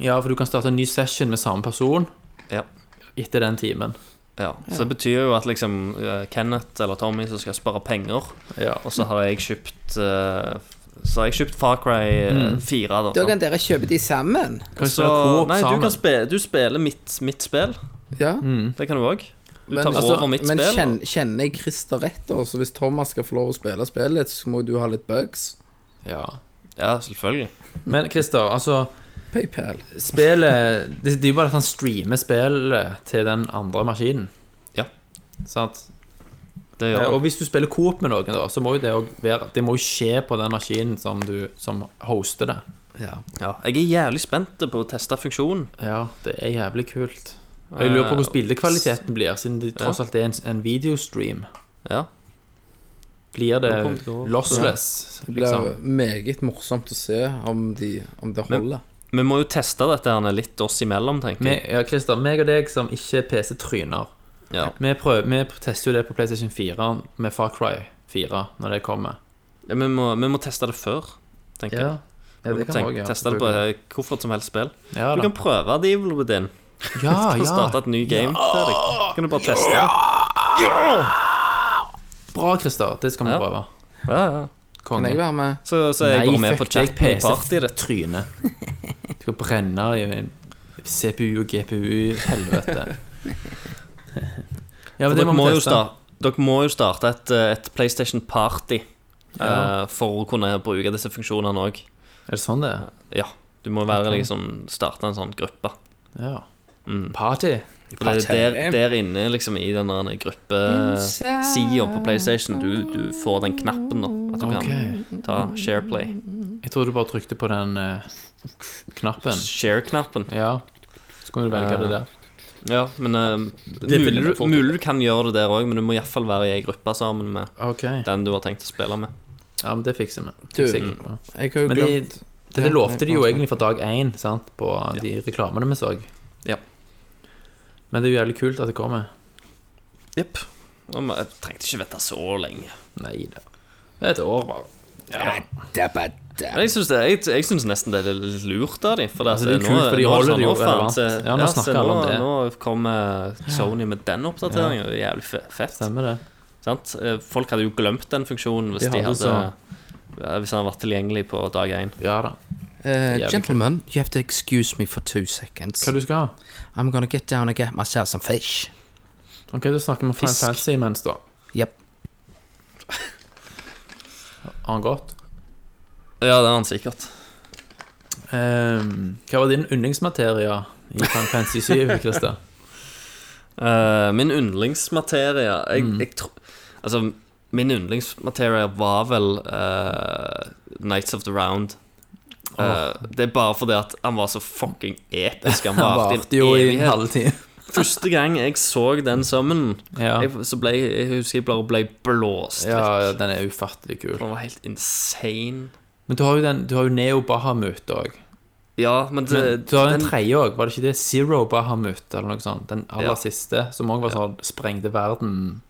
Speaker 5: Ja, for du kan starte en ny session med samme person
Speaker 7: Ja.
Speaker 5: etter den timen.
Speaker 7: Ja, så det betyr jo at liksom eh, Kenneth eller Tommy som skal spare penger,
Speaker 5: Ja.
Speaker 7: og så har jeg kjøpt eh, Så har jeg kjøpt Far Cry eh,
Speaker 5: Mm.
Speaker 7: 4. Da, sant?
Speaker 6: dere kjøpe de sammen.
Speaker 5: Kan vi
Speaker 7: så,
Speaker 5: spille coop
Speaker 7: nei, du,
Speaker 5: sammen?
Speaker 7: kan spille, du spiller mitt, mitt spill.
Speaker 6: Ja.
Speaker 5: Mm.
Speaker 7: Det kan du òg. Du
Speaker 6: Men-
Speaker 7: tar
Speaker 6: altså,
Speaker 7: over mitt
Speaker 6: men
Speaker 7: spill.
Speaker 6: kjen- kjenner jeg Christer rett, da? Så hvis Thomas skal få lov å spille spillet, så må du ha litt bugs.
Speaker 5: Ja.
Speaker 7: Ja, selvfølgelig.
Speaker 5: Men Christer, altså
Speaker 6: PayPal.
Speaker 5: Spillet Det det er jo bare at han streamer spillet til den andre maskinen.
Speaker 7: Ja.
Speaker 5: Sant?
Speaker 7: Det gjør
Speaker 5: Eh,
Speaker 7: jeg.
Speaker 5: Og hvis du spiller coop med noen, da, så må jo det òg være Det må jo skje på den maskinen som, du, som hoster det.
Speaker 7: Ja, jeg er jævlig spent på å teste funksjonen.
Speaker 5: Ja, det er jævlig kult. Eh, Og jeg lurer på hvordan bildekvaliteten blir, siden det tross alt er en, en videostream.
Speaker 7: Ja.
Speaker 5: Blir det
Speaker 7: kommer det til å gå.
Speaker 5: lossless,
Speaker 6: Det blir
Speaker 5: liksom?
Speaker 6: meget morsomt å se om, de, om det
Speaker 7: Men-
Speaker 6: holder.
Speaker 7: Vi må jo teste dette her litt oss imellom, tenker jeg.
Speaker 5: Me- ja, Christer, meg og deg som ikke er PC-tryner,
Speaker 7: Ja.
Speaker 5: vi, prøver, vi tester jo det på PlayStation 4 med Far Cry 4 når det kommer.
Speaker 7: Ja, Vi, må, vi må teste det før, tenker jeg.
Speaker 5: ja
Speaker 7: Vi må tenke, teste det på eh, hvorfor som helst spill.
Speaker 5: Ja,
Speaker 7: Du
Speaker 5: da.
Speaker 7: kan prøve det, Evil Within.
Speaker 5: ja,
Speaker 7: Du
Speaker 5: ja.
Speaker 7: kan starte et ny game til deg. Kan du bare teste det?
Speaker 5: Bra, Christer. Det skal vi
Speaker 7: Ja.
Speaker 5: prøve.
Speaker 7: Ja, ja.
Speaker 6: Kan
Speaker 5: Konge.
Speaker 6: jeg være med?
Speaker 7: Så, så er jeg bare med på chat på party.
Speaker 5: det trynet. Du skal brenne i en CPU og GPU, helvete. Ja, men det
Speaker 7: Dere
Speaker 5: må
Speaker 7: må,
Speaker 5: vi
Speaker 7: jo
Speaker 5: teste.
Speaker 7: starte, dere må jo starte et, eh, et PlayStation Party. eh, for å kunne bruke disse funksjonene òg.
Speaker 5: Er det sånn det er?
Speaker 7: Ja. Du må være liksom starte en sånn gruppe. Mm.
Speaker 5: Ja. Party.
Speaker 7: For det er der, der inne liksom i den der gruppesida på PlayStation du, du får den knappen, da. At du kan ta shareplay.
Speaker 5: Jeg tror du bare trykte på den eh, knappen.
Speaker 7: Share-knappen.
Speaker 5: Ja. Så kunne du velge det der.
Speaker 7: Ja, men eh, mulig, du- mulig du kan gjøre det der òg, men du må iallfall være i ei gruppe sammen med
Speaker 5: Eh, Ok.
Speaker 7: den du har tenkt å spille med.
Speaker 5: Ja, men det fikser vi.
Speaker 6: Du,
Speaker 5: Sikkert bra.
Speaker 6: Jeg har jo
Speaker 5: Men de,
Speaker 6: glemt
Speaker 5: det, det lovte de jo egentlig fra dag én, sant, på de reklamene vi så.
Speaker 7: Ja.
Speaker 5: Men det er jo jævlig kult at det kommer.
Speaker 7: Jepp. Jeg trengte ikke vente så lenge.
Speaker 5: Nei da. Det er et år, bare.
Speaker 7: Men jeg syns, det, jeg, jeg synes nesten det er litt lurt av dem. For det,
Speaker 5: det er
Speaker 7: at
Speaker 5: kult, for de
Speaker 7: nå,
Speaker 5: holder
Speaker 7: altså, nå,
Speaker 5: det jo
Speaker 7: nå, faen, se-
Speaker 5: relevant. Ja, nå
Speaker 7: se,
Speaker 5: snakker alle om det.
Speaker 7: Nå kommer Sony med den oppdateringen. Det er Jævlig fe- fett.
Speaker 5: Stemmer det.
Speaker 7: Sant? Eh, Folk hadde jo glemt den funksjonen hvis,
Speaker 5: De
Speaker 7: de
Speaker 5: hadde
Speaker 7: hadde, ja, hvis den hadde vært tilgjengelig på dag én.
Speaker 5: Ja da.
Speaker 6: eh, Gentlemen, you have to excuse me for two seconds.
Speaker 5: Hva du skal ha?
Speaker 6: I'm gonna get down and get myself some fish.
Speaker 5: Ok, du snakker med Final
Speaker 6: Fisk.
Speaker 5: Fantasy imens, da.
Speaker 6: Yep.
Speaker 5: Har han gått?
Speaker 7: Ja, det er han sikkert.
Speaker 5: Ehm, hva var din yndlingsmateria i Final Fantasy 7, Christer?
Speaker 7: Eh, min yndlingsmaterie jeg,
Speaker 5: Mm.
Speaker 7: jeg tro, Altså, min yndlingsmaterie var vel eh, Nights of the Round. Eh, det er bare fordi at han var så fucking episk. Han varte i en evighet.
Speaker 5: halvtime.
Speaker 7: Første gang jeg så den sammen,
Speaker 5: Ja.
Speaker 7: jeg, så ble jeg husker jeg bare ble blåst.
Speaker 5: ja,
Speaker 7: vekk.
Speaker 5: ja, den er ufattelig kul.
Speaker 7: Den var helt insane.
Speaker 5: Men du har jo, den, du har jo Neo Bahamut òg.
Speaker 7: Ja, men det,
Speaker 5: Du har jo en tredje òg, var det ikke det? Zero Bahamut, eller noe sånt. Den aller
Speaker 7: Ja.
Speaker 5: siste, som òg var sånn sprengte verden.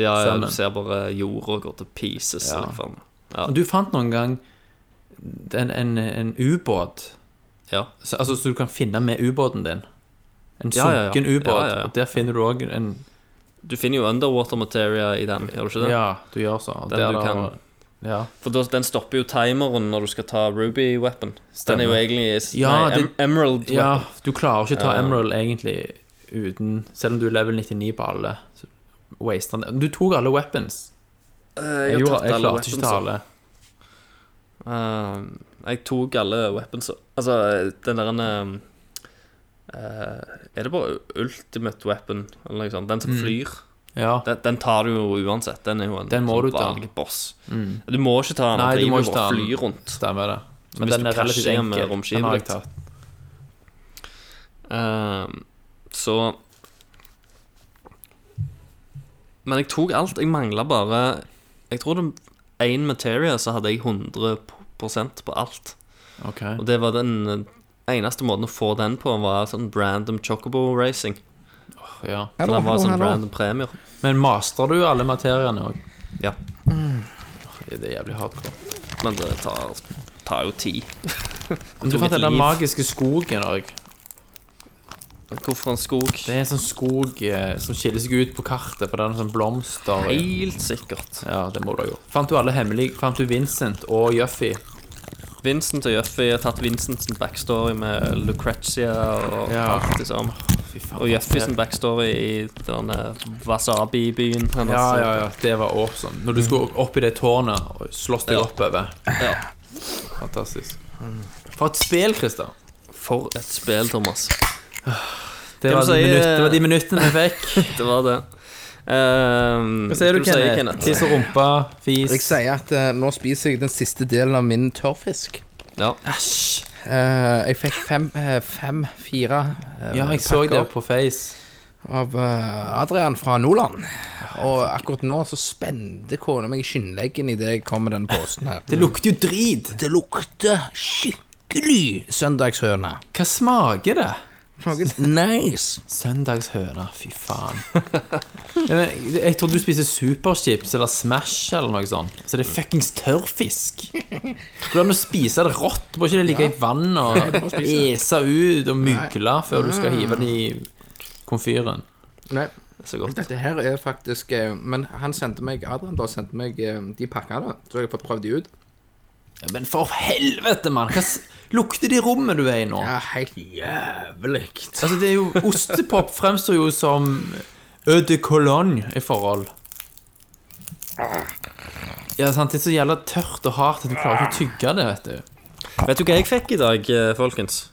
Speaker 7: ja, ja,
Speaker 5: sammen.
Speaker 7: du ser bare jorda går til pieces.
Speaker 5: Ja.
Speaker 7: Liksom.
Speaker 5: Og Du fant noen gang en, en, en ubåt,
Speaker 7: Ja.
Speaker 5: så- altså så du kan finne med ubåten din. En
Speaker 7: Ja, ja, ja.
Speaker 5: sunken ubåt.
Speaker 7: Ja, ja, ja.
Speaker 5: Og der finner du òg en
Speaker 7: Du finner jo underwater materia i den, gjør du ikke det?
Speaker 5: Ja, du gjør så. og
Speaker 7: Den
Speaker 5: der
Speaker 7: du
Speaker 5: da-
Speaker 7: kan-
Speaker 5: Ja.
Speaker 7: For da, den stopper jo timeren når du skal ta Ruby Weapon. Den er jo egentlig
Speaker 5: Ja,
Speaker 7: nei,
Speaker 5: det-
Speaker 7: em Emerald
Speaker 5: Ja,
Speaker 7: Weapon.
Speaker 5: du klarer ikke å ta
Speaker 7: Ja.
Speaker 5: Emerald egentlig uten Selv om du er level 99 på alle. så Waster den. Du tok alle weapons.
Speaker 7: Eh,
Speaker 5: Jeg,
Speaker 7: har
Speaker 5: gjorde,
Speaker 7: tatt
Speaker 5: jeg
Speaker 7: alle
Speaker 5: klarte ikke å ta
Speaker 7: weaponsa.
Speaker 5: alle.
Speaker 7: Eh, jeg tok alle weapons Altså, den der um, Er det bare ultimate weapon, eller noe sånt? Den
Speaker 5: Mm.
Speaker 7: som flyr?
Speaker 5: Ja.
Speaker 7: Den, den tar du jo uansett. Den er jo en
Speaker 5: Den må
Speaker 7: sånn
Speaker 5: du ta.
Speaker 7: vanlig boss. Du må ikke ta den,
Speaker 5: Nei,
Speaker 7: for
Speaker 5: du må
Speaker 7: driver
Speaker 5: ikke
Speaker 7: jo bare
Speaker 5: ta
Speaker 7: og
Speaker 5: den.
Speaker 7: flyr rundt.
Speaker 5: Mm. Stemmer det. Men
Speaker 7: hvis
Speaker 5: den
Speaker 7: du
Speaker 5: er relativt enkel.
Speaker 7: krasjer med
Speaker 5: Den har jeg
Speaker 7: romskipet
Speaker 5: tatt.
Speaker 7: Ehm, så Men jeg tok alt. Jeg mangla bare Jeg tror det én materia, så hadde jeg 100 på alt.
Speaker 5: Ok.
Speaker 7: Og det var den eh, eneste måten å få den på, var sånn random chocobo racing.
Speaker 5: Ja.
Speaker 7: Så det var sånn random premier.
Speaker 5: Men master du alle materiene òg?
Speaker 7: Ja.
Speaker 5: Det er jævlig hardcore.
Speaker 7: Men det tar, tar jo tid.
Speaker 5: Men du
Speaker 7: tok
Speaker 5: fant
Speaker 7: et
Speaker 5: den der
Speaker 7: liv.
Speaker 5: magiske skogen òg.
Speaker 7: Hvorfor en skog?
Speaker 5: Det er en sånn skog eh, som skiller seg ut på kartet, for det er en sånn blomster
Speaker 7: Helt sikkert.
Speaker 5: Ja, det må du ha gjort. Fant du alle hemmelige Fant du Vincent og Juffy?
Speaker 7: Vincent og Jøffi har tatt Vincents backstory med Lucrezia og
Speaker 5: Ja.
Speaker 7: alt det samme. Og Jøffi sin backstory i denne wasabi-byen hennes.
Speaker 5: Ja, ja, ja, det var awesome. Når du skulle opp i det tårnet og slåss deg
Speaker 7: Ja.
Speaker 5: oppover.
Speaker 7: Ja.
Speaker 5: Fantastisk. For et spill, Christer.
Speaker 7: For et spill, Thomas.
Speaker 5: Det
Speaker 7: Kan
Speaker 5: var,
Speaker 7: du
Speaker 5: de
Speaker 7: si,
Speaker 5: minutt,
Speaker 7: eh,
Speaker 5: det var de minuttene vi fikk.
Speaker 7: Det var det. Ehm,
Speaker 5: Hva sier du,
Speaker 7: skal si,
Speaker 5: Kenneth? Tiss og rumpe,
Speaker 6: Jeg
Speaker 5: fis
Speaker 6: sier at eh, nå spiser jeg den siste delen av min tørrfisk.
Speaker 7: Ja.
Speaker 6: Eh, jeg fikk fem, eh, fem fire eh,
Speaker 5: Ja, jeg så det
Speaker 6: pakker
Speaker 5: på Face.
Speaker 6: av eh, Adrian fra Nordland. Og akkurat nå så spente kona meg i skinnleggen idet jeg kom med den posen her.
Speaker 5: Det lukter jo drit.
Speaker 6: Det lukter skikkelig søndagshøne.
Speaker 5: Hva smaker det?
Speaker 6: Noe nice.
Speaker 5: Søndagshøna, fy faen. Ja, men Jeg trodde du spiste superchips eller Smash eller noe sånt. Så det er fuckings tørrfisk. Hvordan å spise det rått? Må ikke det ligge i vann og ese ut og mygle før du skal hive det i komfyren?
Speaker 6: Nei,
Speaker 7: Så godt.
Speaker 6: dette her er faktisk eh, Men han sendte meg Adrian da sendte meg eh, de pakkene, så jeg har fått prøvd de ut.
Speaker 5: Ja, Men for helvete, mann! Hva s- lukter det i rommet du er i nå?
Speaker 6: Ja, helt jævlig.
Speaker 5: Altså, det er jo Ostepop fremstår jo som eau de cologne i forhold. Ja, sant, Det er så jævla tørt og hardt at du klarer ikke å tygge det, vet du.
Speaker 7: Vet du hva jeg fikk i dag, eh, folkens?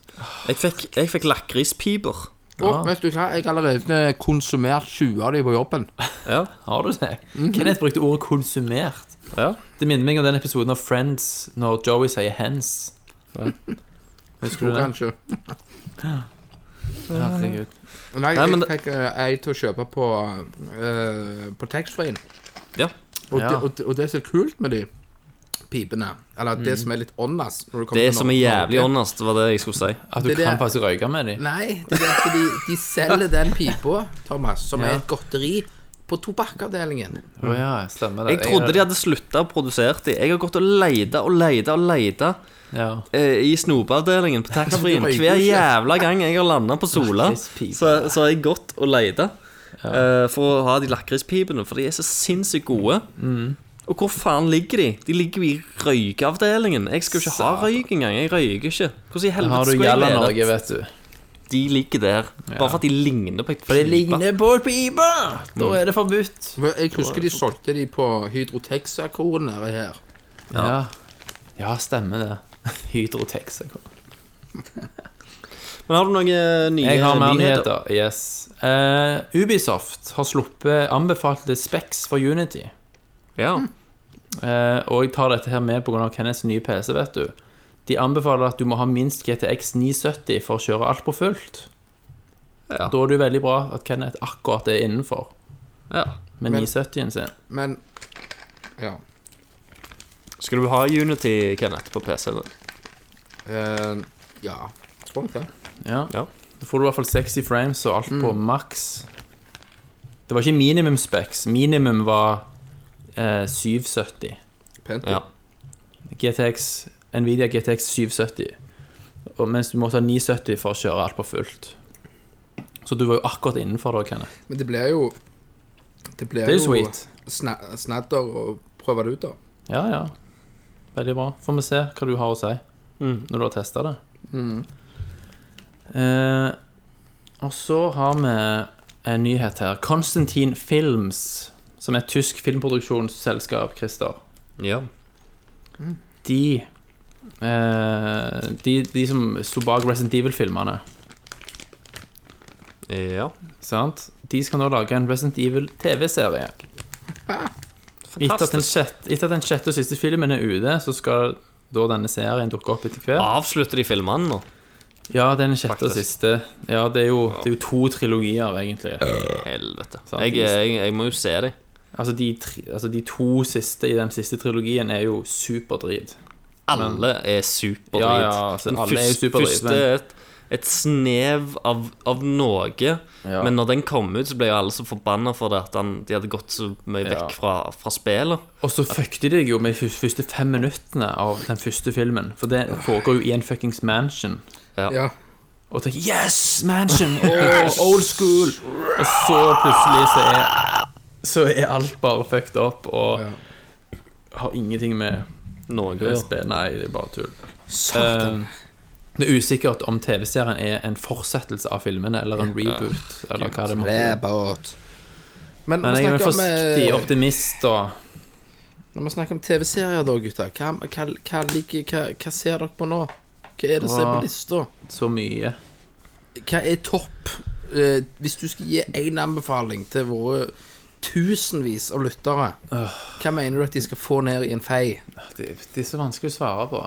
Speaker 7: Jeg fikk, jeg fikk lakrispiper.
Speaker 6: Å, vet du hva, jeg har allerede konsumert 20 av de på jobben.
Speaker 7: Ja,
Speaker 5: Har du det? Kenneth brukte ordet 'konsumert'.
Speaker 7: ja.
Speaker 5: Det minner meg om den episoden av Friends når Joey sier 'hens'. Husker du det?
Speaker 6: Kanskje.
Speaker 5: Herregud.
Speaker 6: Nei,
Speaker 7: Nei, men
Speaker 6: jeg fikk eh, ei til å kjøpe på, uh, på taxfree-en.
Speaker 7: Ja.
Speaker 6: Og,
Speaker 5: Ja.
Speaker 6: det- og, det- og det som er kult med de pipene, eller det
Speaker 5: Mm.
Speaker 6: som er litt åndas når kommer
Speaker 7: Det
Speaker 6: til
Speaker 7: som er
Speaker 6: Norge-
Speaker 7: jævlig åndast, var det jeg skulle si.
Speaker 5: At du
Speaker 6: Det er det-
Speaker 5: kan faktisk røyke med dem.
Speaker 6: Nei, det er det at de, de selger den pipa, Thomas, som er et godteri, på tobakkavdelingen.
Speaker 5: Å ja, stemmer det.
Speaker 7: Jeg trodde de hadde slutta å produsere de. Jeg har gått og leita og leita og leita
Speaker 5: Ja.
Speaker 7: eh, i snopeavdelingen på taxfree-en
Speaker 6: Du røyker
Speaker 7: hver
Speaker 6: ikke.
Speaker 7: jævla gang jeg har landa på Sola.
Speaker 5: Lakrispiper.
Speaker 7: Så, så har jeg gått og leita eh, for å ha de lakrispipene, for de er så sinnssykt gode.
Speaker 5: Mm.
Speaker 7: Og hvor faen ligger de? De ligger jo i røykeavdelingen. Jeg skal jo ikke ha røyk engang. Jeg røyker ikke. Hvordan
Speaker 5: Da
Speaker 7: i
Speaker 5: Har
Speaker 7: helvete
Speaker 5: du
Speaker 7: skulle jeg
Speaker 5: Jalla
Speaker 7: lære
Speaker 5: Norge, vet du.
Speaker 7: at de ligger der? Bare for at de ligner på et
Speaker 5: For det
Speaker 7: pipe.
Speaker 5: ligner på et pipe! Da er det forbudt.
Speaker 6: Men Jeg husker de solgte de på Hydro Texacoen nede her.
Speaker 5: Ja, ja stemmer det. Hydrotex. jeg kommer.
Speaker 7: Men har du noen eh, nye
Speaker 5: Jeg har mer
Speaker 7: nyheter?
Speaker 5: nyheter. Yes. Eh, Ubisoft har sluppet anbefalte Specs for Unity.
Speaker 7: Ja.
Speaker 5: Eh, og jeg tar dette her med pga. Kenneths nye PC, vet du. De anbefaler at du må ha minst GTX 970 for å kjøre alt på fullt.
Speaker 7: Ja.
Speaker 5: Da er det jo veldig bra at Kenneth akkurat er innenfor
Speaker 7: ja.
Speaker 5: med
Speaker 6: Men-
Speaker 5: 970-en sin.
Speaker 6: Men Ja.
Speaker 7: Skal du ha Unity, Kenneth, på PC? Da?
Speaker 6: eh, ja. Tror jeg det.
Speaker 5: Ja.
Speaker 7: Ja.
Speaker 5: Da får du i hvert fall 60 frames og alt på maks. Det var ikke minimum specs. Minimum var eh, 770.
Speaker 6: Pent.
Speaker 7: Ja.
Speaker 5: GTX, Nvidia GTX 770. Og mens du måtte ha 970 for å kjøre alt på fullt. Så du var jo akkurat innenfor da, Kenneth.
Speaker 6: Men det blir jo Det blir
Speaker 5: Det er jo
Speaker 6: jo
Speaker 5: sweet.
Speaker 6: sna snadder å prøve det ut, da.
Speaker 5: Ja, ja. Veldig bra. Får vi se hva du har å si når du har testa det. Mm. Eh, og så har vi en nyhet her. Konstantin Films, som er et tysk filmproduksjonsselskap, Christer. Mm.
Speaker 7: ja.
Speaker 5: De eh, de, de som sto bak Resident Evil-filmene,
Speaker 7: Ja.
Speaker 5: sant? De skal nå lage en Resident Evil TV-serie. Etter at, den sjette, etter at den sjette og siste filmen er ute, så skal da denne serien dukke opp etter hvert.
Speaker 7: Avslutter de filmene nå?
Speaker 5: Ja, det er den sjette og
Speaker 7: Faktisk.
Speaker 5: siste. Ja, det er, jo, det er jo to trilogier, egentlig.
Speaker 7: Helvete.
Speaker 5: Sant,
Speaker 7: Jeg,
Speaker 5: de-
Speaker 7: jeg, jeg må jo se dem.
Speaker 5: Altså de, tri, altså, de to siste i den siste trilogien er jo superdrit.
Speaker 7: Alle er superdrit.
Speaker 5: Ja, ja, altså,
Speaker 7: Den
Speaker 5: alle er jo
Speaker 7: først-
Speaker 5: superdrit,
Speaker 7: Første
Speaker 5: men-
Speaker 7: er et, et snev av, av noe, men når den kom ut, så ble jo alle så forbanna for det at han, de hadde gått så mye
Speaker 5: Ja.
Speaker 7: vekk fra, fra spillet.
Speaker 5: Og så fucket de deg jo med de fys- første fem minuttene av den første filmen. For det foregår jo i en fuckings mansion.
Speaker 6: Ja.
Speaker 5: Og tenk Yes! Mansion! Oh, old school! Og så plutselig så er, så er alt bare fucked up og
Speaker 6: Ja.
Speaker 5: har ingenting med
Speaker 7: Noe.
Speaker 5: USB. Nei, det er bare tull. Eh, det er usikkert om TV-serien er en fortsettelse av filmene eller en reboot. Eller hva det måtte være.
Speaker 6: Ræbåt. Men,
Speaker 5: Men
Speaker 6: vi
Speaker 5: jeg er en
Speaker 6: snakker om,
Speaker 5: forsiktig
Speaker 6: eh,
Speaker 5: optimist, da.
Speaker 6: når vi snakker om TV-serier, da, gutter, hva, hva, hva, ligger, hva, hva ser dere på nå? Hva er det som er
Speaker 5: Åh.
Speaker 6: på lista?
Speaker 5: Så mye.
Speaker 6: Hva er topp? Eh, hvis du skal gi én anbefaling til våre tusenvis av lyttere, hva mener du at de skal få ned i en fei?
Speaker 5: Det, det er så vanskelig å svare på.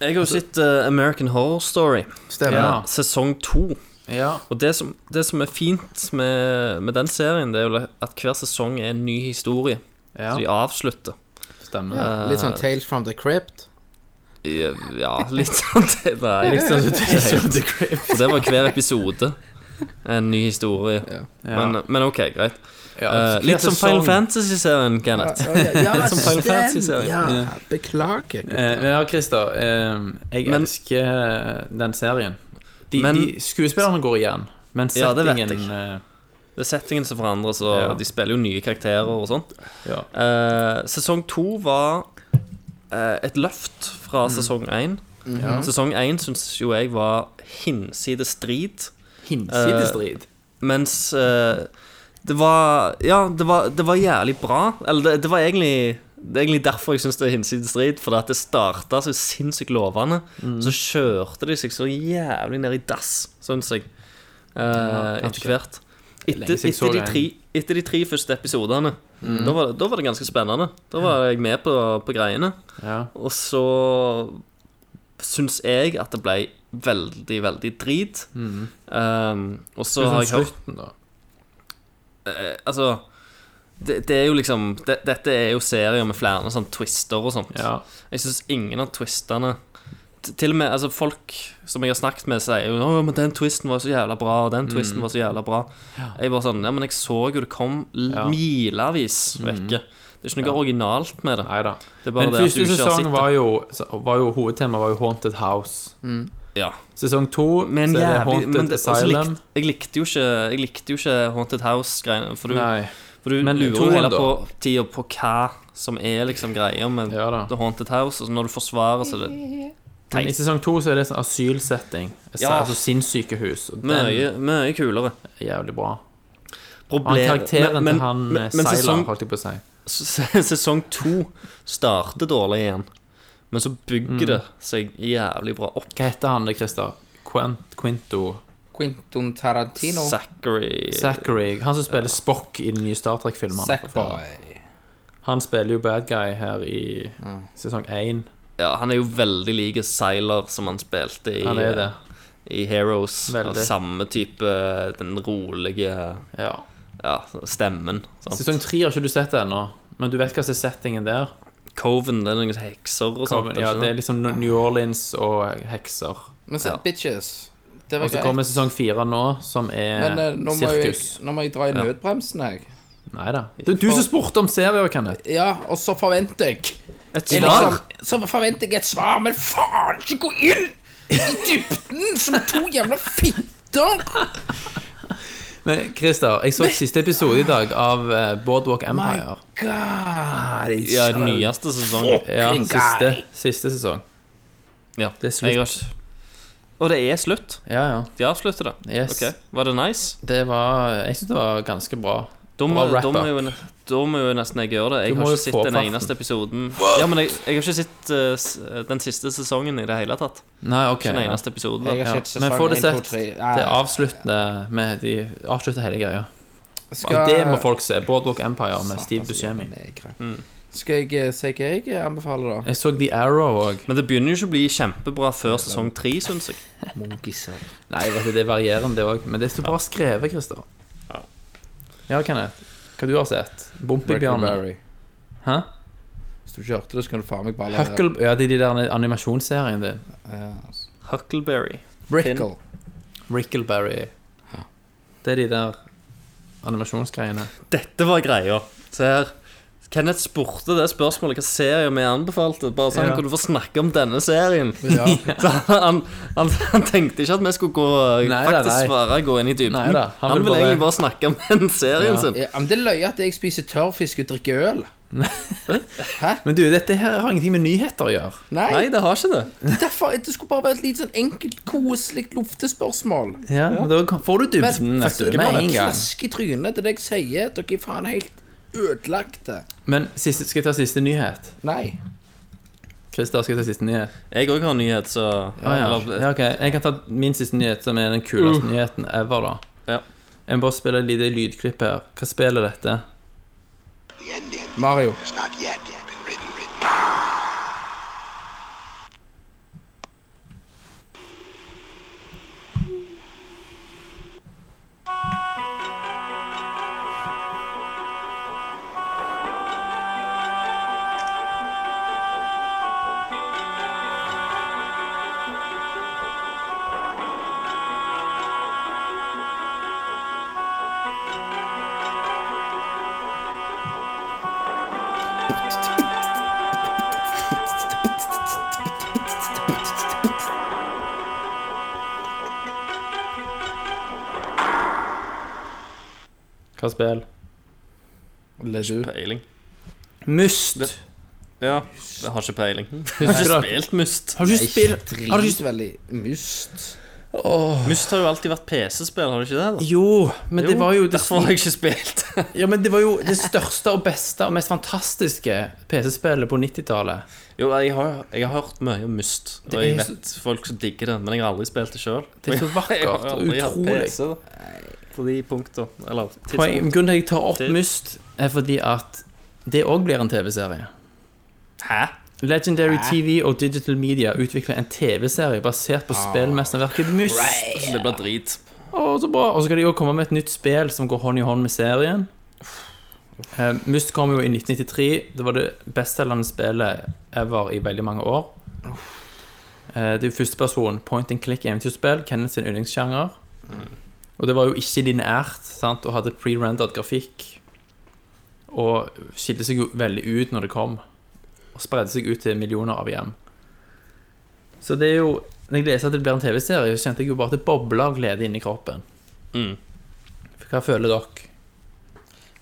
Speaker 7: Jeg har jo sett eh, American Horror Story,
Speaker 5: Ja.
Speaker 7: sesong to.
Speaker 5: Ja.
Speaker 7: Og det som, det som er fint med, med den serien, det er jo at hver sesong er en ny historie.
Speaker 5: ja.
Speaker 7: Så de avslutter.
Speaker 5: Stemmer.
Speaker 6: Litt sånn Tales from the Crypt.
Speaker 7: Ja, Eh, ja, litt sånn det, Nei,
Speaker 5: Litt sånn som Tales of the Crypt.
Speaker 7: For det var hver episode en ny historie. Men, men OK, greit. Eh,
Speaker 5: Ja,
Speaker 7: litt som Final
Speaker 5: sesong.
Speaker 7: Fantasy-serien, Kenneth. Litt som Final Fantasy-serien.
Speaker 6: Ja, beklager.
Speaker 5: Eh, men ja, Christer. Eh, jeg
Speaker 7: Men-
Speaker 5: elsker eh, den serien. De,
Speaker 7: Men-
Speaker 5: de, skuespillerne går igjen, men
Speaker 7: Ja, det vet
Speaker 5: settingen eh,
Speaker 7: Det er settingen som forandres, og
Speaker 5: Ja.
Speaker 7: de spiller jo nye karakterer og sånt.
Speaker 5: Ja.
Speaker 7: Eh, sesong to var eh, et løft fra
Speaker 5: Mm.
Speaker 7: sesong én. Sesong én syns jo jeg var hinsides strid.
Speaker 5: Hinsides strid.
Speaker 7: eh, Mens eh, det var Ja, det var, det var jævlig bra. Eller det, det var egentlig Det er egentlig derfor jeg syns det er hinsides drit. For det starta så sinnssykt lovende.
Speaker 5: Mm.
Speaker 7: Så kjørte de seg så jævlig ned i dass, syns jeg. Eh, etter hvert. Etter,
Speaker 5: lenge siden jeg så
Speaker 7: etter, de
Speaker 5: det. Mm.
Speaker 7: tre, etter de tre første episodene. Da, var, det- da var det ganske spennende. Da var jeg med på, på greiene.
Speaker 5: Ja.
Speaker 7: Og så syns jeg at det ble veldig, veldig drit.
Speaker 5: Mm.
Speaker 7: Ehm, og så har jeg hørt
Speaker 5: Slutten, da.
Speaker 7: eh, Altså, det, det er jo liksom det, Dette er jo serier med flere sånn twister og sånt.
Speaker 5: Ja.
Speaker 7: Jeg syns ingen av twistene t- Til og med altså, folk som jeg har snakket med, sier jo «Å, men den twisten var så jævla bra, og den
Speaker 5: Mm.
Speaker 7: twisten var så jævla bra. Jeg bare sånn Ja, men jeg så jo det kom l- milevis vekke. Det er ikke noe originalt med det.
Speaker 5: Mm. Nei da.
Speaker 7: Det er bare
Speaker 5: Men
Speaker 7: det at du
Speaker 5: første
Speaker 7: ikke har
Speaker 5: sesong
Speaker 7: sett
Speaker 5: var
Speaker 7: det.
Speaker 5: jo, var jo hovedtema var jo Haunted House.
Speaker 7: Ja.
Speaker 5: Sesong to så
Speaker 7: Men
Speaker 5: er det
Speaker 7: jævlig
Speaker 5: Haunted
Speaker 7: men det, også
Speaker 5: Asylum.
Speaker 7: Likte, jeg, likte jo ikke, jeg likte jo ikke Haunted House-greiene. For du,
Speaker 5: Nei.
Speaker 7: for du
Speaker 5: men
Speaker 7: lurer jo
Speaker 5: toeren
Speaker 7: hele
Speaker 5: da?
Speaker 7: på tida på hva som er liksom greia med
Speaker 5: Ja da.
Speaker 7: The Haunted House. Og så når du forsvarer så er det
Speaker 5: Men i sesong to så er det sånn asylsetting.
Speaker 7: Ja.
Speaker 5: Altså sinnssykehus. Og den er
Speaker 7: mye, mye kulere.
Speaker 5: jævlig bra. Han
Speaker 7: Problem-
Speaker 5: karakteren
Speaker 7: men- men-
Speaker 5: til han
Speaker 7: men-
Speaker 5: eh,
Speaker 7: men
Speaker 5: Seiler,
Speaker 7: sesong-
Speaker 5: holdt jeg på å si.
Speaker 7: s- Sesong to starter dårlig igjen, men så bygger det
Speaker 5: Mm.
Speaker 7: seg jævlig bra opp.
Speaker 5: Hva heter han det, Christer? Quent, Quinto
Speaker 6: Quentin Tarantino.
Speaker 7: Zachary
Speaker 5: Zachary. Han som spiller Spock i den nye Star Trek-filmen.
Speaker 6: Sackboy.
Speaker 5: Han spiller jo bad guy her i
Speaker 7: Mm.
Speaker 5: sesong én.
Speaker 7: ja, Han er jo veldig lik Seiler som han spilte i,
Speaker 5: Han er det.
Speaker 7: i Heroes.
Speaker 5: Veldig.
Speaker 7: Og Samme type den rolige
Speaker 5: Ja.
Speaker 7: eh, ja, stemmen. sant?
Speaker 5: Sesong tre har ikke du sett ennå, men du vet hva som er settingen der?
Speaker 7: Coven, det er noen hekser og sånt.
Speaker 5: ja,
Speaker 7: ikke
Speaker 5: det er liksom New Orleans og hekser.
Speaker 6: Men se,
Speaker 7: Ja.
Speaker 6: bitches. Det
Speaker 5: Og
Speaker 6: var
Speaker 5: så
Speaker 6: greit.
Speaker 5: kommer sesong fire nå, som er
Speaker 6: Men eh, nå, må jeg,
Speaker 5: sirkus.
Speaker 6: nå må jeg dra i nødbremsen, jeg.
Speaker 5: Nei da. Det er du som spurte om serier, Kenneth.
Speaker 6: Ja, og så forventer jeg
Speaker 7: Et
Speaker 6: Jeg
Speaker 7: svar?
Speaker 6: liksom- Så forventer jeg et svar, men faen, ikke gå inn i dybden som to jævla fitter!
Speaker 5: Men Christer, jeg så siste episode i dag av eh, Boardwalk Empire.
Speaker 6: God, it's
Speaker 7: Ja,
Speaker 6: so-
Speaker 7: den nyeste sesongen.
Speaker 5: Ja,
Speaker 6: Fucking
Speaker 5: siste,
Speaker 6: guy.
Speaker 5: siste sesong.
Speaker 7: Ja.
Speaker 5: Det er slutt.
Speaker 7: Jeg har ikke- Og det er slutt?
Speaker 5: Ja, ja.
Speaker 7: De avslutter det?
Speaker 5: Yes.
Speaker 7: Ok, Var det nice?
Speaker 5: Det var Jeg syns det var ganske bra.
Speaker 7: Da må,
Speaker 5: Bra wrap
Speaker 7: da må
Speaker 5: up.
Speaker 7: jeg jo, da må jo nesten jeg gjøre det.
Speaker 5: Du
Speaker 7: Jeg har
Speaker 5: må
Speaker 7: ikke
Speaker 5: jo
Speaker 7: sett
Speaker 5: få
Speaker 7: den
Speaker 5: farten.
Speaker 7: eneste episoden. Ja, men jeg, jeg har ikke sett eh, s- den siste sesongen i det hele tatt.
Speaker 5: Nei, OK.
Speaker 7: Ikke den
Speaker 5: Ja.
Speaker 7: eneste episoden.
Speaker 6: Jeg
Speaker 7: da.
Speaker 6: har
Speaker 5: Ja.
Speaker 6: sett
Speaker 5: Men
Speaker 6: sesong
Speaker 5: får det
Speaker 6: 1, 2,
Speaker 5: sett.
Speaker 6: 3.
Speaker 5: Det avslutter med De avslutter hele greia.
Speaker 6: Skal,
Speaker 5: Det må folk se. Boardwalk Empire med Steve Buscemi. Mm.
Speaker 6: Skal jeg eh, se hva jeg eh, anbefaler, da?
Speaker 5: Jeg så The Arrow òg.
Speaker 7: Men det begynner jo ikke å bli kjempebra før sesong tre, syns jeg.
Speaker 5: Nei, vet du, det er varierende, det òg. Men det er så bra skrevet, Christer. Ja, Kenneth. Hva du har sett? Bompibjørn?
Speaker 6: Huckleberry.
Speaker 5: Hæ?
Speaker 6: Hvis du kjørte det, så kan du faen meg bare la det.
Speaker 5: Huckle... Ja, det er de der animasjonsseriene din.
Speaker 6: Ja, altså.
Speaker 7: Huckleberry.
Speaker 6: Brickle.
Speaker 5: Rickleberry. Det er de der animasjonsgreiene.
Speaker 7: Dette var greia. Se her. Kenneth spurte det spørsmålet hva serier vi anbefalte. Bare sånn,
Speaker 5: Ja.
Speaker 7: Kan du få snakke om denne serien? Så han, han, han tenkte ikke at vi skulle gå
Speaker 5: Nei,
Speaker 7: faktisk
Speaker 5: nei, nei.
Speaker 7: svare gå inn i dybden.
Speaker 5: Nei da,
Speaker 7: han,
Speaker 5: han
Speaker 7: ville
Speaker 5: vil bare-
Speaker 7: egentlig bare snakke om den serien sin.
Speaker 6: Ja, men det er løye at jeg spiser tørrfisk og drikker øl.
Speaker 5: Men du, dette her har ingenting med nyheter å gjøre.
Speaker 6: Nei,
Speaker 7: Nei, det har ikke det.
Speaker 6: derfor Det skulle bare være et lite sånn enkelt, koselig luftespørsmål.
Speaker 5: Ja, men Da kan- får du dybden.
Speaker 6: Men
Speaker 5: vet du,
Speaker 6: ikke
Speaker 5: med
Speaker 6: bare
Speaker 5: en gang.
Speaker 6: klask i trynet til det jeg sier. Dere er faen helt ødelagte.
Speaker 5: Men siste, skal jeg ta siste nyhet?
Speaker 6: Nei.
Speaker 5: Christer, skal jeg ta siste nyhet?
Speaker 7: Jeg òg har nyhet, så
Speaker 5: Ah, ja.
Speaker 7: Eller-
Speaker 5: ja, ok. Jeg kan ta min siste nyhet, som er den kuleste
Speaker 7: Uh.
Speaker 5: nyheten ever, da.
Speaker 7: Ja.
Speaker 5: Jeg må bare spille et lite lydklipp her. Hva spiller dette?
Speaker 6: Mario.
Speaker 5: Hva spill?
Speaker 6: Le du.
Speaker 7: Peiling.
Speaker 5: Must.
Speaker 7: Ja. Jeg har ikke peiling. Jeg har ikke spilt Must.
Speaker 5: Har du ikke spilt
Speaker 6: Drit veldig must.
Speaker 7: Must har jo alltid vært PC-spill, har det ikke det? da?
Speaker 5: Jo, men det var jo det,
Speaker 7: Derfor har jeg ikke spilt.
Speaker 5: ja, men det var jo det største og beste og mest fantastiske PC-spillet på 90-tallet.
Speaker 7: jo, jeg har, jeg har hørt mye om Must, og
Speaker 5: Det
Speaker 7: jeg
Speaker 5: er så-
Speaker 7: vet folk som digger det, men jeg har aldri spilt det sjøl.
Speaker 5: Det er så vakkert og utrolig.
Speaker 7: På de punkter, eller
Speaker 5: Poen-
Speaker 7: tidspunkt.
Speaker 5: Grunnen til at jeg tar opp
Speaker 7: Det-
Speaker 5: Myst, er fordi at det òg blir en TV-serie.
Speaker 7: Hæ?
Speaker 5: Legendary TV og Digital Media utvikler en TV-serie basert på
Speaker 7: Ah.
Speaker 5: spillmesterverket Myst.
Speaker 7: Så Altså, det blir drit.
Speaker 5: Å, så bra. Og så skal de òg komme med et nytt spill som går hånd i hånd med serien. Eh, Myst kom jo i 1993. Det var det bestselgende spillet ever i veldig mange år. Eh, det er jo førsteperson point and click eventyrspill, Kenneth sin yndlingssjanger. Og det var jo ikke lineært, sant, og hadde pre-rendered grafikk. Og skilte seg jo veldig ut når det kom, og spredde seg ut til millioner av hjem. Så det er jo Når jeg leser at det blir en TV-serie, så kjente jeg jo bare at det bobler av glede inni kroppen.
Speaker 7: Mm.
Speaker 5: Hva føler dere?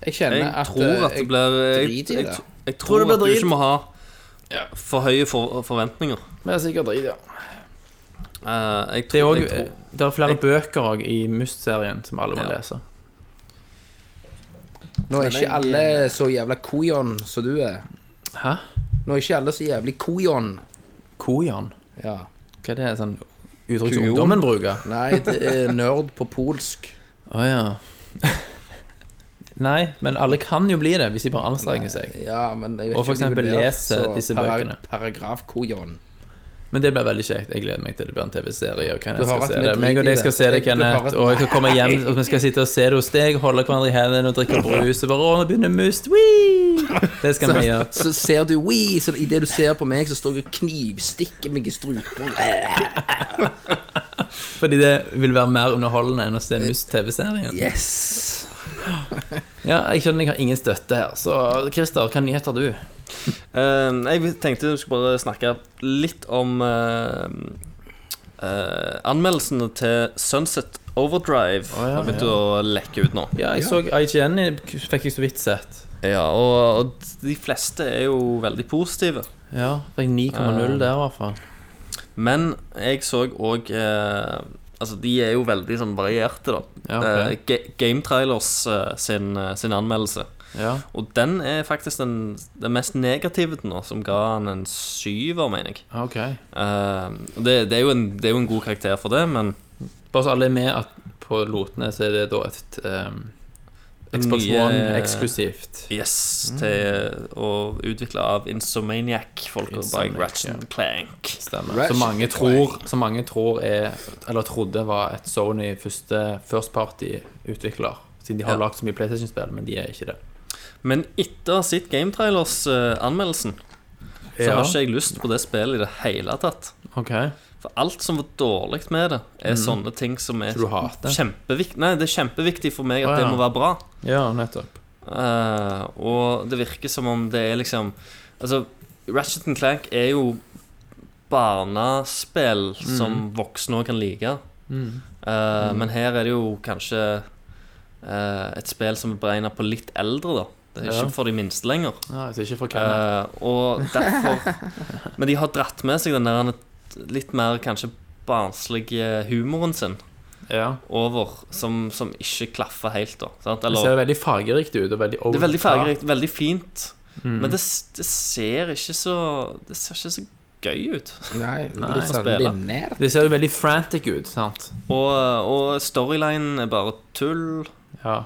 Speaker 6: Jeg kjenner
Speaker 7: Jeg
Speaker 6: at,
Speaker 7: tror at
Speaker 6: eh,
Speaker 7: det blir Jeg,
Speaker 6: drit i
Speaker 7: jeg,
Speaker 6: det.
Speaker 7: jeg tror
Speaker 5: det blir
Speaker 7: at du
Speaker 5: drit.
Speaker 7: ikke må ha for høye for, forventninger.
Speaker 5: Vi er sikkert drit, ja.
Speaker 7: Eh, jeg
Speaker 5: Det er,
Speaker 7: tror,
Speaker 5: også,
Speaker 7: jeg tror.
Speaker 5: det er flere bøker også i Must-serien som alle må
Speaker 7: Ja.
Speaker 5: lese.
Speaker 6: Nå er ikke alle så jævla kojon som du er.
Speaker 5: Hæ?
Speaker 6: Nå er ikke alle så jævlig kojon.
Speaker 5: Kojan?
Speaker 6: Ja.
Speaker 5: Hva er det sånn uttrykk som
Speaker 6: Kujon?
Speaker 5: ungdommen bruker?
Speaker 6: Nei, det er nerd på polsk.
Speaker 5: Å ja. Nei, men alle kan jo bli det hvis de bare anstrenger seg.
Speaker 6: Ja, men jeg vet
Speaker 5: Og for
Speaker 6: ikke om
Speaker 5: eksempel
Speaker 6: de vil være
Speaker 5: lese
Speaker 6: så
Speaker 5: disse
Speaker 6: para-
Speaker 5: bøkene.
Speaker 6: Paragraf kojon.
Speaker 5: Men det blir veldig kjekt. Jeg gleder meg til det blir en TV-serie. og Kenneth
Speaker 6: Du har
Speaker 5: skal
Speaker 6: rett,
Speaker 5: se
Speaker 6: vi
Speaker 5: det. Meg
Speaker 6: driter i
Speaker 5: og deg skal
Speaker 6: det.
Speaker 5: se det,
Speaker 6: Du har
Speaker 5: Kenneth.
Speaker 6: rett.
Speaker 5: Og jeg skal komme hjem, og vi skal sitte og se det hos deg, holde hverandre i hendene og drikke brus. Og bare, å, nå begynner Must! Wee! Det skal vi gjøre.
Speaker 6: Så ser du Wii, så idet du ser på meg, så står jeg og knivstikker meg i strupen.
Speaker 5: Fordi det vil være mer underholdende enn å se Must-TV-serien.
Speaker 6: Yes!
Speaker 5: Ja, jeg skjønner jeg har ingen støtte her. Så Christer, hva nyheter har du?
Speaker 7: Eh, jeg tenkte vi skulle bare snakke litt om eh, eh, anmeldelsene til Sunset Overdrive.
Speaker 5: ja,
Speaker 7: har begynt å lekke ut nå.
Speaker 5: Ja, jeg så IGN i- fikk jeg så vidt sett.
Speaker 7: Ja, og, og de fleste er jo veldig positive.
Speaker 5: Ja, fikk 9,0 der i hvert fall.
Speaker 7: Men jeg så òg Altså, de er jo veldig sånn varierte, da.
Speaker 5: Ja, ok.
Speaker 7: Eh, Ga- Game Trailers eh, sin, eh, sin anmeldelse.
Speaker 5: Ja.
Speaker 7: Og den er faktisk den, den mest negative til nå, som ga han en syver, mener jeg.
Speaker 5: Ok.
Speaker 7: Eh, og det, det, er jo en, det er jo en god karakter for det, men
Speaker 5: Bare så alle er med at på Lotene så er det da et ehm, Xbox
Speaker 7: Nye-
Speaker 5: One eksklusivt.
Speaker 7: yes
Speaker 5: Mm.
Speaker 7: til å utvikle av Insomaniac-folka bak
Speaker 5: Insomniac,
Speaker 7: Ratchet and Clank.
Speaker 5: Stemmer. Som mange tror, som mange tror er Eller trodde var et Sony første first party-utvikler. Siden de har
Speaker 7: Ja.
Speaker 5: lagd så mye PlayStation-spill, men de er ikke det.
Speaker 7: Men etter å ha sett Game Trailers-anmeldelsen, så
Speaker 5: Ja.
Speaker 7: har ikke jeg lyst på det spillet i det hele tatt.
Speaker 5: Ok.
Speaker 7: For alt som var dårlig med det, er sånne ting som er
Speaker 5: Mm. Så du hater?
Speaker 7: kjempeviktig Nei, det er kjempeviktig for meg at
Speaker 5: Å, ja.
Speaker 7: det må være bra.
Speaker 5: Ja, nettopp.
Speaker 7: Eh, og det virker som om det er liksom Altså, Ratchet and Clank er jo barnespill
Speaker 5: Mm.
Speaker 7: som voksne òg kan like. Eh, Men her er det jo kanskje eh, et spill som er beregna på litt eldre, da. Det er
Speaker 5: Ja.
Speaker 7: ikke for de minste lenger.
Speaker 5: Nei, så ikke for Kenneth.
Speaker 7: Eh, og derfor Men de har dratt med seg den der litt mer kanskje barnslige humoren sin
Speaker 5: ja.
Speaker 7: over, som, som ikke klaffer helt, da. Sant?
Speaker 5: Det ser
Speaker 7: Eller,
Speaker 5: veldig fargerikt ut. Og veldig
Speaker 7: det er veldig fargerikt, veldig fint,
Speaker 5: Mm.
Speaker 7: men det, s- det ser ikke så Det ser ikke så gøy ut.
Speaker 6: Nei,
Speaker 5: Nei.
Speaker 6: litt sånn
Speaker 7: Spille.
Speaker 6: linært.
Speaker 5: Det ser jo veldig frantic ut, sant?
Speaker 7: Og, og storylinen er bare tull.
Speaker 5: Ja.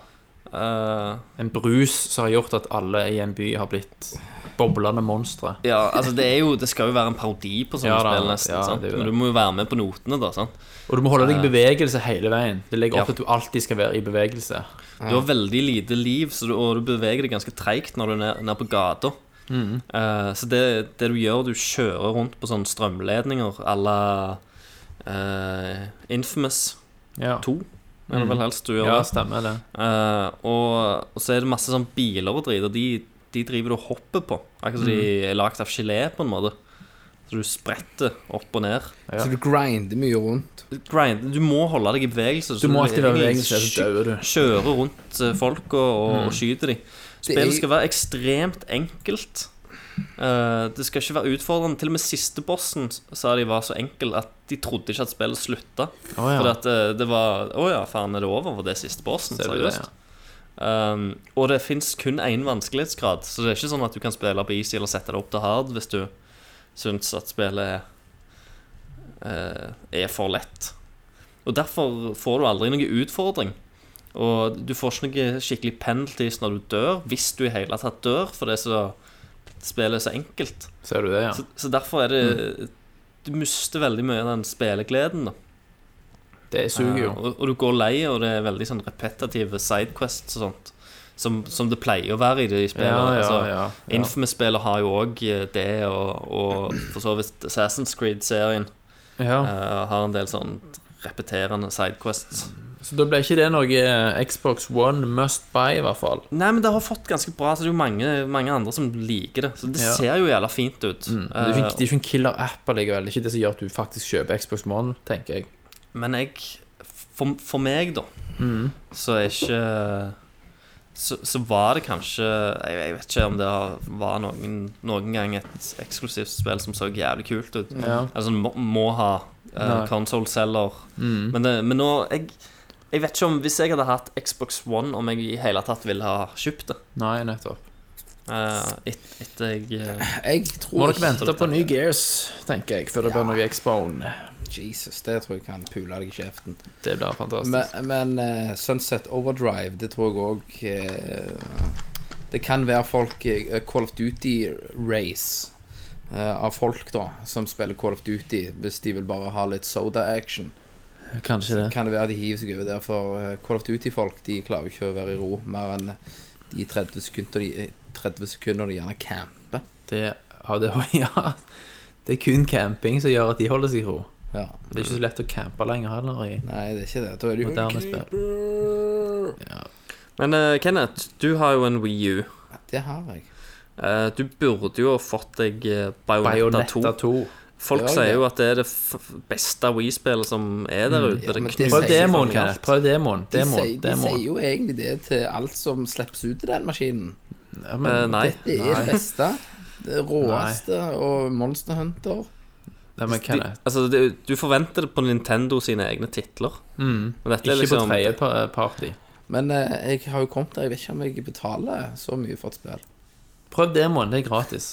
Speaker 7: Eh,
Speaker 5: En brus som har gjort at alle i en by har blitt boblende monstre.
Speaker 7: ja, altså det er jo Det skal jo være en parodi på sånne
Speaker 5: Ja da,
Speaker 7: spill, nesten.
Speaker 5: ja,
Speaker 7: sant?
Speaker 5: det er jo
Speaker 7: Men
Speaker 5: det.
Speaker 7: du må jo være med på notene, da. sant?
Speaker 5: Og du må holde deg i bevegelse hele veien. Det legger opp til
Speaker 7: Ja.
Speaker 5: at du alltid skal være i bevegelse.
Speaker 7: Du har veldig lite liv, så du, og du beveger deg ganske treigt når du er ned, ned på gata. Eh, så det, det du gjør, du kjører rundt på sånne strømledninger à la eh, Infamous
Speaker 5: Ja,
Speaker 7: 2, er det vel helst du gjør.
Speaker 5: ja
Speaker 7: det.
Speaker 5: stemmer det.
Speaker 7: Eh, og, og så er det masse sånn biler og drit, og de, de driver du og hopper på. Akkurat som de er lagd av gelé, på en måte. Så du spretter opp og ned.
Speaker 6: Så du grinder mye rundt.
Speaker 7: Grind, du må holde deg i bevegelse. så
Speaker 5: Du må alltid være i
Speaker 7: egentlig
Speaker 5: bevegelse, ellers
Speaker 7: sky-
Speaker 5: dauer du.
Speaker 7: Kjøre
Speaker 5: Mm.
Speaker 7: rundt eh, folk og, og, og skyte dem.
Speaker 6: Det er-
Speaker 7: Spillet skal være ekstremt enkelt. Eh, det skal ikke være utfordrende. Til og med siste bossen sa de var så enkel at de trodde ikke at spillet slutta.
Speaker 5: Å, ja.
Speaker 7: Fordi at eh, det var Å ja, faen, er det over for det er siste bossen?
Speaker 5: Ser du det,
Speaker 7: Seriøst. Um, og det fins kun én vanskelighetsgrad, så det er ikke sånn at du kan spille på easy eller sette det opp til hard hvis du syns at spillet er, eh, er for lett. Og derfor får du aldri noen utfordring. Og du får ikke noen skikkelig penalties når du dør, hvis du i hele tatt dør, for det er så, spillet er så enkelt.
Speaker 5: Ser du det, ja. Mm.
Speaker 7: Så, så derfor er det Du mister veldig mye av den spillegleden. da
Speaker 5: Det suger jo.
Speaker 7: Eh, og, og du går lei, og det er veldig sånn repetitive sidequests og sånt. Som, som det pleier å være i de spillene.
Speaker 5: Ja, ja,
Speaker 7: altså,
Speaker 5: ja, ja.
Speaker 7: Infamous-spillet har jo òg det, og, og for så vidt Assassin's Creed-serien
Speaker 5: Ja.
Speaker 7: eh, har en del sånn repeterende sidequests.
Speaker 5: Så da ble ikke det noe eh, Xbox One must buy, i hvert fall.
Speaker 7: Nei, men det har fått ganske bra, så det er jo mange, mange andre som liker det. Så det
Speaker 5: Ja. Mm,
Speaker 7: ser jo jævla fint ut.
Speaker 5: Det er
Speaker 7: Eh,
Speaker 5: ikke, det er ikke en killer app allikevel. Det er ikke det som gjør at du faktisk kjøper Xbox One, tenker jeg.
Speaker 7: Men jeg For, for meg, da, så er ikke så, så var det kanskje Jeg, jeg vet ikke om det har- var noen, noen gang et eksklusivt spill som så jævlig kult ut.
Speaker 5: Ja.
Speaker 7: Altså må, må ha uh,
Speaker 5: Nei.
Speaker 7: console-selger. Men, det- men nå jeg, jeg vet ikke om Hvis jeg hadde hatt Xbox One, om jeg i hele tatt ville ha kjøpt det.
Speaker 5: Nei, nettopp.
Speaker 7: eh, et, etter jeg eh,
Speaker 6: Jeg
Speaker 5: Må
Speaker 6: tror
Speaker 5: dere vente på ny Gears, tenker jeg, før det blir noe Xbone.
Speaker 6: Jesus, det tror jeg kan pule deg i kjeften.
Speaker 5: Det blir fantastisk.
Speaker 6: Men, men eh, Sunset Overdrive, det tror jeg òg Det kan være folk eh, Call of Duty Race eh, av folk da som spiller Call of Duty, hvis de vil bare ha litt soda action.
Speaker 5: Kanskje det.
Speaker 6: Kan det være de hiver seg over der, for eh, Call of Duty-folk de klarer jo ikke å være i ro mer enn de 30 sekunder de, 30 sekunder de gjerne camper.
Speaker 5: det ja, det, ja. det er kun camping som gjør at de holder seg i ro.
Speaker 6: Ja.
Speaker 5: Det er ikke så lett å campe lenger heller i
Speaker 6: Nei, det er ikke det. Da er det jo
Speaker 5: moderne spill.
Speaker 7: Men eh, Kenneth, du har jo en Wii U.
Speaker 6: Det har jeg.
Speaker 7: Eh, du burde jo ha fått deg eh, Bayonetta 2.
Speaker 5: Bayonetta 2.
Speaker 7: Folk
Speaker 6: Ja, det-
Speaker 7: sier jo at det er det f beste Wii-spillet som er der ute.
Speaker 6: ja,
Speaker 7: det
Speaker 6: men det
Speaker 7: knuser
Speaker 5: Prøv
Speaker 6: sier
Speaker 5: demoen,
Speaker 6: sånn
Speaker 5: Kenneth.
Speaker 6: alt.
Speaker 5: Prøv demoen.
Speaker 6: De,
Speaker 5: Demoen.
Speaker 6: sier, de
Speaker 5: demoen.
Speaker 6: sier jo egentlig det til alt som slippes ut i den maskinen.
Speaker 5: Ja, men
Speaker 7: Eh, nei.
Speaker 6: Det er det beste. Det råeste. Og Monster Hunter.
Speaker 5: Nei, men
Speaker 7: de,
Speaker 5: Kenneth.
Speaker 7: altså, det, du forventer det på Nintendo sine egne titler. Men dette
Speaker 5: Ikke
Speaker 7: er liksom
Speaker 5: på tredje pa- party.
Speaker 6: Men eh, jeg har jo kommet der. Jeg vet ikke om jeg betaler så mye for et spill.
Speaker 5: Prøv demoen. Det er gratis.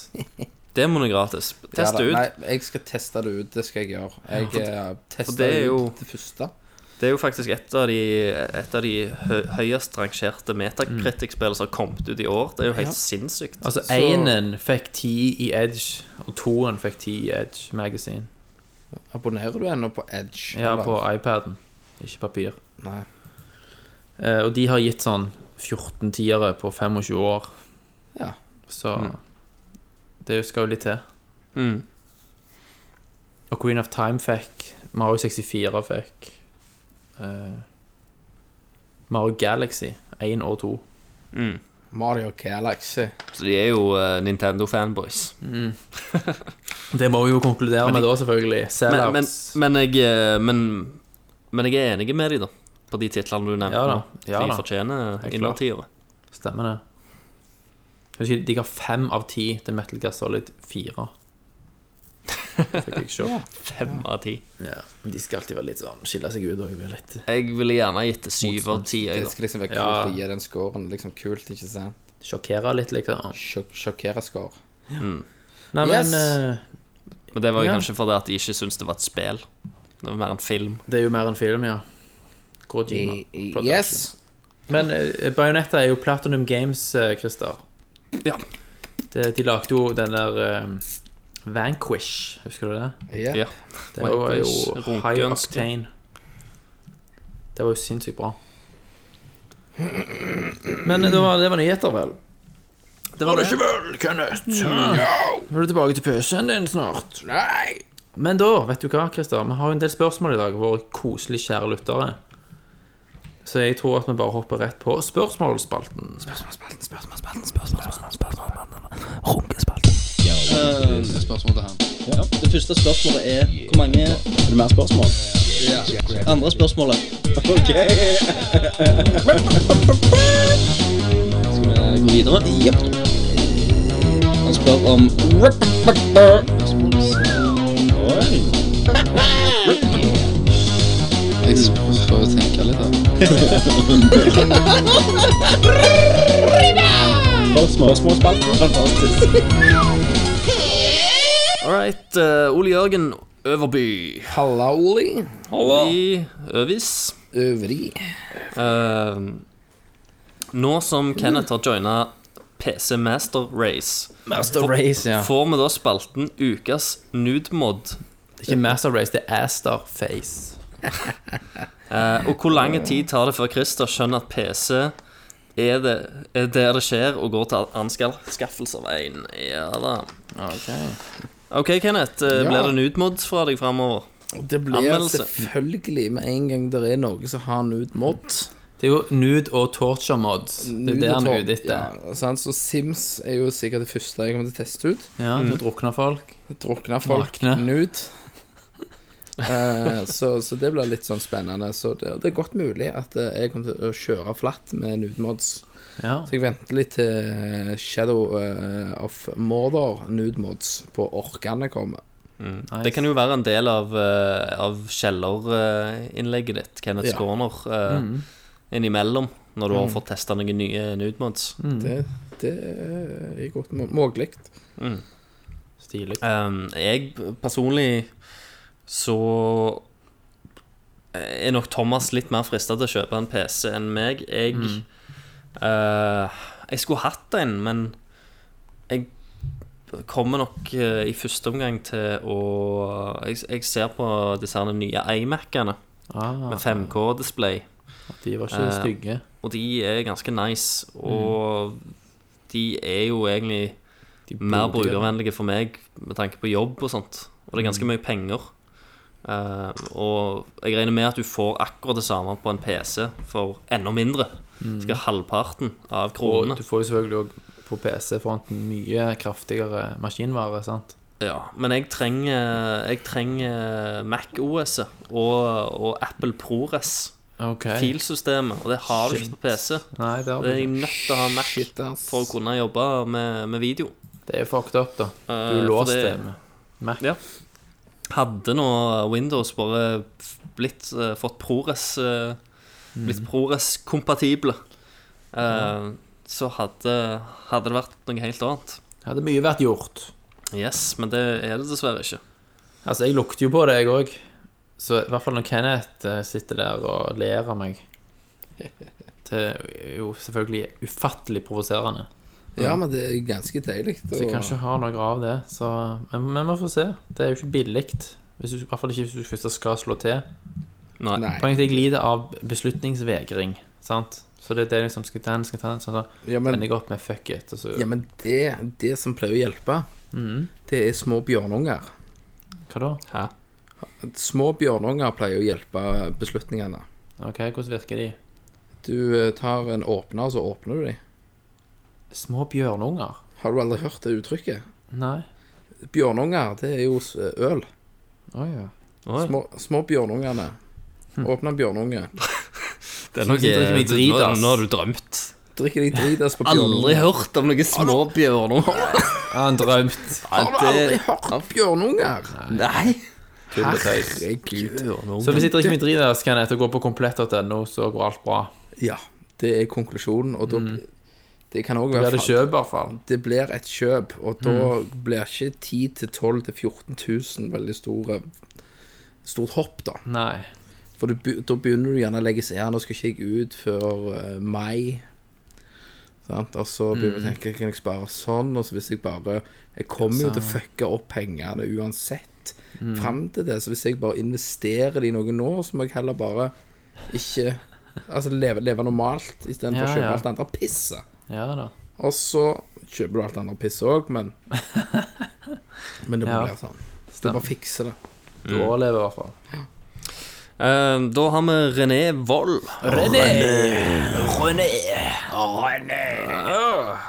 Speaker 7: demoen er gratis.
Speaker 6: Ja
Speaker 7: Test
Speaker 6: da,
Speaker 7: det ut.
Speaker 6: Nei, jeg skal teste det ut. Det skal jeg gjøre. Jeg eh, tester
Speaker 7: det er jo-
Speaker 6: ut det første.
Speaker 7: Det er jo faktisk et av de, et av de hø høyest rangerte Metacritic-spill som har kommet ut i år. Det er jo helt sinnssykt.
Speaker 5: Altså, énen fikk ti i Edge, og toeren fikk ti i Edge Magazine.
Speaker 6: Abonnerer du ennå på Edge?
Speaker 5: Ja,
Speaker 6: eller?
Speaker 5: på iPaden, ikke papir.
Speaker 6: Nei.
Speaker 5: Eh, og de har gitt sånn 14 tiere på 25 år,
Speaker 6: Ja.
Speaker 5: så det skal jo litt til.
Speaker 7: Mm.
Speaker 5: Og Queen of Time fikk Mario 64 fikk eh, Mario Galaxy 1 og 2.
Speaker 6: Mario Galaxy.
Speaker 7: Så de er jo eh, Nintendo-fanboys.
Speaker 5: Det må vi jo konkludere med da, selvfølgelig.
Speaker 7: Men, men,
Speaker 5: Sellouts.
Speaker 7: men, jeg, eh, men, men jeg er enig med de da. På de titlene du nevnte.
Speaker 5: Ja da,
Speaker 7: nå.
Speaker 5: ja
Speaker 7: de
Speaker 5: da.
Speaker 7: fortjener
Speaker 5: Helt klart.
Speaker 7: innertiere.
Speaker 5: Stemmer det. Husker, de ga fem av ti til Metal Gear Solid 4. Fikk jeg se.
Speaker 7: Fem av ti.
Speaker 5: Ja, men de skal alltid være litt sånn skille seg ut og bli litt
Speaker 7: Jeg ville gjerne gitt det syv av ti. jeg,
Speaker 6: Det
Speaker 7: da.
Speaker 6: skal liksom være kult
Speaker 5: Ja.
Speaker 6: å gi den scoren. Liksom kult, ikke sant?
Speaker 5: Sjokkere litt, liksom.
Speaker 6: Sjok Sjokkere score.
Speaker 5: Nei,
Speaker 6: Yes!
Speaker 5: men eh,
Speaker 7: Mm. Men det var jo
Speaker 5: Ja.
Speaker 7: kanskje fordi at de ikke syntes det var et spill. Det var mer en film.
Speaker 5: det er jo mer en film, ja. Kojima.
Speaker 6: I- i-
Speaker 5: Production.
Speaker 6: Yes!
Speaker 5: Men eh, Bayonetta er jo Platinum Games, eh, Christer.
Speaker 7: Ja.
Speaker 5: Det, de lagde jo den der eh, Vanquish, husker du det?
Speaker 6: Ja.
Speaker 7: Ja.
Speaker 5: Det var jo
Speaker 7: Vanquish,
Speaker 5: high
Speaker 7: runkeønske.
Speaker 5: octane. Det var jo sinnssykt bra. Men det var, det var nyheter, vel? Det var det ikke vel, Kenneth? Nå er du tilbake til pc-en din snart. Nei! Men da, vet du hva, Christer, vi har jo en del spørsmål i dag, våre koselig kjære lyttere. Så jeg tror at vi bare hopper rett på spørsmålsspalten.
Speaker 1: Det første spørsmålet er Hvor mange Er det mer spørsmål? Ja. Andre spørsmålet. Ok. Skal vi gå videre? Jepp. Han spør om Oi.
Speaker 9: Jeg s- prøver å tenke litt her.
Speaker 1: Spørsmålsspalten. Fantastisk.
Speaker 7: All right. eh, Ole Jørgen Øverby.
Speaker 6: Halla, Oli.
Speaker 7: I Øvis.
Speaker 6: Øvrig.
Speaker 7: Eh, nå som Kenneth har joina PC Master Race,
Speaker 5: Master Race, ja.
Speaker 7: får vi da spalten Ukas nudemod.
Speaker 5: Det er ikke Master Race, det er Aster Face.
Speaker 7: Eh, og hvor lang tid tar det før Christer skjønner at PC er, det, er der det skjer, og går til anskaffelse av en? Ja da. OK, Kenneth. eh,
Speaker 6: Ja.
Speaker 7: Blir det nudemod fra deg framover?
Speaker 6: Det blir
Speaker 7: Anmeldelse.
Speaker 6: selvfølgelig med en gang det er noe som har nude mod.
Speaker 5: Det er jo nude og torture mods. Det er det han er ute etter.
Speaker 6: Ja, sant? Så Sims er jo sikkert det første jeg kommer til å teste ut.
Speaker 5: Ja,
Speaker 7: Mm.
Speaker 5: du drukner folk.
Speaker 6: Drukne folk
Speaker 5: Nakne.
Speaker 6: nude. Eh, så, så det blir litt sånn spennende. Så det, det er godt mulig at eh, jeg kommer til å kjøre flatt med nude mods.
Speaker 5: Ja.
Speaker 6: Så jeg venter litt til Shadow eh, of Mordor nude mods på Orkane kommer.
Speaker 7: Mm. Det kan jo være en del av, eh, av Kjeller-innlegget ditt, Kenneth
Speaker 6: Ja. Mm.
Speaker 7: Skåner, eh, innimellom, når du har fått testa noen nye nudemods.
Speaker 5: Mm.
Speaker 6: Det, det er godt må- mulig.
Speaker 5: Stilig.
Speaker 7: Um, jeg personlig så er nok Thomas litt mer frista til å kjøpe en PC enn meg. Jeg eh, Jeg skulle hatt en, men jeg kommer nok eh, i første omgang til å Jeg, jeg ser på disse her nye iMac-ene
Speaker 5: Ah,
Speaker 7: med 5K-display.
Speaker 5: de var ikke
Speaker 7: Eh,
Speaker 5: stygge.
Speaker 7: Og de er ganske nice, og de er jo egentlig
Speaker 5: De
Speaker 7: mer
Speaker 5: burde-
Speaker 7: brukervennlige for meg med tanke på jobb og sånt. Og det er
Speaker 5: Mm.
Speaker 7: ganske mye penger. Eh, og jeg regner med at du får akkurat det samme på en PC for enda mindre. Skal halvparten
Speaker 5: Mm.
Speaker 7: av
Speaker 5: Og
Speaker 7: kronene.
Speaker 5: du får jo selvfølgelig også på PC-fronten mye kraftigere maskinvare, sant?
Speaker 7: Ja, men jeg trenger, jeg trenger MacOS-et og, og Apple ProRes.
Speaker 5: Ok.
Speaker 7: Filsystemet. Og det har du ikke på PC.
Speaker 5: Nei, det
Speaker 7: Det er
Speaker 5: er,
Speaker 7: jeg nødt til å ha Mac
Speaker 6: Shit, ass.
Speaker 7: for å kunne jobbe med, med video.
Speaker 5: det er fucked up, da. Du
Speaker 7: Eh,
Speaker 5: er
Speaker 7: for
Speaker 5: låst
Speaker 7: det-
Speaker 5: det med Mac.
Speaker 7: Ja. Hadde nå Windows bare blitt, eh, fått ProRes eh, Blitt ProRes-kompatible, eh, så hadde, hadde det vært noe helt annet.
Speaker 5: Hadde mye vært gjort.
Speaker 7: Yes, men det er det dessverre ikke.
Speaker 5: Altså, jeg lukter jo på det, jeg òg. Så i hvert fall når Kenneth eh, sitter der og ler av meg. Det er jo selvfølgelig ufattelig provoserende.
Speaker 6: Ja, men det er ganske deilig.
Speaker 5: Så jeg kan ikke ha noe av det. Så, men, men vi får se. Det er jo ikke billig. Hvis du- I hvert fall ikke hvis du først skal slå til.
Speaker 7: Nei.
Speaker 6: Nei.
Speaker 5: Poenget er at jeg lider av beslutningsvegring. Sant? Så det er det liksom Skal jeg ta den, skal jeg ta den? Sånn, så
Speaker 6: Ja, men,
Speaker 5: ender jeg opp med fuck it. Og så, Mm.
Speaker 6: ja, men det, det som pleier å hjelpe, det er små bjørnunger.
Speaker 5: Hva da? Hæ?
Speaker 6: Små bjørnunger pleier å hjelpe beslutningene.
Speaker 5: Ok, Hvordan virker de?
Speaker 6: Du eh, tar en åpner, så åpner du dem.
Speaker 5: Små bjørnunger?
Speaker 6: Har du aldri hørt det uttrykket?
Speaker 5: Nei.
Speaker 6: Bjørnunger, det er jo s- eh, øl.
Speaker 5: Å ja. Hm.
Speaker 7: Oi.
Speaker 6: Små, små bjørnungene. Åpne en bjørnunge.
Speaker 7: Det er eh,
Speaker 5: noe- nå- nå har
Speaker 7: du drømt.
Speaker 6: Drikker de dritas på
Speaker 7: Aldri
Speaker 6: bjørnunger.
Speaker 7: hørt om noen små bjørner.
Speaker 5: Han drømt.
Speaker 6: Har du aldri hørt om bjørnunger?
Speaker 7: Nei.
Speaker 6: Herregud.
Speaker 5: Så hvis jeg drikker mye drit, så kan jeg gå på komplett.no, så går alt bra.
Speaker 6: Ja, det er konklusjonen, og da Det kan òg
Speaker 5: Da blir Mm.
Speaker 6: være
Speaker 5: det
Speaker 6: fa-
Speaker 5: kjøp, Mm. i hvert fall.
Speaker 6: det blir et kjøp, og da blir ikke 10 til 12 til 14 000 veldig store, stort hopp, da.
Speaker 5: Nei.
Speaker 6: For du, be- da begynner du gjerne å legge seg ja, nå skal ikke jeg ut før eh, mai. Sant? Og så begynner du
Speaker 5: Mm.
Speaker 6: å tenke kan jeg spare sånn, og så hvis jeg bare Jeg kommer jo til
Speaker 5: Sånn.
Speaker 6: å fucke opp pengene uansett
Speaker 5: Mm.
Speaker 6: fram til det, så hvis jeg bare investerer det i noe nå, så må jeg heller bare ikke Altså leve, leve normalt istedenfor
Speaker 5: Ja,
Speaker 6: å kjøpe
Speaker 5: ja.
Speaker 6: alt det andre pisset.
Speaker 5: Ja da.
Speaker 6: Og så kjøper du alt det andre pisset òg, men Men det
Speaker 5: Ja.
Speaker 6: bare blir sånn. Så det bare fikser det.
Speaker 5: Du overlever i hvert fall.
Speaker 7: Eh, da har vi René Wold.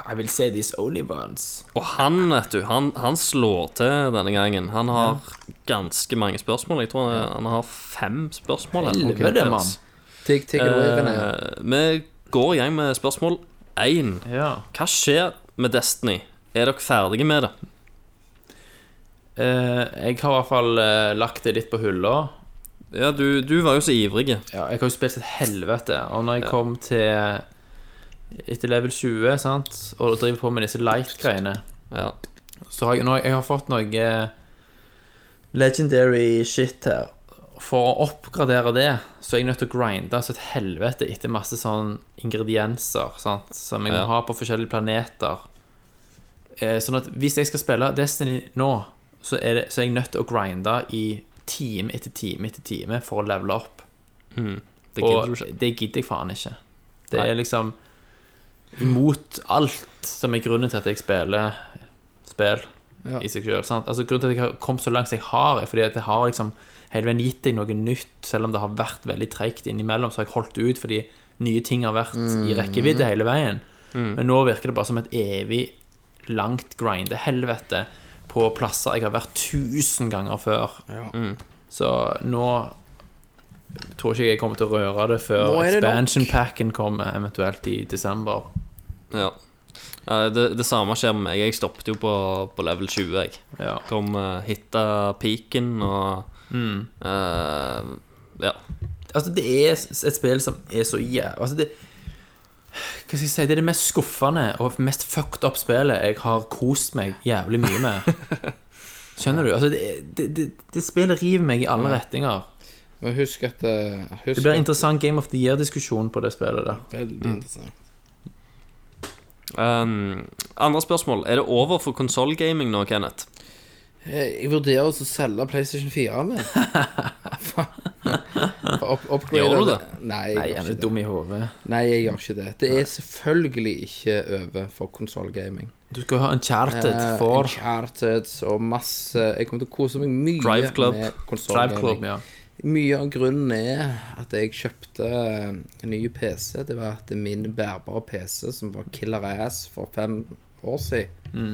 Speaker 5: I will say these only ones.
Speaker 7: Og han, vet du, han, han slår til denne gangen. Han har ganske mange spørsmål. Jeg tror han, han har fem spørsmål. eller Eh, noe
Speaker 5: Helvete,
Speaker 7: til
Speaker 5: mann.
Speaker 7: oss.
Speaker 6: Tigg, tigg, rørene.
Speaker 7: Eh, Vi går i gang med spørsmål 1.
Speaker 5: Ja.
Speaker 7: Hva skjer med Destiny Er dere ferdige med det?
Speaker 5: Eh, jeg har i hvert fall eh, lagt det litt på hylla.
Speaker 7: Ja, du, du var jo så ivrig.
Speaker 5: Ja, jeg har jo spilt et helvete. Og når jeg kom til etter level 20 sant, og driver på med disse light-greiene
Speaker 7: Ja.
Speaker 5: Så har jeg, nå, jeg har fått noe eh, legendary shit her. For å oppgradere det, så er jeg nødt til å grinde så et helvete etter masse sånn ingredienser sant, som jeg må
Speaker 7: Ja.
Speaker 5: ha på forskjellige planeter. Eh, sånn at hvis jeg skal spille Destiny nå, så er, det, så er jeg nødt til å grinde i time etter time etter time for å levele opp.
Speaker 7: Mm. Det
Speaker 5: Og
Speaker 7: gidder du ikke.
Speaker 5: det gidder jeg faen ikke. Det
Speaker 7: Nei.
Speaker 5: er liksom imot alt som er grunnen til at jeg spiller spill
Speaker 6: Ja.
Speaker 5: i seg sjøl. Altså, grunnen til at jeg har kommet så langt som jeg har, er fordi at det har liksom hele veien gitt deg noe nytt, selv om det har vært veldig treigt innimellom, så har jeg holdt ut fordi nye ting har vært
Speaker 6: Mm.
Speaker 5: i rekkevidde hele veien. Men nå virker det bare som et evig langt grindehelvete på plasser jeg har vært tusen ganger før. Mm. Så nå tror ikke jeg kommer til å røre det før
Speaker 6: Nå er det nok.
Speaker 5: expansion packen kommer eventuelt i desember.
Speaker 7: Ja. Eh, Det, det samme skjer med meg. Jeg stoppet jo på, på level 20. Jeg
Speaker 5: Ja.
Speaker 7: kom uh, hitta peaken og
Speaker 5: Mm.
Speaker 7: eh, Ja.
Speaker 5: Altså, det er et spill som er så jævlig altså, det, Hva skal jeg si? Det er det mest skuffende og mest fucked up spillet jeg har kost meg jævlig mye med. Skjønner du? Altså, det, det, det, det spillet river meg i alle retninger.
Speaker 6: Men husk at eh, husk
Speaker 5: Det blir Mm. en
Speaker 6: at-
Speaker 5: interessant Game of the Year-diskusjon på det spillet der.
Speaker 6: Veldig interessant.
Speaker 7: Um, andre spørsmål. Er det over for konsollgaming nå, Kenneth?
Speaker 6: Jeg Eh, jeg vurderer også å selge PlayStation 4 min. For å opp- oppgradere
Speaker 7: Gjør du det?
Speaker 6: Nei, jeg,
Speaker 5: Nei,
Speaker 6: gjør
Speaker 5: han
Speaker 6: ikke
Speaker 5: er dum i hodet.
Speaker 6: det. Nei, jeg gjør ikke det. Det er selvfølgelig ikke over for konsollgaming.
Speaker 5: Du skal jo ha Uncharted
Speaker 6: Eh,
Speaker 5: for
Speaker 6: Uncharted og masse Jeg kommer til å kose meg mye
Speaker 7: Drive Club.
Speaker 6: med
Speaker 5: Tribe Club,
Speaker 6: konsollgaming.
Speaker 5: ja.
Speaker 6: Mye av grunnen er at jeg kjøpte eh, en ny PC. Det var at min bærbare PC, som var killer ass for fem år siden,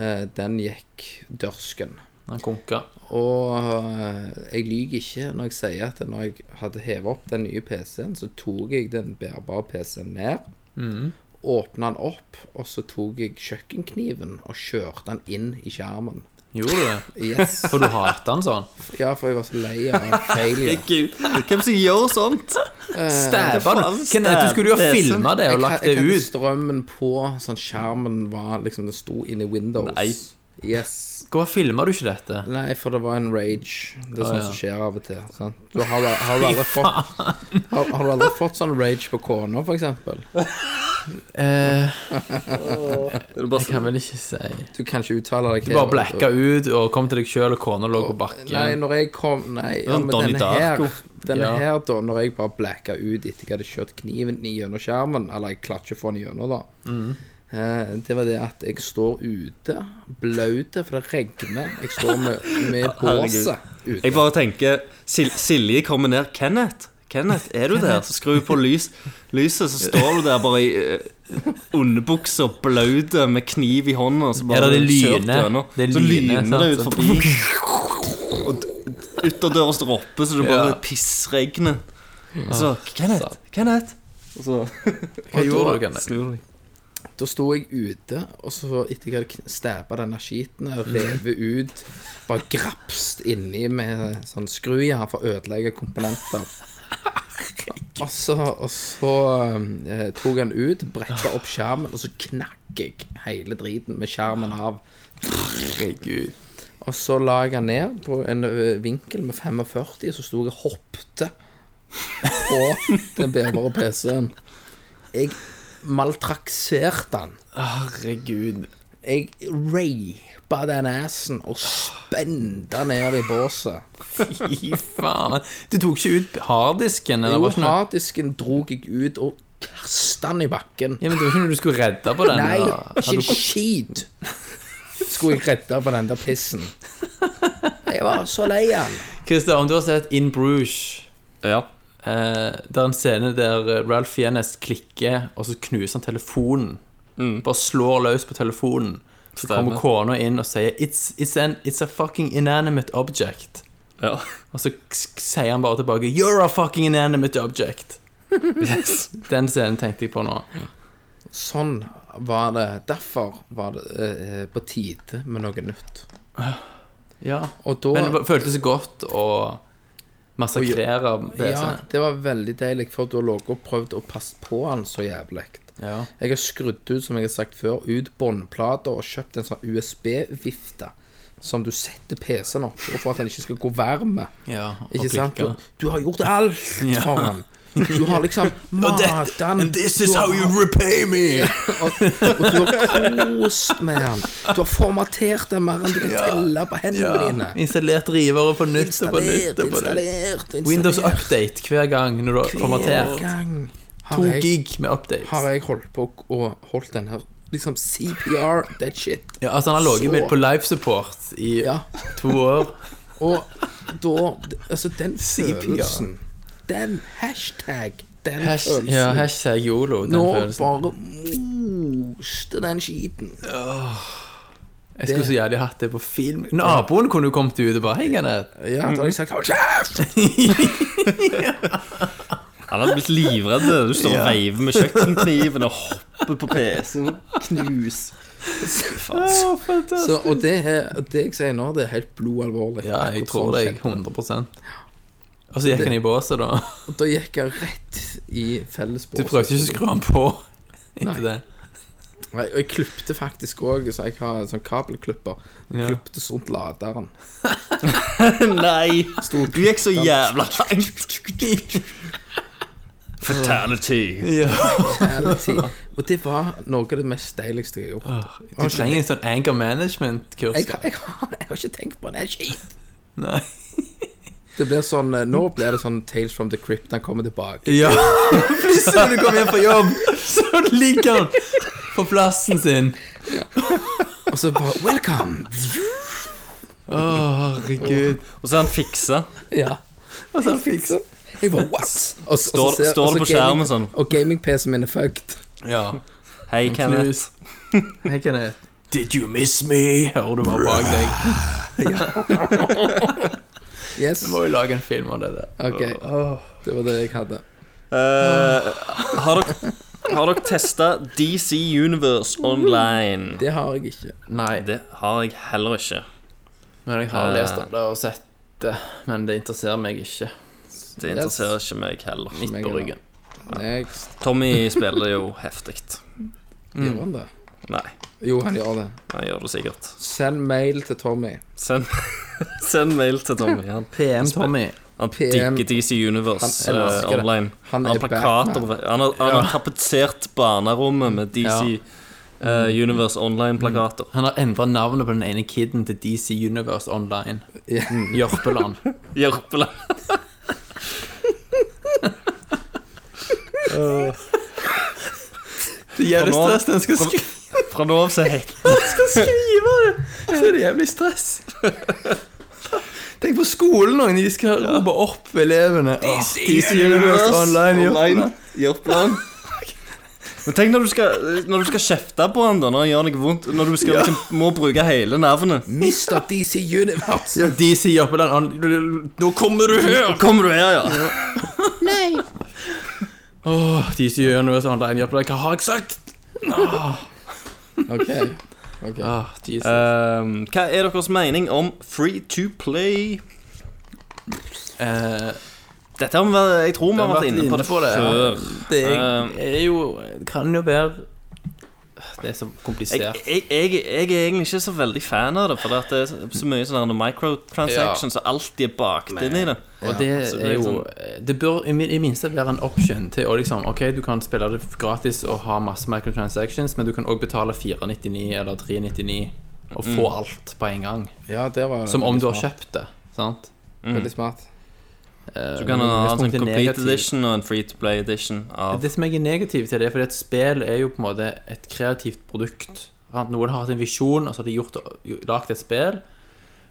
Speaker 6: eh, den gikk dørsken.
Speaker 5: Han konka.
Speaker 6: Og eh, jeg lyver ikke når jeg sier at når jeg hadde hevet opp den nye PC-en, så tok jeg den bærbare PC-en ned, åpnet åpna den opp, og så tok jeg kjøkkenkniven og kjørte den inn i skjermen.
Speaker 5: Gjorde du det?
Speaker 6: Yes.
Speaker 5: For du hater han sånn?
Speaker 6: Ja, for jeg var så lei av failure.
Speaker 7: Gud, hvem som gjør sånt?
Speaker 6: Eh,
Speaker 5: Stæva det!
Speaker 7: faen
Speaker 5: Kenneth, du skulle jo ha
Speaker 7: stab-
Speaker 5: filma det og lagt det
Speaker 6: Jeg hadde
Speaker 5: ut.
Speaker 6: strømmen på, sånn skjermen var liksom Den sto inni Windows.
Speaker 7: Nei.
Speaker 6: Yes.
Speaker 5: Hvorfor filma du ikke dette?
Speaker 6: Nei, for det var en rage. Det er
Speaker 5: Å,
Speaker 6: sånt
Speaker 5: ja.
Speaker 6: som skjer av og til. Sant? Du har, du- har, du aldri fått, har, har du aldri fått sånn rage på kona, for eksempel?
Speaker 5: Jeg kan vel ikke si
Speaker 6: Du kan ikke uttale deg.
Speaker 5: Du bare blacka ut og kom til deg sjøl, og kona lå på
Speaker 6: Nei,
Speaker 5: bakken.
Speaker 6: når jeg kom Nei, ja,
Speaker 7: Sånn
Speaker 6: men
Speaker 7: Donnie
Speaker 6: denne her,
Speaker 7: Darko.
Speaker 6: denne
Speaker 5: Ja.
Speaker 6: her da, når jeg bare blacka ut etter jeg hadde kjørt kniven i gjennom skjermen, eller jeg klarte ikke å få den gjennom, da.
Speaker 5: Mm.
Speaker 6: Eh, Det var det at jeg står ute, blaute, for det regner. Jeg står med, med båset ute.
Speaker 7: Jeg bare tenker Sil Silje kommer ned. Kenneth, Kenneth, er du der? Så skrur hun på lys, lyset, så står du der bare i uh, underbuksa, blaute, med kniv i hånda. Så bare
Speaker 5: Eller det
Speaker 7: kjørt
Speaker 5: lyner.
Speaker 7: gjennom.
Speaker 5: Det
Speaker 7: Så
Speaker 5: lyner,
Speaker 7: lyner det ut
Speaker 5: sant?
Speaker 7: forbi. Og d- ytterdøra stropper, så det bare
Speaker 5: Ja. Ah,
Speaker 7: pissregner. Og Så Kenneth, Kenneth. Og så
Speaker 5: Hva gjorde du, Kenneth?
Speaker 7: snur du deg.
Speaker 6: Da sto jeg ute, og så etter jeg hadde stæpa denne skiten og revet ut, bare grapst inni med sånn skrujern for å ødelegge komponenter. Og så, og så eh, tok han ut, brekka opp skjermen, og så knakk jeg hele driten med skjermen av. Og så la jeg den ned på en ø, vinkel med 45, og så sto jeg og hoppte på den bærbare PC-en. Jeg maltrakserte den.
Speaker 5: Herregud.
Speaker 6: Jeg rapa den assen og spenda ned i båset.
Speaker 5: Fy faen. Du tok ikke ut harddisken? Eller
Speaker 6: Jo,
Speaker 5: var ikke noe?
Speaker 6: harddisken dro jeg ut og kasta den i bakken.
Speaker 5: Ja, men Det var ikke noe du skulle redde på den?
Speaker 6: Nei,
Speaker 5: eller?
Speaker 6: ikke skit skulle jeg redde på den der pissen. Jeg var så lei av den.
Speaker 5: Christer, om du har sett In Bruges
Speaker 7: Ja.
Speaker 5: eh, Det er en scene der eh, Ralph Fiennes klikker, og så knuser han telefonen. Bare slår løs på telefonen. Så
Speaker 7: Stemmer.
Speaker 5: kommer kona inn og sier it's, it's, an, 'It's a fucking inanimate object'.
Speaker 7: ja.
Speaker 5: Og så k- k- sier han bare tilbake 'You're a fucking inanimate object'. Den scenen tenkte jeg på nå.
Speaker 6: Sånn var det. Derfor var det eh, på tide med noe nytt.
Speaker 5: Ja.
Speaker 6: Og da
Speaker 5: Men det føltes godt å massakrere
Speaker 6: Ja,
Speaker 5: PC-ene.
Speaker 6: det var veldig deilig, for da lå jeg og prøvde å passe på han så jævlig.
Speaker 5: Ja.
Speaker 6: Jeg har skrudd ut, som jeg har sagt før, ut båndplater og kjøpt en sånn USB-vifte som du setter PC-en opp og for at den ikke skal gå varm.
Speaker 5: Ja, og
Speaker 6: Ikke sant?
Speaker 5: klikke.
Speaker 6: Du, du har gjort alt for han. Du har liksom matet han. Du har-
Speaker 5: repay me!
Speaker 6: og, og du har kost med han. Du har formatert den mer enn du kan telle på hendene dine.
Speaker 5: Installert rivere på nytt og på nytt. og på nytt.
Speaker 6: installert, installert.
Speaker 5: Windows Update hver gang når du har formatert.
Speaker 6: Gang. Har
Speaker 5: To
Speaker 6: jeg,
Speaker 5: gig med updates.
Speaker 6: har jeg holdt på å- å holdt den her liksom CPR, that shit.
Speaker 5: Ja, altså Han har ligget
Speaker 6: Så-
Speaker 5: med- på live support i
Speaker 6: Ja.
Speaker 5: to år.
Speaker 6: Og da Altså, den
Speaker 5: CPR.
Speaker 6: følelsen Den hashtag, den
Speaker 5: Hash,
Speaker 6: følelsen
Speaker 5: ja, hashtag YOLO. Den
Speaker 6: Nå
Speaker 5: følelsen.
Speaker 6: bare moste den skiten.
Speaker 5: Jeg skulle så gjerne hatt det på film. Naboen kunne jo kommet ut og bare Hei, Kenneth.
Speaker 6: Ja, da har jeg sagt Hold kjeft!
Speaker 7: Han hadde blitt livredd. Du står og veiver med kjøkkenkniven og hopper på PC-en. Knus.
Speaker 6: Så, og det, er- det jeg sier nå, det er helt blodalvorlig.
Speaker 5: Ja, jeg
Speaker 6: Akkurat
Speaker 5: tror
Speaker 6: sånn
Speaker 5: deg
Speaker 6: kjent.
Speaker 5: 100 Og så gikk han i båset, da.
Speaker 6: Og da gikk jeg rett i fellesbåsen.
Speaker 5: Du prøvde ikke å skru han på etter det.
Speaker 6: Nei, og jeg klipte faktisk òg, så jeg har en sånn kabelklipper.
Speaker 5: Ja.
Speaker 6: Ja. Klipte rundt laderen.
Speaker 7: Nei! Du gikk så jævla langt. Fatality.
Speaker 6: Hele tiden. Og det var noe av det mest deiligste jeg har gjort.
Speaker 5: Du trenger en sånn anger management-kurs.
Speaker 6: Jeg, har- jeg, har, jeg har ikke tenkt på det. det. er skit.
Speaker 5: Nei.
Speaker 6: Det blir sånn, eh, Nå blir det sånn Tales from the Crypt, han kommer tilbake.
Speaker 5: Ja. Plutselig når du kommer hjem fra jobb, så ligger han på plassen sin.
Speaker 6: Og så bare Welcome!
Speaker 5: Å, herregud.
Speaker 7: Og så er han fiksa.
Speaker 6: Ja.
Speaker 5: Og så fikk
Speaker 6: Jeg bare What? Og, så-
Speaker 7: Står-
Speaker 6: og så ser-
Speaker 7: står
Speaker 6: og så
Speaker 7: det på
Speaker 6: gaming-
Speaker 7: skjermen sånn.
Speaker 6: Og gaming-PC-en min er fucked.
Speaker 5: Ja.
Speaker 7: Hei, Kenneth.
Speaker 5: Knus. Hei, Kenneth. Did you miss me? Hører du bare bak deg.
Speaker 6: Yes.
Speaker 5: Du må jo lage en film av det der.
Speaker 6: Ok, det var det jeg hadde.
Speaker 7: Eh, har dere, har dere testa DC Universe online?
Speaker 6: Det har jeg ikke.
Speaker 5: Nei,
Speaker 7: Det har jeg heller ikke.
Speaker 5: men jeg har lest om det og sett det. Men det interesserer meg ikke.
Speaker 7: Det interesserer ikke meg heller.
Speaker 5: Midt på ryggen.
Speaker 6: Next.
Speaker 7: Tommy spiller jo heftig.
Speaker 5: Mm.
Speaker 6: Gjør han det?
Speaker 7: Nei,
Speaker 6: Jo, han gjør det.
Speaker 7: han gjør det sikkert.
Speaker 6: Send mail til Tommy.
Speaker 7: Send, send mail til Tommy. Han,
Speaker 5: PM Tommy.
Speaker 7: han
Speaker 6: PM.
Speaker 7: digger DC Universe
Speaker 6: Han
Speaker 7: eh,
Speaker 6: elsker det.
Speaker 7: online.
Speaker 6: Han
Speaker 7: Han,
Speaker 6: er
Speaker 7: har plakater
Speaker 6: Batman.
Speaker 7: Han har, han har tapetsert barnerommet med DC eh, Universe Online-plakater.
Speaker 5: Han har endra navnet på den ene kiden til DC Universe Online. Jørpeland.
Speaker 7: Mm. Hjelpelig.
Speaker 5: Det er
Speaker 7: jævlig stress
Speaker 5: når en skal
Speaker 7: Fra nå av så heter
Speaker 5: skrive det. Så er det jævlig stress. Tenk på skolen når de skal rope opp elevene. DC, Universe Online. Jørpeland.
Speaker 7: Hjelpelig. Men tenk når du skal, når du skal kjefte på han da, når han gjør noe vondt. Når du skal, liksom, må bruke hele navnet.
Speaker 6: Mr. DC Universe!
Speaker 5: Ja, DC Jørpeland. han- Nå kommer du her!
Speaker 7: Kommer du her, ja?
Speaker 5: Åh, DC Universe sånn Online Jørpeland. Hva har jeg sagt?
Speaker 6: Ok.
Speaker 5: Åh, Jesus.
Speaker 7: Ehm, hva er deres mening om free to play?
Speaker 5: Eh,
Speaker 7: Dette har vi vært, jeg tror vi har
Speaker 5: har
Speaker 7: vært inne på det
Speaker 5: det.
Speaker 7: før.
Speaker 5: det er, er
Speaker 7: Eh,
Speaker 5: jo det Kan jo være Det er så
Speaker 7: Jeg,
Speaker 5: komplisert.
Speaker 7: jeg, jeg, jeg er egentlig ikke så veldig fan av det, for det er så mye sånne microtransactions, og alt de er bakt inn i det.
Speaker 5: Og det
Speaker 6: altså,
Speaker 7: så det er
Speaker 5: er jo
Speaker 6: liksom-
Speaker 5: Det bør i min- i minste være en option til å liksom OK, du kan spille det gratis og ha masse microtransactions, men du kan òg betale 499 eller 399 og få alt på en gang.
Speaker 6: Mm. Ja, det var
Speaker 5: Som om
Speaker 6: veldig
Speaker 5: du har Mm.
Speaker 6: smart.
Speaker 5: kjøpt det. Sant?
Speaker 6: Veldig smart.
Speaker 7: Du kan ha en sånn
Speaker 5: Utgangspunktet er
Speaker 7: complete
Speaker 5: negativt.
Speaker 7: edition og en free to play edition av
Speaker 5: Det som jeg er negativ til, det er fordi at spill er jo på en måte et kreativt produkt. Sant? Noen har hatt en visjon, og så har de gjort, lagt et spill.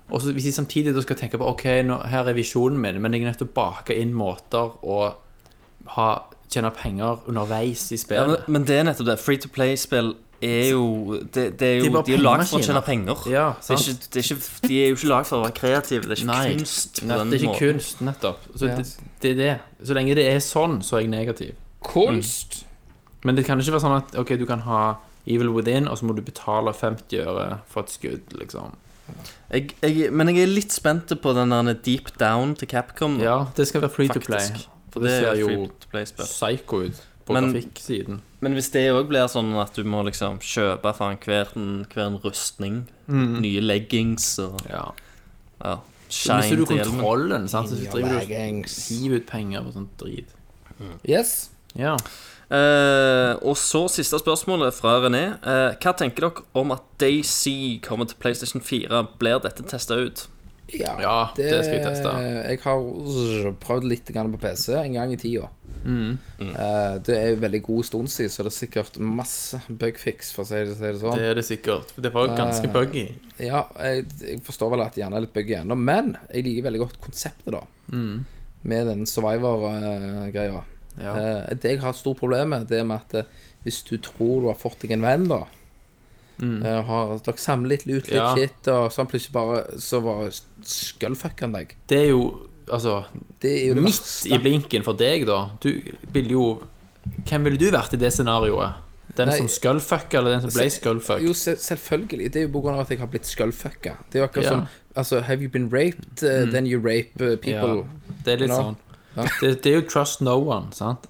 Speaker 5: Og så hvis de samtidig da skal tenke på Ok, nå, her er visjonen min, men jeg er nødt til å bake inn måter å ha, tjene penger underveis i
Speaker 7: ja, men,
Speaker 5: spillet.
Speaker 7: men det er nettopp det. Free to play-spill er jo Det, det er
Speaker 5: De
Speaker 7: jo
Speaker 5: er bare
Speaker 7: De er lagd for å tjene
Speaker 5: pengemaskiner.
Speaker 7: penger.
Speaker 5: Ja,
Speaker 7: det er
Speaker 5: sant.
Speaker 7: ikke, det er ikke, de er jo ikke lagd for å være kreative. Det er ikke
Speaker 5: Nei.
Speaker 7: kunst. på
Speaker 5: Nei,
Speaker 7: den
Speaker 5: det er ikke
Speaker 7: måten.
Speaker 5: kunst, nettopp. Så
Speaker 6: Ja.
Speaker 5: det, det er det. Så lenge det er sånn, så er jeg negativ.
Speaker 6: Kunst!
Speaker 5: Men det kan ikke være sånn at Ok, du kan ha Evil Within, og så må du betale 50 øre for et skudd, liksom.
Speaker 7: Jeg, jeg, men jeg er litt spent på den der deep down til Capcom. nå,
Speaker 5: Ja, det skal være free to play.
Speaker 7: faktisk.
Speaker 5: For
Speaker 7: Det
Speaker 5: det
Speaker 7: er
Speaker 5: ser
Speaker 7: jo
Speaker 5: jo
Speaker 7: free-to-play-spill.
Speaker 5: psycho ut på
Speaker 7: Men-
Speaker 5: grafikksiden.
Speaker 7: Men hvis det òg blir sånn at du må liksom kjøpe for hver en, hver en rustning, nye leggings og
Speaker 5: Mm. Ja.
Speaker 7: ja,
Speaker 5: Så mister
Speaker 7: shine
Speaker 5: du
Speaker 7: til hjelmen
Speaker 5: kontrollen, sant? så driver du
Speaker 6: Gangs.
Speaker 5: hiver ut penger på sånt drit.
Speaker 6: Yes.
Speaker 5: Ja.
Speaker 7: Eh, og så siste spørsmålet fra René. Eh, hva tenker dere om at Daisy kommer til PlayStation 4? Blir dette testa ut?
Speaker 6: Ja,
Speaker 5: Ja, det skal jeg teste.
Speaker 6: Jeg har prøvd litt grann på PC en gang i tida.
Speaker 5: Mm.
Speaker 6: Eh, det er jo veldig god stund siden, så det er sikkert masse bugfix, for å si det, si det sånn.
Speaker 5: Det er det sikkert. For det var jo ganske buggy.
Speaker 6: Ja, jeg, jeg forstår vel at det gjerne er litt buggy ennå, men jeg liker veldig godt konseptet, da. Med den
Speaker 5: Mm.
Speaker 6: survivor-greia. Eh,
Speaker 5: Ja.
Speaker 6: det jeg har et stort problem med, det er med at eh, hvis du tror du har fått deg en venn, da eh, har, Dere samler litt lut, litt
Speaker 5: Mm. Ja.
Speaker 6: shit, og sånn plutselig bare Så bare skullfucker han deg.
Speaker 5: Det er jo altså
Speaker 6: Det er jo det
Speaker 5: midt
Speaker 6: verste.
Speaker 5: i blinken for deg, da. Du ville jo Hvem ville du vært i det scenarioet? Den
Speaker 6: Nei.
Speaker 5: som skullfucka, eller den som ble
Speaker 6: Se-
Speaker 5: skullfucked?
Speaker 6: Jo, se- selvfølgelig. Det er jo på grunn av at jeg har blitt skullfucka. Det er jo akkurat
Speaker 5: Ja. Mm.
Speaker 6: som altså, Have you been raped? eh, Then you rape eh, people.
Speaker 5: Ja, det er litt
Speaker 6: You know?
Speaker 5: sånn. Det, det er jo trust no one, sant?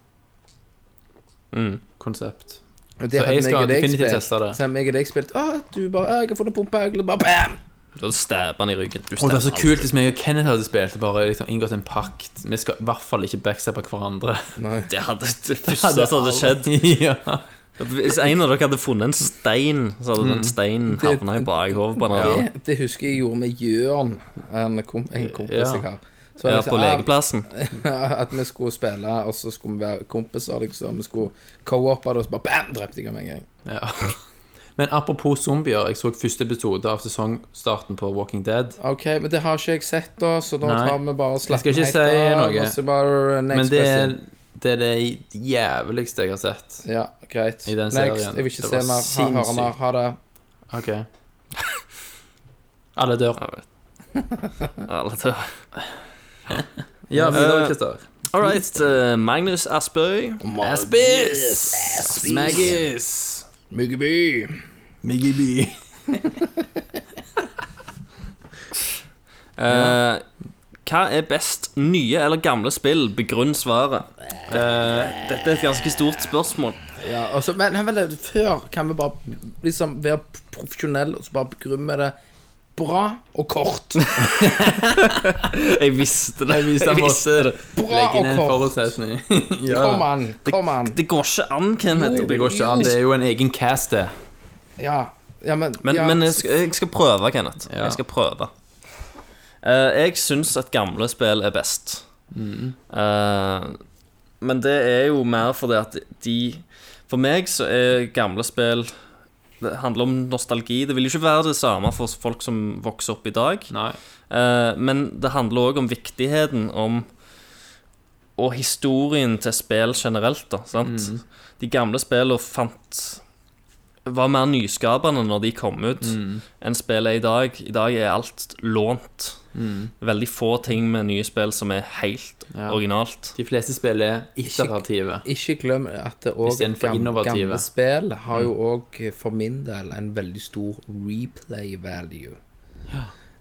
Speaker 7: Mm.
Speaker 5: Konsept.
Speaker 6: Og
Speaker 5: Så jeg skal
Speaker 6: og deg
Speaker 5: definitivt
Speaker 6: spilt.
Speaker 5: teste det.
Speaker 6: Så har meg og deg spilt Å, du bare «Å, Jeg har funnet pumpa. Jeg bare bam!
Speaker 7: Da stabber han i ryggen.
Speaker 5: Og det
Speaker 7: Du stabber
Speaker 5: er så
Speaker 7: han.
Speaker 5: kult hvis meg og Kenneth hadde spilt og bare liksom inngått en pakt. Vi skal i hvert fall ikke backsteppe hverandre.
Speaker 7: Det hadde det første som hadde skjedd.
Speaker 5: ja.
Speaker 7: Hvis en av dere hadde funnet en stein, så hadde
Speaker 5: Mm.
Speaker 7: den steinen havna i bakhodet på en annen.
Speaker 6: Det, det husker jeg gjorde med Jørn, en, kom, en kompis
Speaker 5: Ja.
Speaker 6: jeg har. Så
Speaker 7: Ja,
Speaker 6: jeg sa,
Speaker 7: på legeplassen.
Speaker 6: «Ah, At vi skulle spille, og så skulle vi være kompiser, liksom. Vi skulle co-oppe det, og så bare bam! Drepte jeg ham en gang.
Speaker 5: ja. Men apropos zombier, jeg så første episode av sesongstarten på Walking Dead.
Speaker 6: OK, men det har ikke jeg sett, da, så da
Speaker 5: Nei.
Speaker 6: tar vi bare og
Speaker 5: Jeg skal
Speaker 6: slapper
Speaker 5: ikke si noe.
Speaker 6: og så bare next
Speaker 5: Men det er,
Speaker 6: question.
Speaker 5: det er det jævligste jeg har sett.
Speaker 6: Ja, greit.
Speaker 5: i den
Speaker 6: next.
Speaker 5: serien.
Speaker 6: Jeg vil ikke
Speaker 5: Det
Speaker 6: se
Speaker 5: var
Speaker 6: mer, ha, høre mer. Ha det.
Speaker 5: Ok. Alle dør.
Speaker 7: Alle dør.
Speaker 5: Ja,
Speaker 7: Eh,
Speaker 5: videre, Christer.
Speaker 7: All right. eh, Magnus Aspøy.
Speaker 6: oh
Speaker 5: Aspis! Smaggis!
Speaker 6: Muggeby.
Speaker 5: Miggyby.
Speaker 7: Eh, hva er best, nye eller gamle spill? Begrunn svaret. Eh, dette er et ganske stort spørsmål.
Speaker 6: Ja, altså, men, men vent, før kan vi bare liksom være profesjonelle og så bare begrunne det bra og kort.
Speaker 7: Jeg visste det.
Speaker 5: Hvis jeg
Speaker 7: Jeg visste
Speaker 5: måtte
Speaker 6: Bra
Speaker 5: legge
Speaker 6: og
Speaker 5: inn en
Speaker 6: kort.
Speaker 5: forutsetning.
Speaker 6: Kom an, kom an.
Speaker 7: Det går ikke an, Kenneth.
Speaker 5: Det går ikke an. Det er jo en egen cast, det.
Speaker 6: Ja, ja men,
Speaker 7: Men,
Speaker 6: ja,
Speaker 7: men jeg, skal, jeg skal prøve, Kenneth. Jeg skal prøve. Eh, jeg syns at gamle spill er best. Eh, men det er jo mer fordi at de For meg så er gamle spill Det handler om nostalgi. Det vil jo ikke være det samme for folk som vokser opp i dag.
Speaker 5: Nei.
Speaker 7: Eh, men det handler òg om viktigheten om Og historien til spill generelt, da. Sant? De gamle spillene fant Var mer nyskapende når de kom ut,
Speaker 5: Mm.
Speaker 7: enn spill er i dag. I dag er alt lånt.
Speaker 5: Mm.
Speaker 7: Veldig få ting med nye spill som er helt originalt.
Speaker 5: De fleste spill er iterative.
Speaker 6: ikke glem at det òg
Speaker 5: Istedenfor
Speaker 6: gamle,
Speaker 5: innovative.
Speaker 6: gamle spill har jo òg for min del en veldig stor replay value.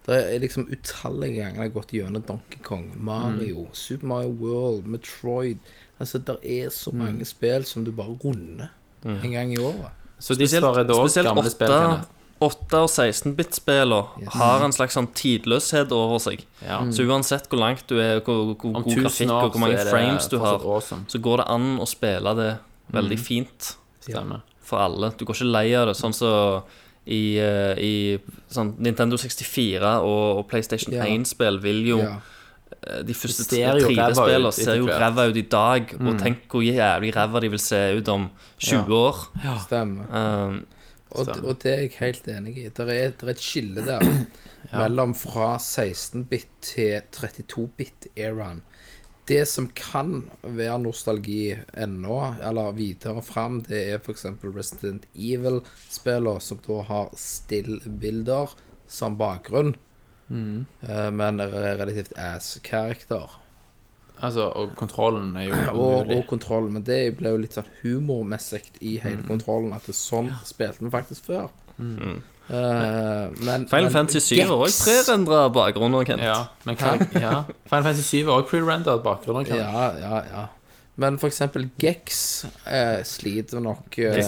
Speaker 6: Det er liksom utallige ganger jeg har gått gjennom Donkey Kong, Mario, Super Mario World, Metroid Altså, det er så mange spill som du bare runder en gang i året.
Speaker 5: Så de svarer da
Speaker 7: spesielt
Speaker 5: gamle spill, Kenneth.
Speaker 7: 8 og 16-bit-spillene
Speaker 6: Yes.
Speaker 7: har en slags sånn tidløshet over seg.
Speaker 5: Ja.
Speaker 7: Så uansett hvor langt du er, hvor, hvor
Speaker 5: Mm. Om
Speaker 7: Mm. god
Speaker 5: tusen
Speaker 7: grafikk
Speaker 5: år
Speaker 7: og hvor mange
Speaker 5: så er det
Speaker 7: frames du har,
Speaker 5: fortsatt Mm. awesome.
Speaker 7: så går det an å spille det veldig fint
Speaker 5: Stemmer.
Speaker 7: for alle. Du går ikke lei av det. Sånn som i, eh, i sånn Nintendo 64 og, og PlayStation
Speaker 6: Ja.
Speaker 7: 1-spill vil jo
Speaker 6: Ja.
Speaker 7: eh, De første
Speaker 5: Det ser jo ræva ut
Speaker 7: 3D-spillene ser jo
Speaker 5: etter hvert.
Speaker 7: ræva ut i dag,
Speaker 6: Mm.
Speaker 7: og tenk hvor jævlig ræva de vil se ut om 20 år.
Speaker 6: Stemmer.
Speaker 7: Um,
Speaker 6: Og, d- og det er jeg helt enig i. Det er, der er et skille der mellom fra 16-bit til 32-bit-eraen. Det som kan være nostalgi ennå, eller videre fram, det er f.eks. Resident Evil-spillene, som da har still-bilder som bakgrunn, eh, men er relativt ass-character.
Speaker 5: Altså, og kontrollen er jo
Speaker 6: og,
Speaker 5: umulig.
Speaker 6: og kontroll, men det ble jo litt sånn humormessig i hele kontrollen. At det er sånn spilte vi faktisk før. Eh, men,
Speaker 7: Final
Speaker 6: men-
Speaker 7: Fantasy 7 var også
Speaker 6: Gex-
Speaker 7: prerendra bakgrunner, Kent.
Speaker 5: Ja, men hva ja. Final Fantasy 7 er også pre-rendered bakgrunner. kan-
Speaker 6: Ja, ja, ja. Men for eksempel Gex eh, sliter nok eh,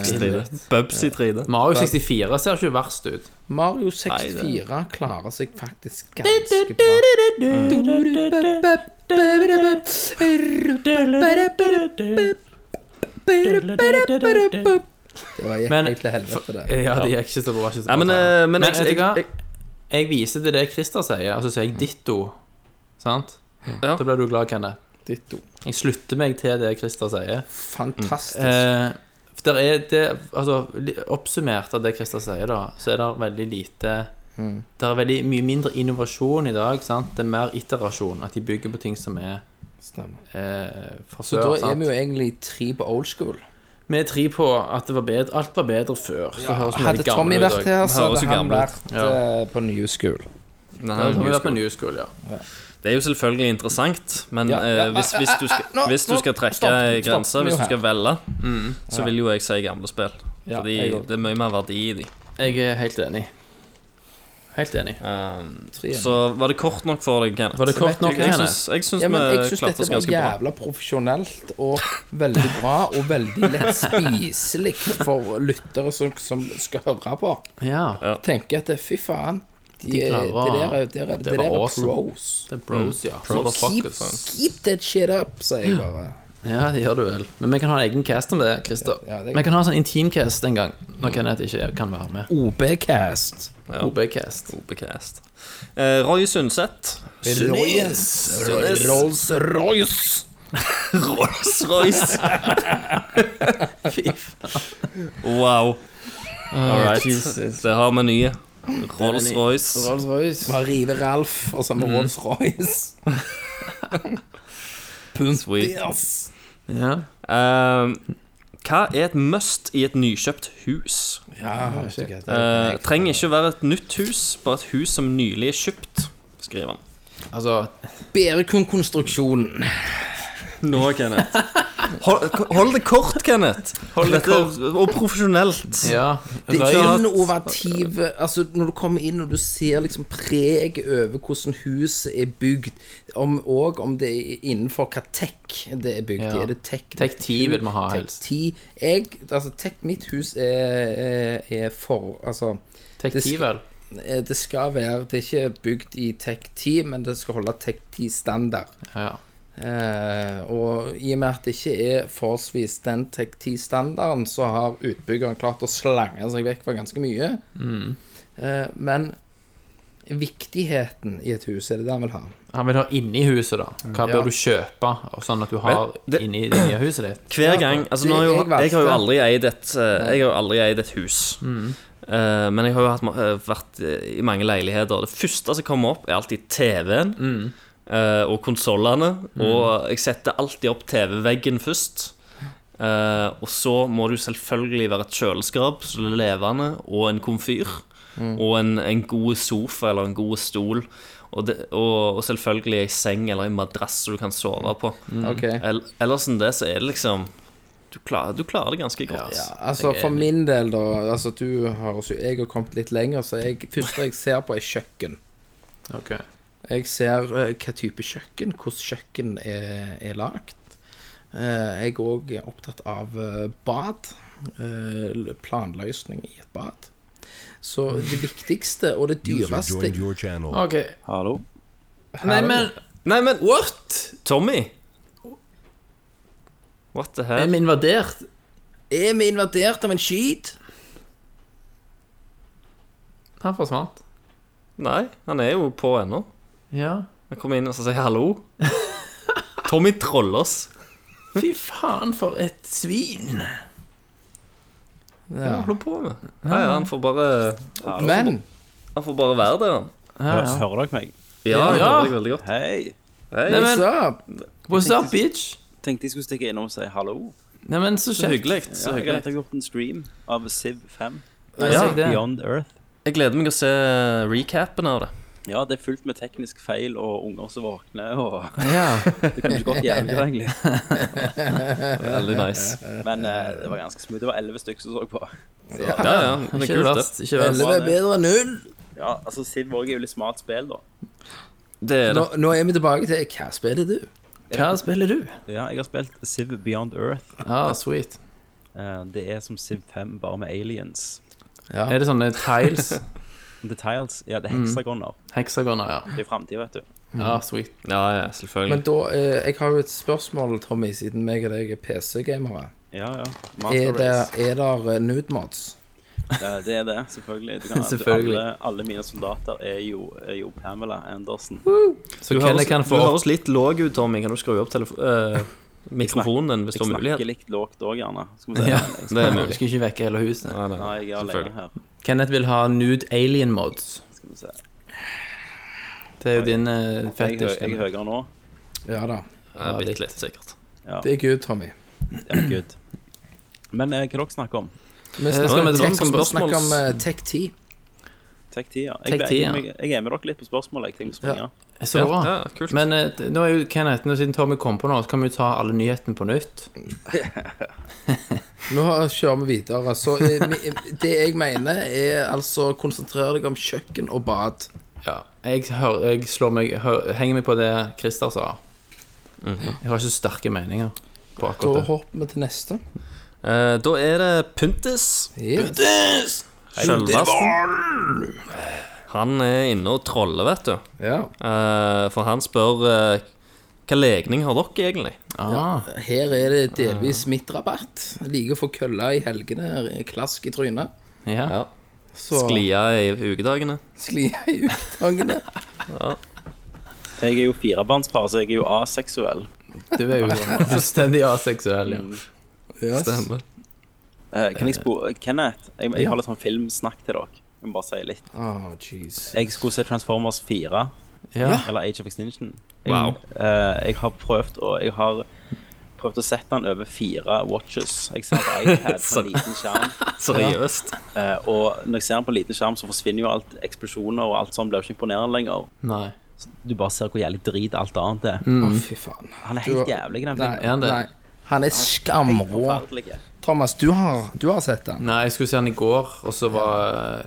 Speaker 7: Bubsy 3D.
Speaker 5: Mario 64 ser ikke verst ut.
Speaker 6: Mario
Speaker 7: Nei,
Speaker 6: 64 klarer seg faktisk ganske bra. Det var
Speaker 5: Men-
Speaker 6: helt til helvete, det.
Speaker 5: Ja, det gikk ikke så bra. Ikke så bra.
Speaker 7: Nei, men, eh, men jeg,
Speaker 5: vet
Speaker 7: jeg,
Speaker 5: du hva?
Speaker 7: jeg,
Speaker 5: Jeg viser til det Christer sier, og så sier jeg ditto. Sant?
Speaker 7: Ja.
Speaker 5: Da blir du glad, Kenneth.
Speaker 6: Ditto.
Speaker 5: Jeg slutter meg til det Christer sier.
Speaker 6: Fantastisk.
Speaker 5: Eh, for der er det, altså, li- oppsummert av det Christer sier, da, så er det veldig lite
Speaker 6: Mm.
Speaker 5: Det er veldig mye mindre innovasjon i dag. sant? Det er mer iterasjon. At de bygger på ting som er
Speaker 6: Stemmer.
Speaker 5: eh, fra
Speaker 6: Så da
Speaker 5: før.
Speaker 6: er
Speaker 5: sant?
Speaker 6: vi jo egentlig tre på old school.
Speaker 5: Vi er tre på at det var bedre, alt var bedre før. Så høres vi
Speaker 6: Hadde
Speaker 5: veldig gamle
Speaker 6: Tommy
Speaker 5: ut i dag.
Speaker 6: vært her, så
Speaker 7: Høres
Speaker 6: hadde
Speaker 7: jo
Speaker 6: han
Speaker 7: gammel ut.
Speaker 6: vært eh, på new school.
Speaker 7: Nei,
Speaker 5: Ja, Tommy
Speaker 7: New
Speaker 5: vært på
Speaker 7: School.
Speaker 5: New School, ja.
Speaker 7: det er jo selvfølgelig interessant, men
Speaker 6: Ja, ja,
Speaker 7: eh, hvis, hvis, du skal,
Speaker 6: nå,
Speaker 7: hvis du
Speaker 6: nå,
Speaker 7: skal trekke
Speaker 6: stopp, stopp,
Speaker 7: grenser, hvis
Speaker 6: nå Mm.
Speaker 7: du skal velge, så
Speaker 6: Ja.
Speaker 7: vil jo jeg si gamle spill.
Speaker 5: Ja,
Speaker 7: Fordi
Speaker 5: jeg også.
Speaker 7: det er mye mer verdi i de.
Speaker 5: Jeg er helt enig. Helt enig.
Speaker 7: Um,
Speaker 6: Tre.
Speaker 7: så var det kort nok for deg, Kenneth?
Speaker 5: Var det kort nok,
Speaker 7: Jeg
Speaker 5: Kenneth?
Speaker 7: syns- Jeg syns
Speaker 6: Ja, men jeg
Speaker 7: vi
Speaker 6: syns
Speaker 7: klarte
Speaker 6: dette
Speaker 7: oss
Speaker 6: var
Speaker 7: ganske bra.
Speaker 6: jævla profesjonelt og veldig bra og veldig lett spiselig for lyttere som, som skal høre på.
Speaker 5: Ja.
Speaker 6: Tenker at fy faen, de,
Speaker 5: De klarer
Speaker 6: er- det der er- det der er- det der
Speaker 5: var
Speaker 6: er
Speaker 5: awesome.
Speaker 6: pros.
Speaker 5: Det er bros, ja.
Speaker 6: Keep,
Speaker 5: Motherfuckers.
Speaker 6: keep that shit up, sier jeg bare.
Speaker 5: Ja, det gjør du vel. Men vi kan ha en egen cast om det, Christer.
Speaker 6: Ja, ja, det-
Speaker 5: Vi kan ha en sånn intim-cast en gang, når Kenneth ikke kan være med.
Speaker 6: OB-cast.
Speaker 5: OB-cast.
Speaker 7: Obecast. Eh, Roy Sundset.
Speaker 6: Rolls-Royce. Rolls-Royce.
Speaker 7: Rolls-Royce. Fy faen. Wow. All right. Det har vi nye. Rolls-Royce.
Speaker 6: Bare rive Ralf, og så med
Speaker 5: Mm.
Speaker 6: Rolls-Royce.
Speaker 7: Sweet.
Speaker 6: Yes.
Speaker 5: Ja.
Speaker 7: Ehm, hva er et must i et nykjøpt hus?
Speaker 6: Ja, vet du hva, det
Speaker 7: Eh,
Speaker 6: er-
Speaker 7: trenger ikke å være et nytt hus, bare et hus som nylig er kjøpt, skriver han.
Speaker 5: Altså
Speaker 6: Bedre kun konstruksjonen.
Speaker 7: Nå, Kenneth. Hold, hold det kort, Kenneth. Hold det kort. Og profesjonelt.
Speaker 5: Ja.
Speaker 6: Det
Speaker 5: Røy-
Speaker 7: ikke-
Speaker 6: er
Speaker 7: at-
Speaker 6: innovative Altså, når du kommer inn og du ser liksom preg over hvordan huset er bygd, om, og om det er innenfor hva tech det er bygd i.
Speaker 5: Ja.
Speaker 6: Er det tech?
Speaker 5: Tech 10 vil vi ha
Speaker 6: Tech
Speaker 5: helst.
Speaker 6: 10. Jeg, altså, tech, mitt hus er, er, er for Altså,
Speaker 5: Tech
Speaker 6: Det
Speaker 5: 10,
Speaker 6: skal-
Speaker 5: vel?
Speaker 6: eh, det skal være Det er ikke bygd i tech 10, men det skal holde tech 10-standard.
Speaker 5: Ja.
Speaker 6: Eh, og i og med at det ikke er forholdsvis den TEK10-standarden, så har utbyggeren klart å slange seg vekk fra ganske mye. Eh, men viktigheten i et hus er det det han vil ha.
Speaker 5: Han vil ha inni huset, da. Hva
Speaker 6: Ja.
Speaker 5: bør du kjøpe, og sånn at du har
Speaker 7: Vel, det-
Speaker 5: inni det nye huset ditt?
Speaker 7: Hver gang Altså, nå har jo,
Speaker 6: Det- jeg valgte-
Speaker 7: jeg har jo aldri eid et eh, Jeg har jo aldri eid et hus.
Speaker 6: Mm.
Speaker 7: Eh, men jeg har jo hatt, ma- eh, vært eh, i mange leiligheter. Det første som kommer opp, er alltid TV-en. eh, og konsollene.
Speaker 6: Mm.
Speaker 7: Og jeg setter alltid opp TV-veggen først. Eh, og så må det jo selvfølgelig være et kjøleskap så det er levende, og en komfyr.
Speaker 6: Mm.
Speaker 7: Og en, en god sofa eller en god stol. Og, det, og, og selvfølgelig ei seng eller en madrass som du kan sove på.
Speaker 6: Ok.
Speaker 7: El- Ellers enn det så er det liksom Du klarer, du klarer det ganske godt.
Speaker 6: Ja, altså For min del, da altså du har, også- Jeg har kommet litt lenger, så jeg, første jeg ser på, er kjøkken.
Speaker 5: Ok.
Speaker 6: Jeg ser eh, hva type kjøkken, hvordan kjøkken er, er lagt. Eh, jeg òg er opptatt av eh, bad. eh, l- planløsning i et bad. Så det viktigste og det dyreste
Speaker 5: Ok.
Speaker 8: Hallo?
Speaker 5: Nei, men
Speaker 7: Nei, men what?! Tommy? What the
Speaker 5: Er
Speaker 7: hell?
Speaker 5: vi invadert?
Speaker 6: Er vi invadert av en skyt?
Speaker 5: Han forsvant.
Speaker 7: Nei, han er jo på ennå.
Speaker 5: Ja.
Speaker 7: Han kommer inn og så sier hallo. Tommy troller oss.
Speaker 5: Fy faen, for et svin.
Speaker 7: Hva holder du på med? Nei, han får bare altså,
Speaker 6: Men
Speaker 7: Han får bare være der, han.
Speaker 8: Hø- Hører dere meg?
Speaker 7: Ja, det
Speaker 5: Ja.
Speaker 7: hører jeg veldig godt.
Speaker 8: Hei.
Speaker 7: Hei,
Speaker 5: Nei, men
Speaker 6: what's up?
Speaker 5: What's up, bitch?
Speaker 8: Tenkte jeg skulle stikke innom og si hallo.
Speaker 5: Nei, men så
Speaker 7: så
Speaker 5: kjekt.
Speaker 7: hyggelig. Så
Speaker 8: Jeg
Speaker 7: hyggelig.
Speaker 8: har gjort en stream av Siv 5.
Speaker 5: Ja, det.
Speaker 8: Beyond Earth.
Speaker 7: Jeg gleder meg å se recapen av det.
Speaker 1: Ja, det er fullt med teknisk feil og unger som våkner, og
Speaker 5: Ja.
Speaker 1: det kunne ikke gått jævlig, egentlig.
Speaker 7: Veldig nice.
Speaker 1: Men eh, det var ganske smooth. Det var elleve stykker som så på.
Speaker 7: Ja, ja. men Det er
Speaker 5: Ikke
Speaker 7: kult,
Speaker 5: verst.
Speaker 7: det.
Speaker 5: Ikke verst.
Speaker 6: Elleve er bedre enn null.
Speaker 1: Ja, altså Siv Våg er jo litt smart spill, da.
Speaker 7: Det er
Speaker 6: Nå,
Speaker 7: det.
Speaker 6: nå er vi tilbake til hva spiller du?
Speaker 5: Hva spiller du?
Speaker 1: Ja, jeg har spilt Siv Beyond Earth.
Speaker 5: Ah, sweet.
Speaker 1: Eh, det er som Siv 5, bare med aliens.
Speaker 5: Er det sånne tiles?
Speaker 1: Details. Ja, det er heksagoner.
Speaker 5: Heksagoner, ja.
Speaker 1: Det er framtida, vet du.
Speaker 5: Ja, sweet.
Speaker 7: Ja, ja, selvfølgelig.
Speaker 6: Men da, eh, jeg har jo et spørsmål, Tommy, siden meg og deg er PC-gamere.
Speaker 1: Ja, ja.
Speaker 6: Er
Speaker 1: Master
Speaker 6: det,
Speaker 1: Race.
Speaker 6: er der nude mods?
Speaker 1: Eh, det er det, selvfølgelig. Du kan,
Speaker 5: Selvfølgelig.
Speaker 1: Alle, alle mine soldater er jo, er jo Pamela Andersen.
Speaker 5: Så
Speaker 7: Du
Speaker 5: Kelly
Speaker 7: høres,
Speaker 5: kan
Speaker 7: du
Speaker 5: få opp
Speaker 7: høres litt låg ut, Tommy. Kan du skru opp telefo- eh, mikrofonen din hvis
Speaker 1: Jeg
Speaker 7: du har mulighet?
Speaker 1: snakker litt lågt òg, gjerne. Skal vi se. Jeg-
Speaker 7: Det er
Speaker 5: Du
Speaker 7: mulig.
Speaker 5: skal ikke vekke hele huset.
Speaker 7: Nei, nei,
Speaker 1: Nei, jeg er alene
Speaker 7: selvfølgelig.
Speaker 1: her.
Speaker 5: Kenneth vil ha nude alien mods.
Speaker 1: Skal vi se.
Speaker 5: Det er jo din uh,
Speaker 1: Jeg, hø-
Speaker 5: fetisj.
Speaker 1: jeg er høyere nå.
Speaker 6: Ja da.
Speaker 7: Ja, Bitte litt, sikkert.
Speaker 6: Det er good, Tommy.
Speaker 1: Ja, gud. Men eh, hva dere snakker om?
Speaker 6: Vi
Speaker 5: Eh, skal vi-
Speaker 6: snakker,
Speaker 5: det var
Speaker 6: tech,
Speaker 5: noen
Speaker 6: vi
Speaker 5: spørsmål-
Speaker 6: snakker om eh, tech-10.
Speaker 1: Tek 10, ja.
Speaker 5: Tek
Speaker 1: Jeg, ble-
Speaker 5: 10, ja.
Speaker 1: jeg, jeg, jeg er med dere litt på spørsmålet. Jeg tenker å springe.
Speaker 5: Så bra.
Speaker 7: Ja, kult.
Speaker 5: Men eh, d- nå er jo Kenneth, nå siden Tommy kom på nå, så kan vi jo ta alle nyhetene på nytt.
Speaker 6: Nå kjører vi videre. Så eh, mi- det jeg mener, er altså konsentrere deg om kjøkken og bad.
Speaker 5: Ja. Jeg, hør, jeg slår meg, hør, henger meg på det Christer sa.
Speaker 7: Mhm.
Speaker 5: Jeg har ikke så sterke meninger på
Speaker 6: Da
Speaker 5: akkurat det.
Speaker 6: hopper vi til neste.
Speaker 7: Eh, da er det Pyntis.
Speaker 6: Yes.
Speaker 7: Sjølvasten. Eh, Han er inne og troller, vet du.
Speaker 6: Ja.
Speaker 7: Eh, for han spør eh, hva legning har dere egentlig?
Speaker 5: Ah,
Speaker 6: Her er det delvis midtrabatt. Liker å få kølla i helgene, klask i trynet.
Speaker 5: ja.
Speaker 6: Så
Speaker 7: Sklia i ukedagene?
Speaker 6: sklia i utgangene.
Speaker 1: Jeg er jo firebarnspar, så jeg er jo aseksuell.
Speaker 5: Du er jo fullstendig aseksuell, ja.
Speaker 7: Mm,
Speaker 6: Yes.
Speaker 1: Eh, kan jeg spore Kenneth, jeg, jeg har litt sånn filmsnakk til dere. Jeg må bare si litt.
Speaker 6: Oh, jeez.
Speaker 1: Jeg skulle se Transformers 4,
Speaker 5: Ja.
Speaker 1: eller Age of Extinction. Jeg,
Speaker 7: Wow.
Speaker 1: eh, jeg har prøvd å Jeg har prøvd å sette den over fire watches. Jeg ser på iPad på en liten skjerm.
Speaker 7: Seriøst?
Speaker 1: eh, og når jeg ser den på en liten skjerm, så forsvinner jo alt eksplosjoner og alt sånt. Blir jo ikke imponerende lenger.
Speaker 5: Nei.
Speaker 1: Du bare ser hvor jævlig drit alt annet er.
Speaker 6: Å, Ah, fy faen.
Speaker 1: Han er
Speaker 6: Du-
Speaker 1: helt jævlig, den
Speaker 6: Nei,
Speaker 1: filmen.
Speaker 5: Mm. Er han det?
Speaker 6: nei. Han er skamrå.
Speaker 1: Forferdelig.
Speaker 6: Thomas, du har, du har sett den.
Speaker 5: Nei, jeg skulle se den i går, og så var eh,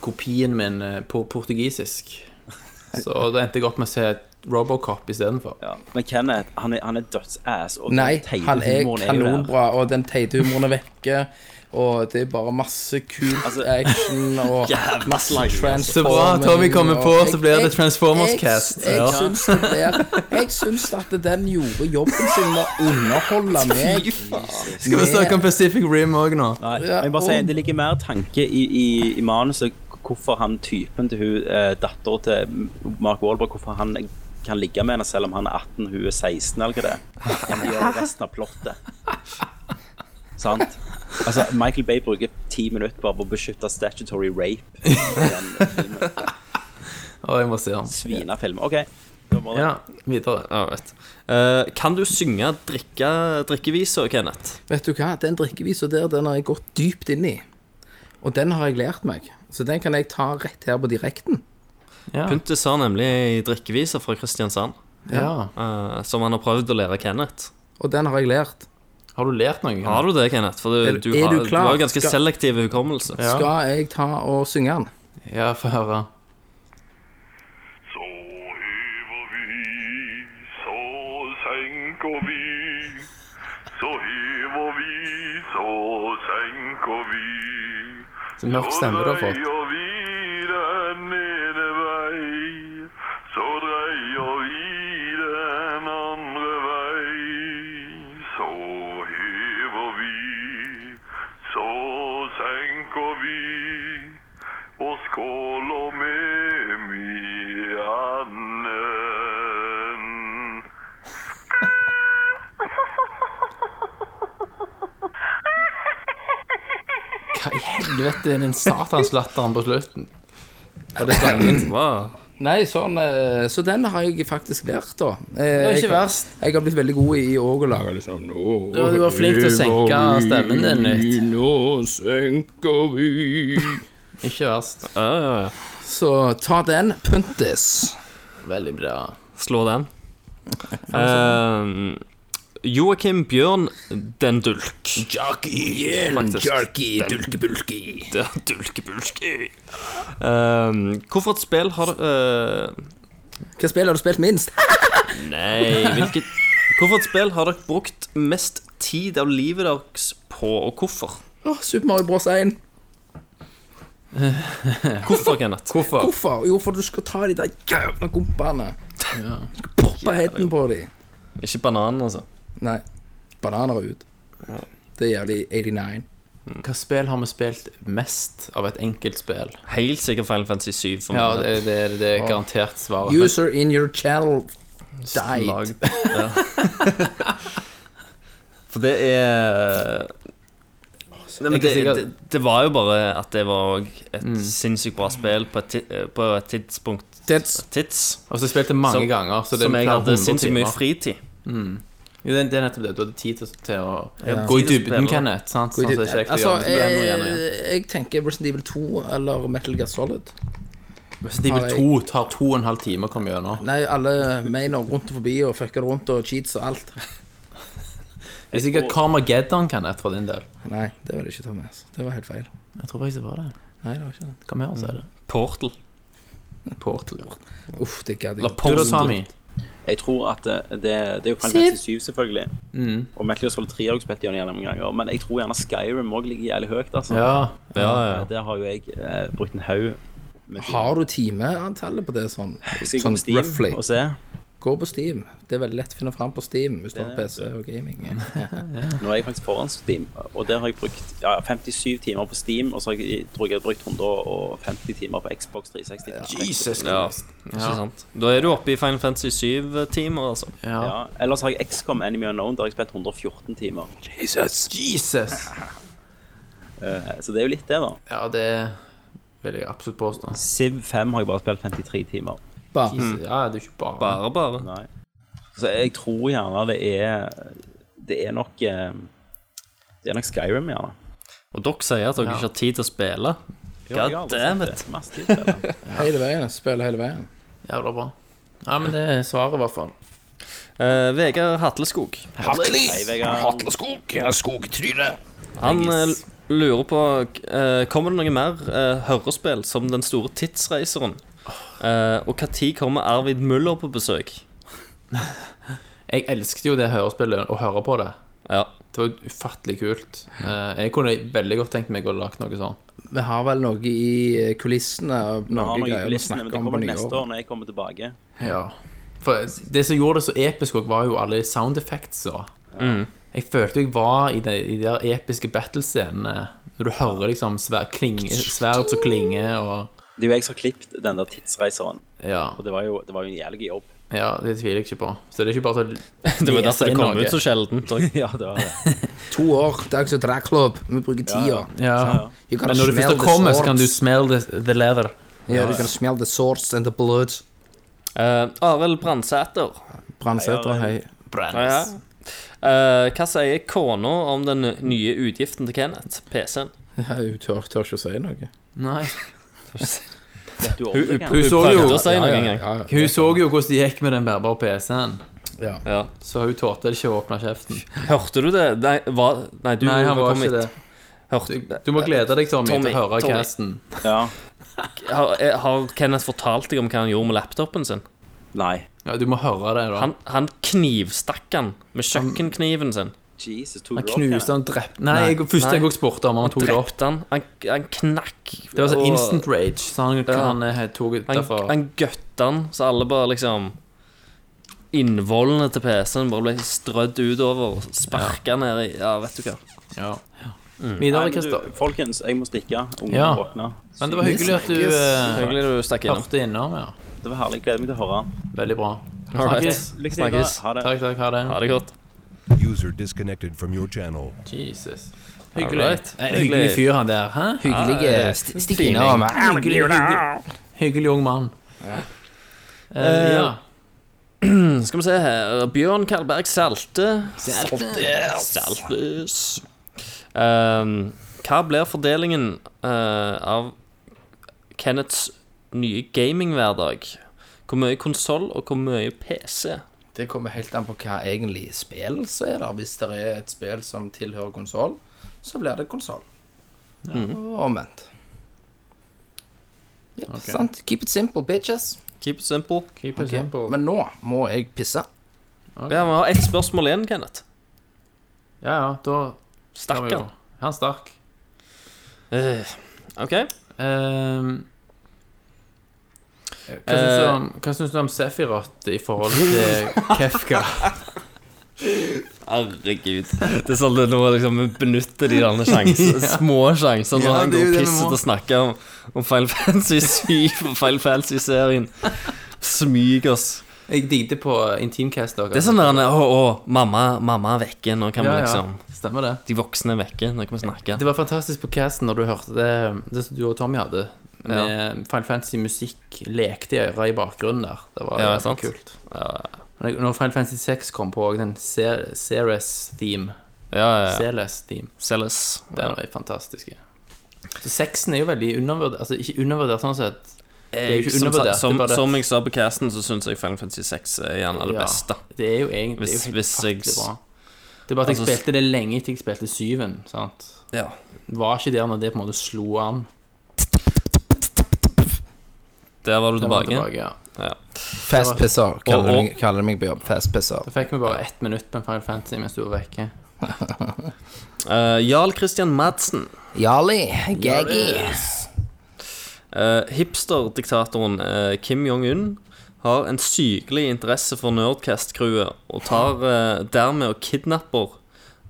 Speaker 5: kopien min eh, på portugisisk. Så da endte jeg opp med å se Robocop istedenfor.
Speaker 1: Ja. Men Kenneth, han er, han er dødsass. Og den
Speaker 6: Nei,
Speaker 1: teite
Speaker 6: han er
Speaker 1: humoren jo der.
Speaker 6: kanonbra, og den teite humoren er vekke. Og det er bare masse kul action og
Speaker 1: Altså, Jævla
Speaker 6: masse
Speaker 1: slang, altså.
Speaker 6: transforming.
Speaker 5: Så bra, Tommy kommer på,
Speaker 6: og-
Speaker 5: så blir det
Speaker 6: Jeg-
Speaker 5: Transformers-cast.
Speaker 6: Jeg,
Speaker 5: Ja.
Speaker 6: jeg, syns det blir- jeg syns at den gjorde jobben sin med å underholde meg.
Speaker 5: Skal vi snakke om Pacific Rim òg nå?
Speaker 1: Nei,
Speaker 6: Ja,
Speaker 1: jeg vil bare si,
Speaker 6: og-
Speaker 1: Det ligger mer tanke i, i, i manuset hvorfor han typen til hun eh, dattera til Mark Wahlberg hvorfor han kan ligge med henne selv om han er 18, hun er 16 eller hva det er. Han gjør resten av plottet. Sant? Altså, Michael Bay bruker ti minutter bare på å beskytte statutory rape. i den filmen.
Speaker 5: Å, jeg må se den.
Speaker 1: Svinefilm. OK. Da må det.
Speaker 5: Ja, videre.
Speaker 7: Ja, vet. Eh, kan du synge drikke, drikkeviser, Kenneth?
Speaker 6: Vet du hva, den drikkevisa der, den har jeg gått dypt inn i. Og den har jeg lært meg. Så den kan jeg ta rett her på direkten.
Speaker 5: Ja.
Speaker 7: Pyntis har nemlig ei drikkevise fra Kristiansand
Speaker 5: ja.
Speaker 7: eh, som han har prøvd å lære Kenneth.
Speaker 6: Og den har jeg lært.
Speaker 5: Har du lært noe?
Speaker 7: Har du det, Kenneth? For du,
Speaker 6: Er-
Speaker 7: du,
Speaker 6: er
Speaker 7: har,
Speaker 6: du
Speaker 7: du
Speaker 6: klar?
Speaker 7: har jo ganske
Speaker 6: Skal-
Speaker 7: selektiv hukommelse.
Speaker 5: Ja.
Speaker 6: Skal jeg ta og synge den?
Speaker 5: Ja, få høre.
Speaker 2: Så hever vi, så senker vi. Så hever vi, så senker vi.
Speaker 5: Så mørk stemme du har
Speaker 2: Så
Speaker 5: fått.
Speaker 2: dreier vi den ene vei, så dreier vi den andre vei. Så hever vi, så senker vi, og skåler med Miannen.
Speaker 5: Hva i helvete er den satanslatteren på slutten?
Speaker 6: Og det skal jeg.
Speaker 7: Wow.
Speaker 6: Nei, sånn, eh, så den har jeg faktisk lært, da. Eh,
Speaker 5: Det er
Speaker 6: Jeg,
Speaker 5: ikke verst.
Speaker 6: jeg har blitt veldig god i òg å lage liksom Nå
Speaker 5: Du var flink til å senke stemmen din litt.
Speaker 6: Nå senker vi
Speaker 5: Ikke verst.
Speaker 7: Ja, ja, ja.
Speaker 6: Så ta den, Puntis.
Speaker 5: Veldig bra.
Speaker 7: Slå den. Uh, Joakim Bjørn Den Dulk. Faktisk.
Speaker 6: dulkebulki.
Speaker 7: Det er Dulkebulki. Uh, hvorfor et spill har eh, dere
Speaker 6: Hva spill har du spilt minst?
Speaker 7: Nei, hvilket Hvorfor et spill har dere brukt mest tid av livet deres på, og hvorfor?
Speaker 6: Åh, Super Mario Bros. 1.
Speaker 7: Hvorfor, Kenneth?
Speaker 5: Hvorfor?
Speaker 6: Hvorfor? Jo, for du skal ta de der jævla kompene. Du skal poppe headen på de.
Speaker 7: Ikke bananen, altså.
Speaker 6: Nei, bananer er ut. Det er jævlig 89.
Speaker 5: Hva spill har vi spilt mest av et enkelt spill?
Speaker 7: Helt sikkert Final Fantasy 7 for
Speaker 5: Ja,
Speaker 7: meg.
Speaker 5: det, det, det er garantert svaret. men-
Speaker 6: User in your channel died.
Speaker 7: Lag- Ja. For det er Nei, men det, det, det var jo bare at det var et
Speaker 5: Mm.
Speaker 7: sinnssykt bra spill på et, ti- eh, på et tidspunkt
Speaker 6: Tids.
Speaker 7: tids,
Speaker 5: Og så spilte Altså, jeg mange
Speaker 7: Som-
Speaker 5: ganger. Så det er
Speaker 7: som jeg
Speaker 5: flere
Speaker 7: hadde
Speaker 5: hundre
Speaker 7: sinnssykt mye
Speaker 5: timer.
Speaker 7: fritid.
Speaker 5: Jo, det, det er nettopp det. Du hadde tid til, til å
Speaker 7: Ja.
Speaker 5: gå i
Speaker 7: Tid til å
Speaker 5: dybden,
Speaker 7: spille.
Speaker 5: Kenneth. Sant? Sånn som ikke jeg
Speaker 6: Altså,
Speaker 5: får
Speaker 6: jeg,
Speaker 5: gjøre. Det er noe igjen og igjen.
Speaker 6: jeg tenker Resident Evil 2 eller Metal Gear Solid.
Speaker 5: Resident
Speaker 6: har jeg-
Speaker 5: Evil 2 tar to og en halv time å komme gjennom.
Speaker 6: Nei, alle mainer rundt og forbi og fucker det rundt og cheats og alt.
Speaker 5: Det er sikkert Carmageddon, Kenneth, for din del.
Speaker 6: Nei, det vil jeg ikke ta med. altså. Det var helt feil.
Speaker 5: Jeg tror faktisk det var det.
Speaker 6: Nei, det var ikke det.
Speaker 5: Hva mer så er det?
Speaker 7: Portal.
Speaker 5: Portal.
Speaker 6: Uff, det gadd jeg
Speaker 7: La
Speaker 6: ikke.
Speaker 5: Du da,
Speaker 7: Portal
Speaker 5: Sami?
Speaker 10: Jeg tror at det, det, det er jo Final Fantasy 7, selvfølgelig.
Speaker 6: Mm.
Speaker 10: Og Metal Gear Solid 3 har jeg spilt igjen gjennom ganger. Men jeg tror gjerne Skyrim òg ligger jævlig høyt, altså.
Speaker 5: Ja.
Speaker 7: Ja, ja.
Speaker 10: Eh, Der har jo jeg eh, brukt en haug. med tid.
Speaker 6: Har du timeantallet på det sånn?
Speaker 10: Skal jeg gå
Speaker 6: Sånn
Speaker 10: på Steam altså.
Speaker 6: roughly.
Speaker 10: og se?
Speaker 6: Gå på Steam. Det er veldig lett å finne fram på Steam hvis du har
Speaker 10: Det er
Speaker 6: PC og gaming.
Speaker 10: Nå er jeg faktisk foran Steam, og der har jeg brukt ja, 57 timer på Steam, og så har jeg, tror jeg jeg har brukt 150 timer på Xbox 360. Jesus
Speaker 7: Ja, ikke sant. Da er du oppe i Final Fantasy 7-timer, altså.
Speaker 5: ja.
Speaker 10: Ja, ellers har jeg XCOM Enemy Unknown, der har jeg spilt 114 timer.
Speaker 5: Jesus!
Speaker 10: Eh, Så det er jo litt det, da.
Speaker 5: Ja, det vil jeg absolutt påstå.
Speaker 10: Civ 5 har jeg bare spilt 53 timer.
Speaker 6: Bare.
Speaker 5: Jesus. Ja, det er jo ikke Mm. bare
Speaker 7: Bare, bare.
Speaker 10: Nei. Så jeg tror gjerne det er Det er nok eh, Det er nok Skyrim, gjerne.
Speaker 7: Og dere sier at dere ikke har tid til å spille. God damn it.
Speaker 10: it.
Speaker 6: Hele veien. Spille hele veien.
Speaker 5: Jævla bra. Ja, men det er svaret, i hvert fall.
Speaker 7: Eh, Vegard Hatleskog.
Speaker 11: Hei, Vegard. Hatleskog. Jeg har skogtryne.
Speaker 7: Han eh, lurer på eh, Kommer det noe mer eh, hørespill som Den store tidsreiseren? Eh, og når kommer Arvid Muller på besøk?
Speaker 5: Jeg elsket jo det hørespillet, å høre på det.
Speaker 7: Ja.
Speaker 5: Det var ufattelig kult. Eh, Jeg kunne veldig godt tenkt meg å lage noe sånn. sånt.
Speaker 6: Vi har vel noe i eh, kulissene av
Speaker 10: Jeg har
Speaker 6: noe
Speaker 10: noe i
Speaker 6: greier å
Speaker 10: kulissene,
Speaker 6: snakke
Speaker 10: men det
Speaker 6: om på
Speaker 10: kommer nok neste
Speaker 6: nyåret.
Speaker 10: år når jeg kommer tilbake.
Speaker 5: Ja. For det som gjorde det så episk også, var jo alle sound effects og
Speaker 7: Mm.
Speaker 5: Jeg følte jeg var i de, i de der episke battlescenene. Når du hører liksom svær, klinge, sverd som klinger og
Speaker 10: Det er jo jeg som har klippet den der tidsreiseren,
Speaker 5: ja,
Speaker 10: og det var jo, det var jo en jævlig jobb.
Speaker 5: ja, det tviler jeg ikke på. Så det er ikke bare så
Speaker 7: Det var derfor det kom ut så sjeldent. og-
Speaker 10: Ja, det var det.
Speaker 6: To år. Det er ikke så drakklubb. Vi bruker ti år.
Speaker 5: Ja.
Speaker 6: You gotta
Speaker 5: Men når du
Speaker 6: smell
Speaker 5: først har
Speaker 6: the
Speaker 5: kommet, så kan du
Speaker 6: swords.
Speaker 5: smell the, the leather.
Speaker 6: Ja, du kan smell the swords and the blood.
Speaker 7: Eh, Arild Brandsæter.
Speaker 6: Brannsæter, hei.
Speaker 7: Ja. Eh, hva sier kona om den nye utgiften til Kenneth? PC-en?
Speaker 6: Ja, Hun tør, tør ikke å si noe.
Speaker 5: Nei.
Speaker 10: Vet du om
Speaker 7: Hun
Speaker 10: det, Ken?
Speaker 5: så
Speaker 7: prøvde
Speaker 5: jo-
Speaker 7: å si noe en gang.
Speaker 6: Ja, ja.
Speaker 5: Hun så jo hvordan det gikk med den bærbare PC-en,
Speaker 6: ja.
Speaker 7: Ja.
Speaker 5: så hun tålte ikke å åpne kjeften.
Speaker 7: Hørte du det? Nei, hva? Nei du
Speaker 5: Nei, han var
Speaker 7: kom
Speaker 5: ikke
Speaker 7: hit.
Speaker 5: det.
Speaker 7: Hørte,
Speaker 5: Du må glede deg, Tommy,
Speaker 7: Tommy,
Speaker 5: til å høre
Speaker 7: Tommy.
Speaker 5: casten.
Speaker 10: Ja.
Speaker 7: har, eh, har Kenneth fortalt deg om hva han gjorde med laptopen sin?
Speaker 10: Nei.
Speaker 5: Ja, du må høre det, da.
Speaker 7: Han, han knivstakk han med kjøkkenkniven sin.
Speaker 10: Jesus, tok
Speaker 5: Han
Speaker 10: du opp
Speaker 5: knuste
Speaker 10: Kenneth?
Speaker 5: han drepte Nei, jeg, først
Speaker 7: Nei.
Speaker 5: jeg også spurte om han tok det opp.
Speaker 7: Drepte han. Han, han knakk.
Speaker 5: Det var så
Speaker 7: og-
Speaker 5: instant rage, så han, han eh, tok ut
Speaker 7: Han,
Speaker 5: derfor
Speaker 7: han gøtta han, så alle bare liksom Innvollene til PC-en bare ble strødd utover. Sparka ned i Ja, vet du hva.
Speaker 5: ja.
Speaker 7: Mm.
Speaker 10: Nei,
Speaker 5: Videre,
Speaker 10: men du,
Speaker 5: Christer.
Speaker 10: folkens, jeg må stikke. Ungene
Speaker 5: Ja.
Speaker 10: våkner.
Speaker 5: Men det var hyggelig at du eh,
Speaker 7: Hyggelig du stakk innom.
Speaker 5: hørte innom, ja.
Speaker 10: Det var herlig. Gleder meg til å høre.
Speaker 5: Veldig bra.
Speaker 7: Alright.
Speaker 5: Snakkes.
Speaker 7: Snakkes.
Speaker 10: Ha det.
Speaker 5: Takk, takk. Ha det.
Speaker 7: Ha det godt.
Speaker 2: User disconnected from your channel.
Speaker 5: Jesus. Hyggelig.
Speaker 7: Alright.
Speaker 5: En hyggelig fyr, han der. Hæ?
Speaker 6: Hyggelige st- Stikk innom.
Speaker 5: Hyggelig, hyggelig, hyggelig ung mann. Ja. ja.
Speaker 7: Skal vi se her Bjørn Karlberg Salte. Salte. Saltes. Ehm, hva blir fordelingen eh, av Kenneths nye gaminghverdag? Hvor mye konsoll og hvor mye PC?
Speaker 6: Det kommer helt an på hva egentlig spill så er der. Hvis det er et spill som tilhører konsoll, så blir det konsoll. Og omvendt. Ja, sant? Keep it simple, bitches.
Speaker 7: Keep it simple.
Speaker 5: Keep it
Speaker 6: Ok,
Speaker 5: simple.
Speaker 6: Men nå må jeg pisse.
Speaker 7: Ja, Vi har ett spørsmål igjen, Kenneth.
Speaker 5: Ja, ja, da tar vi jo.
Speaker 7: Stakkar.
Speaker 5: Han stakk.
Speaker 7: Eh, OK.
Speaker 5: Ehm, eh, hva syns du om- hva syns du om Sefirot i forhold til Kefka?
Speaker 7: Herregud. Det er sånn at nå liksom vi benytter de derne sjansene, små sjansene når
Speaker 6: Ja,
Speaker 7: han
Speaker 6: det er jo
Speaker 7: går og
Speaker 6: det vi
Speaker 7: pisser
Speaker 6: må.
Speaker 7: til å snakke om, om Final Fantasy 7 og Final Fantasy-serien. Smyg oss.
Speaker 5: Jeg digget på Intimcast. altså.
Speaker 7: Det er sånn der Å, å, mamma, mamma er vekke. Nå kan vi
Speaker 5: Ja, ja.
Speaker 7: liksom
Speaker 5: Stemmer det.
Speaker 7: De voksne er vekke. Nå kan vi snakke.
Speaker 5: Det var fantastisk på casten når du hørte det, det som du og Tommy hadde. Med Final Fantasy-musikk lekte i øret i bakgrunnen der. Det var
Speaker 7: Ja,
Speaker 5: jævlig
Speaker 7: sant.
Speaker 5: kult. Men jeg- Når Final Fantasy 6 kom på, og den Ceres-theme
Speaker 7: Ja, ja.
Speaker 5: Celes-theme.
Speaker 7: Selles.
Speaker 5: Den var fantastisk. ja. Så sexen er jo veldig undervurdert. Altså ikke undervurdert sånn sett. er jo ikke
Speaker 7: som,
Speaker 5: undervurdert,
Speaker 7: sa- som,
Speaker 5: det er bare det.
Speaker 7: som jeg sa på casten, så syns jeg Final Fantasy 6 er gjerne det
Speaker 5: Ja.
Speaker 7: beste.
Speaker 5: Det er jo egentlig det
Speaker 7: Hvis-
Speaker 5: er jo helt
Speaker 7: hvis jeg-
Speaker 5: fattelig bra. Det er bare at jeg
Speaker 7: Altså, s-
Speaker 5: spilte det lenge etter jeg spilte syven. sant?
Speaker 7: Ja.
Speaker 5: Var ikke der når det på en måte slo an.
Speaker 7: Der var du
Speaker 5: Da var
Speaker 7: tilbake.
Speaker 5: jeg tilbake, ja.
Speaker 6: Fastpisser kaller,
Speaker 7: Og- og-
Speaker 6: de meg- kaller de meg på jobb. Fastpisser.
Speaker 5: Da fikk vi bare ett minutt på en Final Fantasy mens du var vekke.
Speaker 7: Eh, Jarl Christian Madsen.
Speaker 6: Jarli. Gaggy.
Speaker 7: Uh, Hipsterdiktatoren eh, Kim Jong-un har en sykelig interesse for Nerdcast-crewet og tar eh, dermed og kidnapper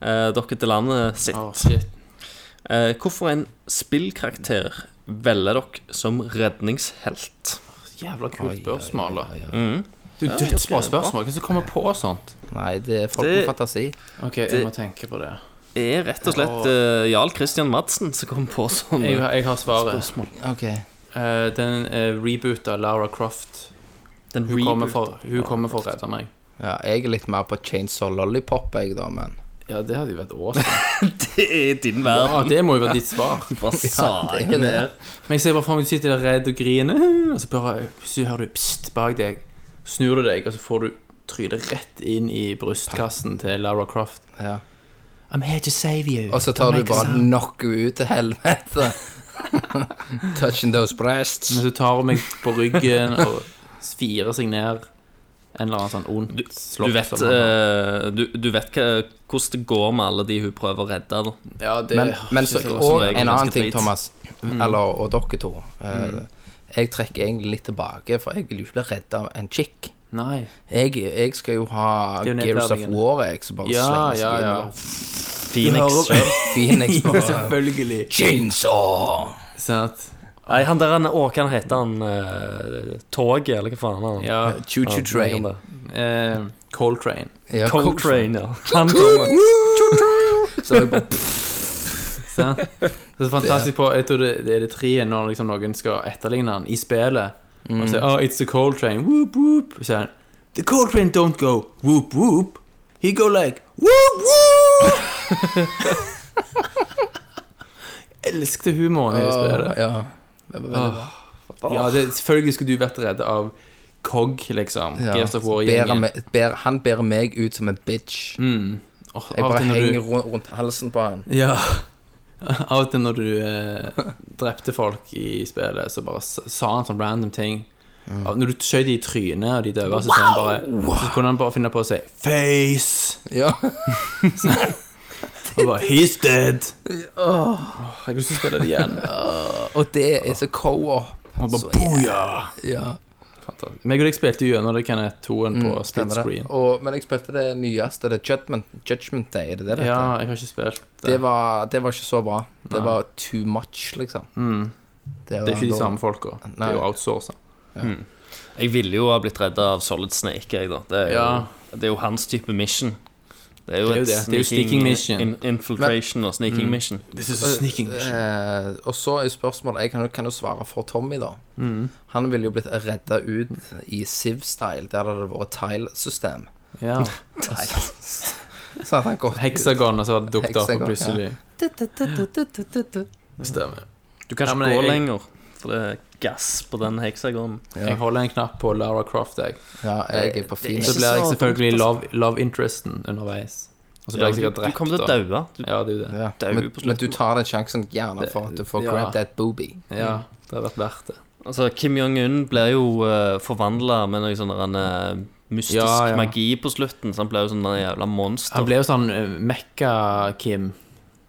Speaker 7: eh, dere til landet sitt.
Speaker 5: Åh, shit.
Speaker 7: Eh, hvorfor en spillkarakter velger dere som redningshelt?
Speaker 5: Jævla kult spørsmål, da.
Speaker 7: Mm.
Speaker 5: Du, dødsbra
Speaker 7: ok,
Speaker 5: spørsmål. Hvem som kommer på sånt?
Speaker 6: Nei, det er folk
Speaker 7: Det-
Speaker 6: med fantasi.
Speaker 5: Ok, jeg må tenke på det.
Speaker 7: Er rett og slett eh, Jarl Christian Madsen som kom på sånn
Speaker 5: Jeg, har- jeg har svaret.
Speaker 7: spørsmål.
Speaker 6: Ok.
Speaker 5: Eh, den uh, reboota Lara Croft.
Speaker 7: Den
Speaker 5: Hun kommer,
Speaker 7: reboot.
Speaker 5: for, hun kommer for å redde meg.
Speaker 6: Ja, jeg er litt mer på Chainsaw Lollipop, jeg, da, men
Speaker 5: Ja, det hadde jo vært awesome.
Speaker 7: Det er din
Speaker 5: Ja,
Speaker 7: verden.
Speaker 5: det må jo være ditt svar.
Speaker 7: Hva saken er.
Speaker 5: Men jeg ser bare for meg du sitter der redd og griner, og så bare plutselig hører du pst bak deg. Snur du deg, og så får du trynet rett inn i brystkassen til Lara Croft.
Speaker 6: ja.
Speaker 5: I'm here to save you.
Speaker 6: Og så tar du
Speaker 5: Make a
Speaker 6: bare
Speaker 5: sound.
Speaker 6: knocko ut til helvete. Touching those breasts.
Speaker 5: Men så tar hun meg på ryggen og sfirer seg ned en eller annen sånn ond slott.
Speaker 7: Du vet,
Speaker 5: som han har.
Speaker 7: eh, du, du vet hva, hvordan det går med alle de hun prøver å redde. Da.
Speaker 5: ja, det,
Speaker 6: Men, men så,
Speaker 5: synes jeg var
Speaker 6: og
Speaker 5: som regel
Speaker 6: en annen
Speaker 7: ganske
Speaker 6: ting,
Speaker 7: drit.
Speaker 6: Thomas,
Speaker 5: Mm.
Speaker 6: eller og dere to. eh, Jeg trekker egentlig litt tilbake, for jeg vil jo ikke bli redd av en chick.
Speaker 5: Nei.
Speaker 6: Jeg, jeg skal jo ha
Speaker 5: Det er jo
Speaker 6: Gears of
Speaker 5: nedverdigende.
Speaker 6: War, jeg, som bare
Speaker 5: Ja,
Speaker 6: slenger
Speaker 5: ja, ja.
Speaker 7: Phoenix.
Speaker 6: Phoenix bare
Speaker 5: Selvfølgelig.
Speaker 6: Chainsaw!
Speaker 5: Sant.
Speaker 7: Nei, han der han, å, hva han heter han? eh, Toget, eller hva faen han
Speaker 5: Ja.
Speaker 6: Choo-choo train.
Speaker 5: Eh, Coltrane.
Speaker 6: Ja,
Speaker 7: Coltrane, ja. Han kommer.
Speaker 6: Så jeg bare
Speaker 5: Sant? Det er så fantastisk på Jeg tror det, det er det tre når liksom noen skal etterligne han i spillet.
Speaker 6: Mm.
Speaker 5: Og sier oh, 'It's the Coltrane'. Whoop, whoop. Og så sier han 'The Coltrane don't go whoop, whoop'. He go like whoop, whoop. Jeg Elsket humoren i det spillet.
Speaker 6: Ja. Det var veldig bra.
Speaker 5: Ja, det, selvfølgelig skulle du vært redd av Cog, liksom.
Speaker 6: Ja.
Speaker 5: Gears of
Speaker 6: Bærer
Speaker 5: War-gjengen.
Speaker 6: meg- bærer- Han bærer meg ut som en bitch.
Speaker 5: Åh,
Speaker 6: Jeg
Speaker 5: Mm, av og
Speaker 6: bare
Speaker 5: til når du-
Speaker 6: henger rundt, rundt halsen på han.
Speaker 5: Ja. Av og til når du eh, drepte folk i spillet, så bare s- sa han sånne random ting. Ja, Når du skjøt de i trynet, og de døde, så, sa han bare, så kunne han bare finne på å si 'face'.
Speaker 6: Ja.
Speaker 5: Og bare 'he's dead'. Åh, jeg har lyst til å spille det igjen.
Speaker 6: Og det er så co-op.
Speaker 5: Og bare 'booyah'.
Speaker 6: Ja, Mm,
Speaker 5: Meg og deg spilte jo gjennom det Kenneth toen på
Speaker 6: stemmer
Speaker 5: split
Speaker 6: det.
Speaker 5: screen.
Speaker 6: Og, men jeg spilte det nyeste, det Judgment, Judgment Day. Er det det det heter?
Speaker 5: Ja, jeg har ikke spilt
Speaker 6: det, var, det var ikke så bra. Det var too much, liksom.
Speaker 5: Mm. Det er ikke de
Speaker 6: da-
Speaker 5: samme folka. Det
Speaker 6: Nei.
Speaker 5: er jo outsourca.
Speaker 7: Jeg ville jo ha blitt redda av Solid Snake, jeg, da. Det er, jo,
Speaker 5: Ja.
Speaker 7: det er jo hans type mission. Det er jo, Mm.
Speaker 5: Det er jo
Speaker 7: et
Speaker 5: det. Det er jo sneaking mission.
Speaker 7: in- infiltration og sneaking mission.
Speaker 5: This is a sneaking
Speaker 6: Eh, og så er spørsmålet Jeg kan jo, kan jo svare for Tommy, da.
Speaker 5: Mm,
Speaker 6: Han ville jo blitt redda ut i Siv-style, der det hadde vært tile-system.
Speaker 5: Ja.
Speaker 6: Så hadde han gått
Speaker 5: Heksagon, og så hadde det dukket opp,
Speaker 6: Hexagon,
Speaker 5: og plutselig
Speaker 6: ja.
Speaker 5: Stemmer.
Speaker 7: Du kan
Speaker 5: Ja,
Speaker 7: ikke
Speaker 5: men
Speaker 7: gå
Speaker 5: jeg-
Speaker 7: lenger. For det er gass på den heksagonen.
Speaker 5: Jeg holder en knapp på Lara Croft, jeg.
Speaker 6: Ja, jeg er på
Speaker 5: Så
Speaker 6: fin.
Speaker 7: ikke
Speaker 5: blir jeg
Speaker 7: så
Speaker 5: selvfølgelig
Speaker 7: dumt, altså.
Speaker 5: love, love interesten underveis. Og så blir jeg sikkert
Speaker 7: du
Speaker 5: drept.
Speaker 7: kommer til å
Speaker 5: da.
Speaker 7: daue. Du-
Speaker 5: Ja, det er jo det.
Speaker 6: Ja.
Speaker 7: Dau
Speaker 6: Men,
Speaker 7: på slutten.
Speaker 6: men du tar den sjansen gjerne for at du får
Speaker 5: Ja.
Speaker 6: grab that booby.
Speaker 5: Ja, det har vært verdt det.
Speaker 7: Altså, Kim Jong-un blir jo uh, forvandla med noe sånn der en, eh, mystisk
Speaker 5: Ja, ja.
Speaker 7: magi på slutten. Så han blir jo sånn en jævla monster.
Speaker 5: Han ble jo sånn eh, Mekka-Kim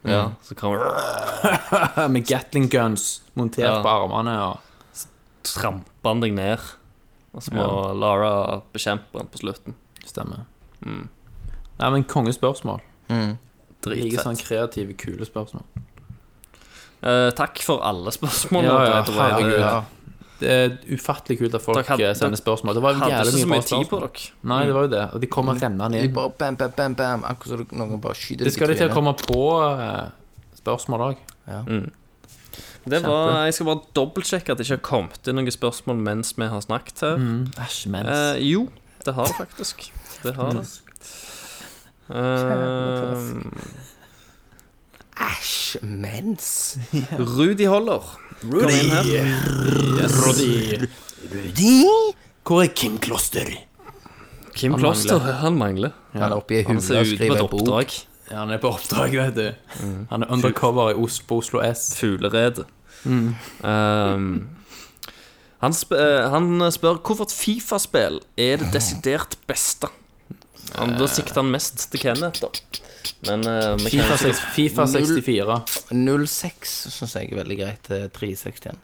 Speaker 7: ja, så kommer
Speaker 5: med Gatling guns montert
Speaker 7: Ja.
Speaker 5: på armene og
Speaker 7: tramper han deg ned. Og så må
Speaker 5: Ja.
Speaker 7: Lara bekjempe han på slutten. Mm.
Speaker 5: Stemmer. Nei, men kongespørsmål. Like
Speaker 7: Dritfett.
Speaker 5: sånn kreative, kule spørsmål.
Speaker 7: Eh, takk for alle spørsmålene.
Speaker 5: Ja, ja,
Speaker 7: Det tror jeg hadde-
Speaker 5: herregud. Det er ufattelig kult at folk
Speaker 7: Dere hadde-
Speaker 5: eh, sender spørsmål. Det var jo
Speaker 7: Hadde
Speaker 5: jævlig mye
Speaker 7: ikke så
Speaker 5: bra
Speaker 7: mye tid på
Speaker 5: spørsmål.
Speaker 7: dere. Mm.
Speaker 5: Nei, det var jo det. Og de kommer rennende
Speaker 6: De
Speaker 5: inn.
Speaker 6: bare bam, bam, bam, bam, akkurat som du- noen bare skyter
Speaker 5: Det
Speaker 6: deg i
Speaker 5: skal de til å
Speaker 6: trynet.
Speaker 5: komme på eh, spørsmål òg.
Speaker 7: Mm. Det var, jeg skal bare dobbeltsjekke at det ikke har kommet inn noen spørsmål mens vi har snakket her.
Speaker 5: Mm. Æsj, mens.
Speaker 7: Eh, jo, det har det faktisk. Det har det. Eh,
Speaker 6: Æsj, mens
Speaker 7: Eh, Rudi Holler. Kom inn her.
Speaker 12: Hvor er Kim Kloster?
Speaker 7: Kim Kloster, han mangler.
Speaker 6: Han er oppi ei
Speaker 7: Han
Speaker 6: hule
Speaker 7: ser
Speaker 6: og
Speaker 7: ut på
Speaker 6: skriver
Speaker 7: et
Speaker 6: en bok.
Speaker 7: oppdrag.
Speaker 5: Ja, han er på oppdrag, vet du.
Speaker 6: Mm.
Speaker 5: Han er undercover i Os på Oslo S. Mm.
Speaker 7: Fuglerede. Um, han, sp eh, han spør hvorfor et Fifa-spill er det desidert beste. Han, da sikter han mest til Kenneth, da. Men eh, vi
Speaker 5: FIFA,
Speaker 7: kan jo sikkert
Speaker 5: seks- FIFA 64.
Speaker 6: 06 syns jeg er veldig greit. eh, 361.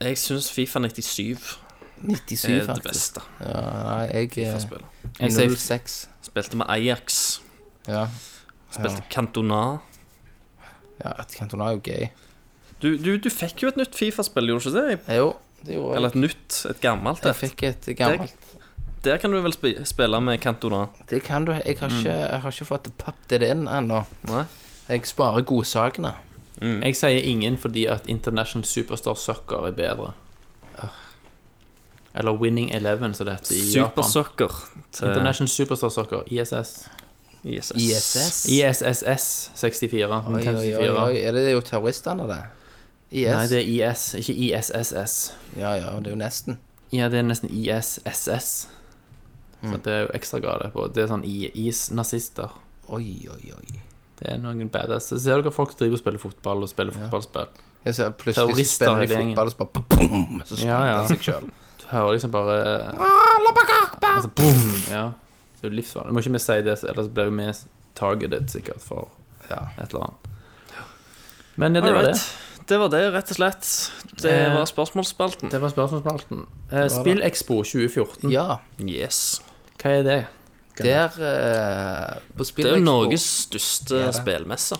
Speaker 7: Jeg syns Fifa 97
Speaker 6: 97,
Speaker 7: er det
Speaker 6: faktisk.
Speaker 7: beste
Speaker 6: Ja, nei, jeg eh,
Speaker 7: Fifa-spillet.
Speaker 6: 06.
Speaker 7: Spilte med Ajax.
Speaker 6: Ja,
Speaker 7: Spilte Cantona.
Speaker 6: ja et Cantona er jo gøy.
Speaker 7: Du, du, du fikk jo et nytt Fifa-spill, gjorde du ikke det?
Speaker 6: Eh, Jo, det gjorde
Speaker 7: Eller
Speaker 6: jeg.
Speaker 7: et nytt, et gammelt
Speaker 6: Jeg
Speaker 7: et.
Speaker 6: fikk et gammelt
Speaker 7: Der kan du vel spi- spille med Cantona?
Speaker 6: Det kan du. Jeg har ikke, jeg har ikke fått pappet det inn ennå.
Speaker 7: Nei?
Speaker 6: Jeg sparer godsakene.
Speaker 5: Jeg sier ingen fordi at International Superstar Soccer er bedre.
Speaker 6: Ah.
Speaker 5: Eller Winning Eleven, som det heter i Japan.
Speaker 7: Supersucker til
Speaker 5: International Superstar Soccer, ISS.
Speaker 7: ISS.
Speaker 6: ISS.
Speaker 5: ISSS 64.
Speaker 6: Oi,
Speaker 5: Nintendo
Speaker 6: oi, oi,
Speaker 5: 64.
Speaker 6: oi. Er det jo terroristene, det? IS?
Speaker 5: Nei, det er IS, ikke ISSS.
Speaker 6: Ja, ja, det er jo nesten.
Speaker 5: Ja, det er nesten ISSS.
Speaker 6: Mm.
Speaker 5: Så det er jo ekstra gale på. Det er sånn I- is-nazister.
Speaker 6: Oi, oi, oi.
Speaker 5: Det er noen badass. Så ser dere folk som driver og spiller fotball og spiller fotballspill.
Speaker 6: Jeg ser plutselig
Speaker 5: Terrorister
Speaker 6: spiller
Speaker 5: hele
Speaker 6: de
Speaker 5: gjengen.
Speaker 6: fotball, og så bare boom, så
Speaker 5: Ja, ja.
Speaker 6: seg selv.
Speaker 5: Du hører liksom bare altså, boom, ja. Det er jo livsfarlig. Må ikke vi si det, ellers blir jo vi targeted sikkert for
Speaker 6: Ja.
Speaker 5: et eller annet. Men det, det var det.
Speaker 7: Alright. Det var det, rett og slett. Det
Speaker 5: Eh,
Speaker 7: var spørsmålsspalten.
Speaker 5: Det var spørsmålsspalten. Eh, Spillexpo 2014,
Speaker 6: Mm. Ja,
Speaker 7: Yes.
Speaker 5: hva er det?
Speaker 6: der eh, på
Speaker 7: Det er jo
Speaker 6: Spillexpo
Speaker 7: Norges største spillmesse.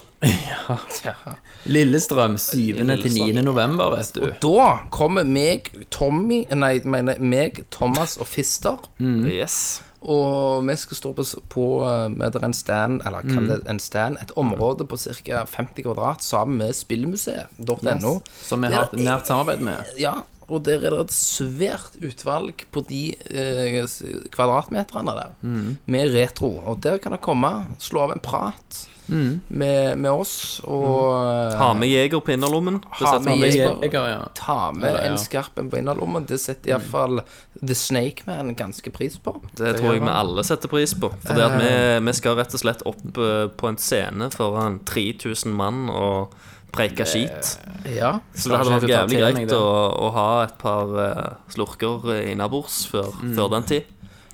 Speaker 5: Lillestrøm 7. til 9. november, vet du.
Speaker 6: Da kommer meg, Tommy Nei, jeg mener meg, Thomas og Fister.
Speaker 5: Mm.
Speaker 7: Yes.
Speaker 6: Og vi skal stå på, s- på eh, med der en stand, eller kall det
Speaker 5: Mm.
Speaker 6: en stand, et område på ca. 50 kvadrat sammen med spillmuseet.no.
Speaker 5: Som vi har hatt nært samarbeid med.
Speaker 6: Ja, og der er det et svært utvalg på de eh, s- kvadratmeterne der,
Speaker 5: Mm.
Speaker 6: med retro. Og der kan det komme, slå av en prat
Speaker 5: Mm.
Speaker 6: med, med oss, og eh,
Speaker 7: Ha med jeger på innerlommen. Det
Speaker 6: Ha
Speaker 7: setter
Speaker 6: med
Speaker 7: vi pris
Speaker 6: jeger.
Speaker 7: på.
Speaker 5: Jeg har, ja.
Speaker 6: ta med
Speaker 5: Ja, Mm. ja.
Speaker 6: en skarp en på innerlommen. Det setter iallfall The Snake Man ganske pris på.
Speaker 7: Det tror jeg vi alle setter pris på. For det at vi,
Speaker 5: Eh.
Speaker 7: vi skal rett og slett opp eh, på en scene foran 3000 mann og preike skit.
Speaker 6: Ja.
Speaker 7: Så det hadde vært
Speaker 5: kanskje jeg skal ta
Speaker 7: jævlig
Speaker 5: til meg
Speaker 7: greit
Speaker 5: det.
Speaker 7: å, å ha et par eh, slurker eh, innabords før,
Speaker 5: Mm.
Speaker 7: før den tid.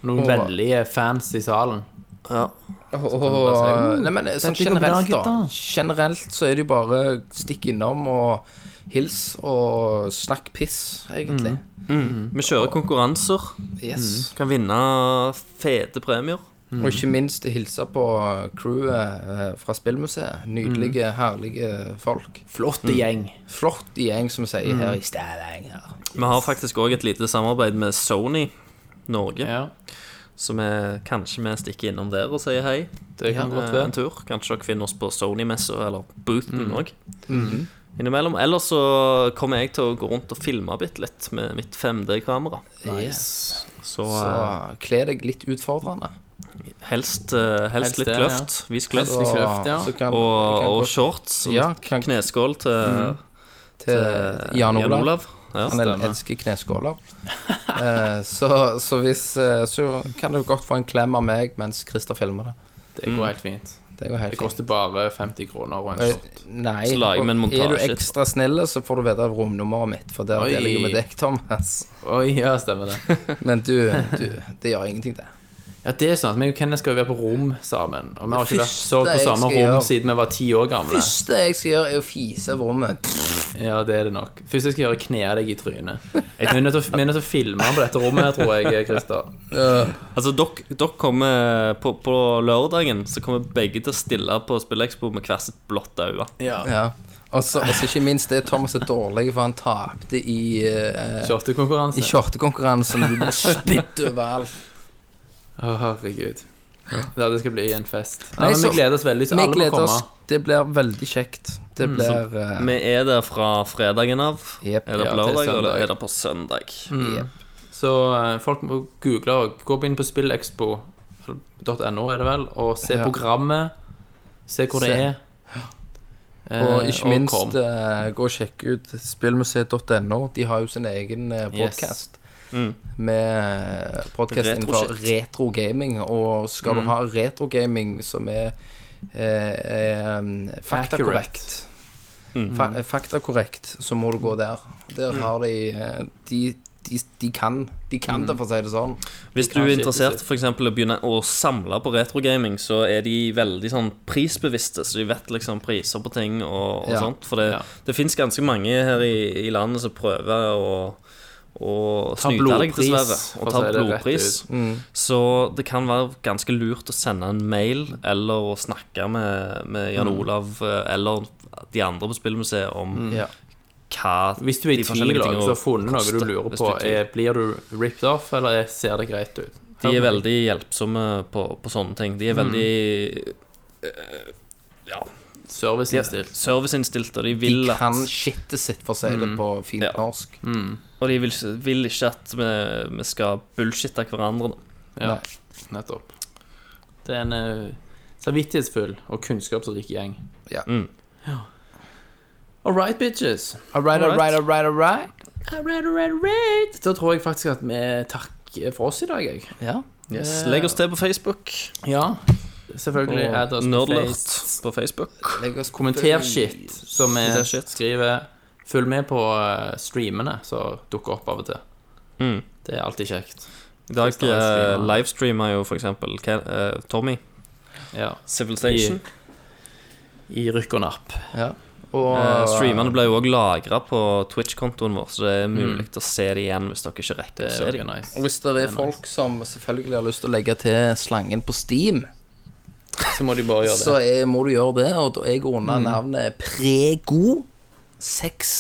Speaker 5: Noen veldige fans i salen.
Speaker 7: Ja.
Speaker 6: Og, nei, men sånn
Speaker 5: går bra,
Speaker 6: generelt, da.
Speaker 5: gutta.
Speaker 6: Generelt så er det jo bare stikk innom og hils og snakk piss, egentlig.
Speaker 5: Mm.
Speaker 7: Vi kjører konkurranser.
Speaker 6: Yes.
Speaker 7: Kan vinne fete premier.
Speaker 6: Og ikke minst hilse på crewet eh, fra Spillmuseet. Nydelige, herlige folk. Mm.
Speaker 5: Flott gjeng.
Speaker 6: Flott gjeng, som vi sier her i Stavanger.
Speaker 7: Vi har faktisk òg et lite samarbeid med Sony Norge.
Speaker 5: Ja,
Speaker 7: Så vi, kanskje vi stikker innom der og sier hei
Speaker 5: det kan
Speaker 7: eh,
Speaker 5: godt
Speaker 7: en
Speaker 5: være.
Speaker 7: tur. Kanskje dere finner oss på Sony-messa eller Boothen òg. Innimellom. Ellers så kommer jeg til å gå rundt og filme bitte litt med mitt 5D-kamera.
Speaker 6: Yes.
Speaker 7: Så,
Speaker 6: Så
Speaker 7: eh,
Speaker 6: kle deg litt utfordrende.
Speaker 7: helst, eh, helst,
Speaker 5: Helst
Speaker 7: litt
Speaker 5: det, ja.
Speaker 7: kløft. Vis kløft.
Speaker 5: Helst litt kløft, ja.
Speaker 6: så kan,
Speaker 7: Og,
Speaker 6: kan
Speaker 7: og
Speaker 6: godt-
Speaker 7: shorts og
Speaker 6: Ja, kan-
Speaker 7: kneskål til
Speaker 6: til Eh, Jan Olav.
Speaker 7: eh, Ja,
Speaker 6: han
Speaker 7: stemmer.
Speaker 6: elsker kneskåler. Eh, så, så hvis eh, Så kan du godt få en klem av meg mens Christer filmer det.
Speaker 5: Det går helt fint.
Speaker 6: Det går helt
Speaker 5: Det koster bare 50 kroner og en
Speaker 6: Eh,
Speaker 5: sort.
Speaker 6: Nei.
Speaker 7: Så lager vi
Speaker 6: og
Speaker 7: en montasje
Speaker 6: Er du
Speaker 7: etterpå.
Speaker 6: ekstra snill, så får du vite romnummeret mitt, for der
Speaker 5: Oi.
Speaker 6: deler jeg jo med deg, Thomas.
Speaker 5: Oi, ja, stemmer det.
Speaker 6: Men du, du det gjør ingenting, det.
Speaker 5: Ja, det er sånn at Vi og Kenneth skal jo være på rom sammen. Og vi har ikke
Speaker 6: Det
Speaker 5: vært sovet på
Speaker 6: første
Speaker 5: samme
Speaker 6: jeg skal
Speaker 5: rom
Speaker 6: gjøre-
Speaker 5: siden vi var ti år gamle.
Speaker 6: første jeg skal gjøre, er å fise over rommet.
Speaker 5: Ja, det er det nok. Først jeg skal gjøre knea deg i trynet. Vi er nødt til å- vi er nødt til å filme på dette rommet, her, tror jeg, Christer.
Speaker 7: Altså, dere, dere kommer på, på lørdagen Så kommer begge til å stille på Spillekspo med hvert sitt blått øye.
Speaker 6: Ja. Og så og så ikke minst det Thomas er dårlig, for han tapte i uh, I
Speaker 5: Kjørtekonkurranse.
Speaker 6: skjortekonkurransen. Du ble spytt overalt.
Speaker 5: Å, herregud. Ja, det skal bli en fest.
Speaker 6: Nei,
Speaker 5: Nei, men
Speaker 6: så-
Speaker 5: Vi gleder oss veldig, så
Speaker 6: Vi
Speaker 5: alle må
Speaker 6: gleder
Speaker 5: komme. Mm.
Speaker 6: oss. Det blir veldig kjekt. Det blir eh,
Speaker 7: Vi er der fra fredagen av.
Speaker 6: Jep.
Speaker 7: er det
Speaker 5: Ja,
Speaker 7: på
Speaker 5: til
Speaker 7: lørdag,
Speaker 5: søndag. Mm.
Speaker 7: eller er det på søndag?
Speaker 6: jep.
Speaker 5: Så eh, folk må google og gå inn på spillexpo.no, er det vel, og se
Speaker 6: Ja.
Speaker 5: programmet. Se hvor det
Speaker 6: Se.
Speaker 5: er. Eh,
Speaker 6: Og ikke
Speaker 5: kom.
Speaker 6: minst eh, gå og sjekke ut spillmuseet.no. De har jo sin egen uh,
Speaker 5: Yes. Mm.
Speaker 6: podkast. Med podkast
Speaker 7: Retro
Speaker 6: innenfor
Speaker 7: shit.
Speaker 6: retrogaming. Og skal
Speaker 5: Mm.
Speaker 6: du ha retrogaming som er eh, eh, um, faktakorrekt
Speaker 5: Mm.
Speaker 6: fa eh, Faktakorrekt, så må du gå der. Der har de eh, De, de, de kan, de kan
Speaker 5: Mm.
Speaker 6: det, for å si det sånn.
Speaker 7: Hvis du er interessert for eksempel, å begynne å samle på retrogaming, så er de veldig sånn prisbevisste, så de vet liksom priser på ting og, og
Speaker 6: Ja.
Speaker 7: sånt. For det,
Speaker 5: Ja.
Speaker 7: det fins ganske mange her i, i landet som prøver å, å
Speaker 5: Ta
Speaker 7: snyte deg,
Speaker 5: blodpris,
Speaker 7: dessverre.
Speaker 5: for å
Speaker 7: Og ta
Speaker 5: si det rett
Speaker 7: blodpris.
Speaker 6: Mm.
Speaker 7: Så det kan være ganske lurt å sende en mail eller å snakke med,
Speaker 5: Mm.
Speaker 7: med Jan Olav eh, eller de andre på Spillmuseet om
Speaker 6: Ja.
Speaker 7: hva
Speaker 5: Hvis du er i
Speaker 7: de
Speaker 5: tvil
Speaker 7: forskjellige
Speaker 5: og
Speaker 7: tingene
Speaker 5: ikke har funnet noe du
Speaker 7: koster,
Speaker 5: lurer
Speaker 7: hvis
Speaker 5: på,
Speaker 7: er i tvil.
Speaker 5: er, blir du ripped off, eller er- ser det greit ut?
Speaker 7: De er veldig hjelpsomme på, på sånne ting. De er
Speaker 5: Mm.
Speaker 7: veldig eh, ja,
Speaker 5: serviceinnstilt.
Speaker 7: serviceinnstilte, og
Speaker 6: De
Speaker 7: de vil
Speaker 6: kan
Speaker 7: at
Speaker 6: shitet sitt, for å si
Speaker 5: Mm.
Speaker 6: det på fint
Speaker 7: Ja.
Speaker 6: norsk.
Speaker 7: Og de vil, vil ikke at vi, vi skal bullshitte hverandre. da.
Speaker 5: Ja, nettopp. Det er en eh, samvittighetsfull og kunnskapsrik gjeng.
Speaker 6: Ja.
Speaker 7: Mm.
Speaker 5: All right, bitches.
Speaker 6: All right, all right, all right, all right.
Speaker 5: All right, all right, all right. Da tror jeg faktisk at vi takker for oss i dag, jeg. Eh,
Speaker 6: Ja.
Speaker 7: Yes. Legg oss til på Facebook.
Speaker 5: Ja. Selvfølgelig.
Speaker 7: Og
Speaker 5: add oss på
Speaker 7: Nerdlurt
Speaker 5: Face.
Speaker 7: på Facebook.
Speaker 6: Legg oss
Speaker 5: Kommenter shit, som
Speaker 7: Kommenter
Speaker 5: vi
Speaker 7: shit.
Speaker 5: skriver. Følg med på eh, streamene som dukker opp av og til.
Speaker 7: Mm.
Speaker 5: Det er alltid kjekt.
Speaker 7: I dag
Speaker 5: Kristian
Speaker 7: eh,
Speaker 5: streamer.
Speaker 7: livestreamer jo for eksempel Ke- eh, Tommy.
Speaker 5: Ja.
Speaker 7: Civilization.
Speaker 5: I rykk og napp.
Speaker 6: Ja. Og
Speaker 7: Eh, streamene ble jo òg lagra på Twitch-kontoen vår, så det er mulig å se det igjen hvis dere ikke
Speaker 5: Mm. Det
Speaker 7: rekker å
Speaker 5: er
Speaker 7: se
Speaker 5: veldig
Speaker 7: det.
Speaker 5: nice.
Speaker 6: Og hvis det er folk som selvfølgelig har lyst til å legge til slangen på Steam,
Speaker 5: Så må de bare gjøre det. Mm.
Speaker 6: så er, må du gjøre det. Og da er jeg unna navnet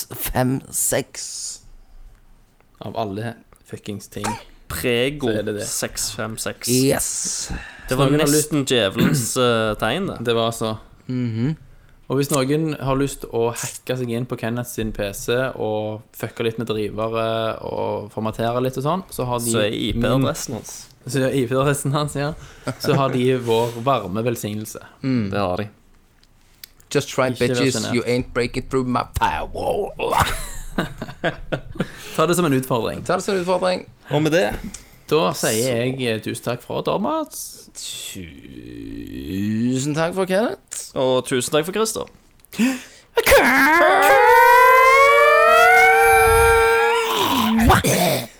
Speaker 6: Prego656.
Speaker 5: Av alle fuckings ting.
Speaker 7: Prego
Speaker 5: Så er det det.
Speaker 7: 656.
Speaker 6: Yes.
Speaker 7: Det var
Speaker 5: Noen har
Speaker 7: nesten djevelens eh, tegn, det.
Speaker 5: Det var altså Og hvis noen har lyst til å hacke seg inn på Kenneth sin PC og fucke litt med drivere og formatere litt og sånn, så har de
Speaker 7: Så er IP-adressen hans.
Speaker 5: Så er IP-adressen hans, ja. Så har de vår varme velsignelse.
Speaker 7: Det har de.
Speaker 6: Just try
Speaker 5: Ikke vær
Speaker 6: bitches,
Speaker 5: sjenert.
Speaker 6: you ain't breaking through my firewall.
Speaker 5: Ta det som en utfordring.
Speaker 6: Ta det som en utfordring.
Speaker 7: Og med det
Speaker 5: Da sier jeg eh, tusen takk fra Thomas.
Speaker 6: Tusen takk for Kenneth.
Speaker 7: Og tusen takk for Christer.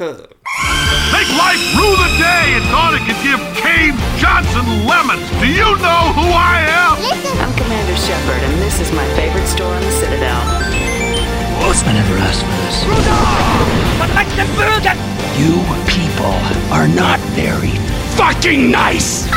Speaker 2: Make life rue the day and thought it could give Cave Johnson lemons. Do you know who I am?
Speaker 3: I'm Commander Shepard, and this is my favorite store on the Citadel.
Speaker 4: Horseman never asked for this. You people are not very fucking nice!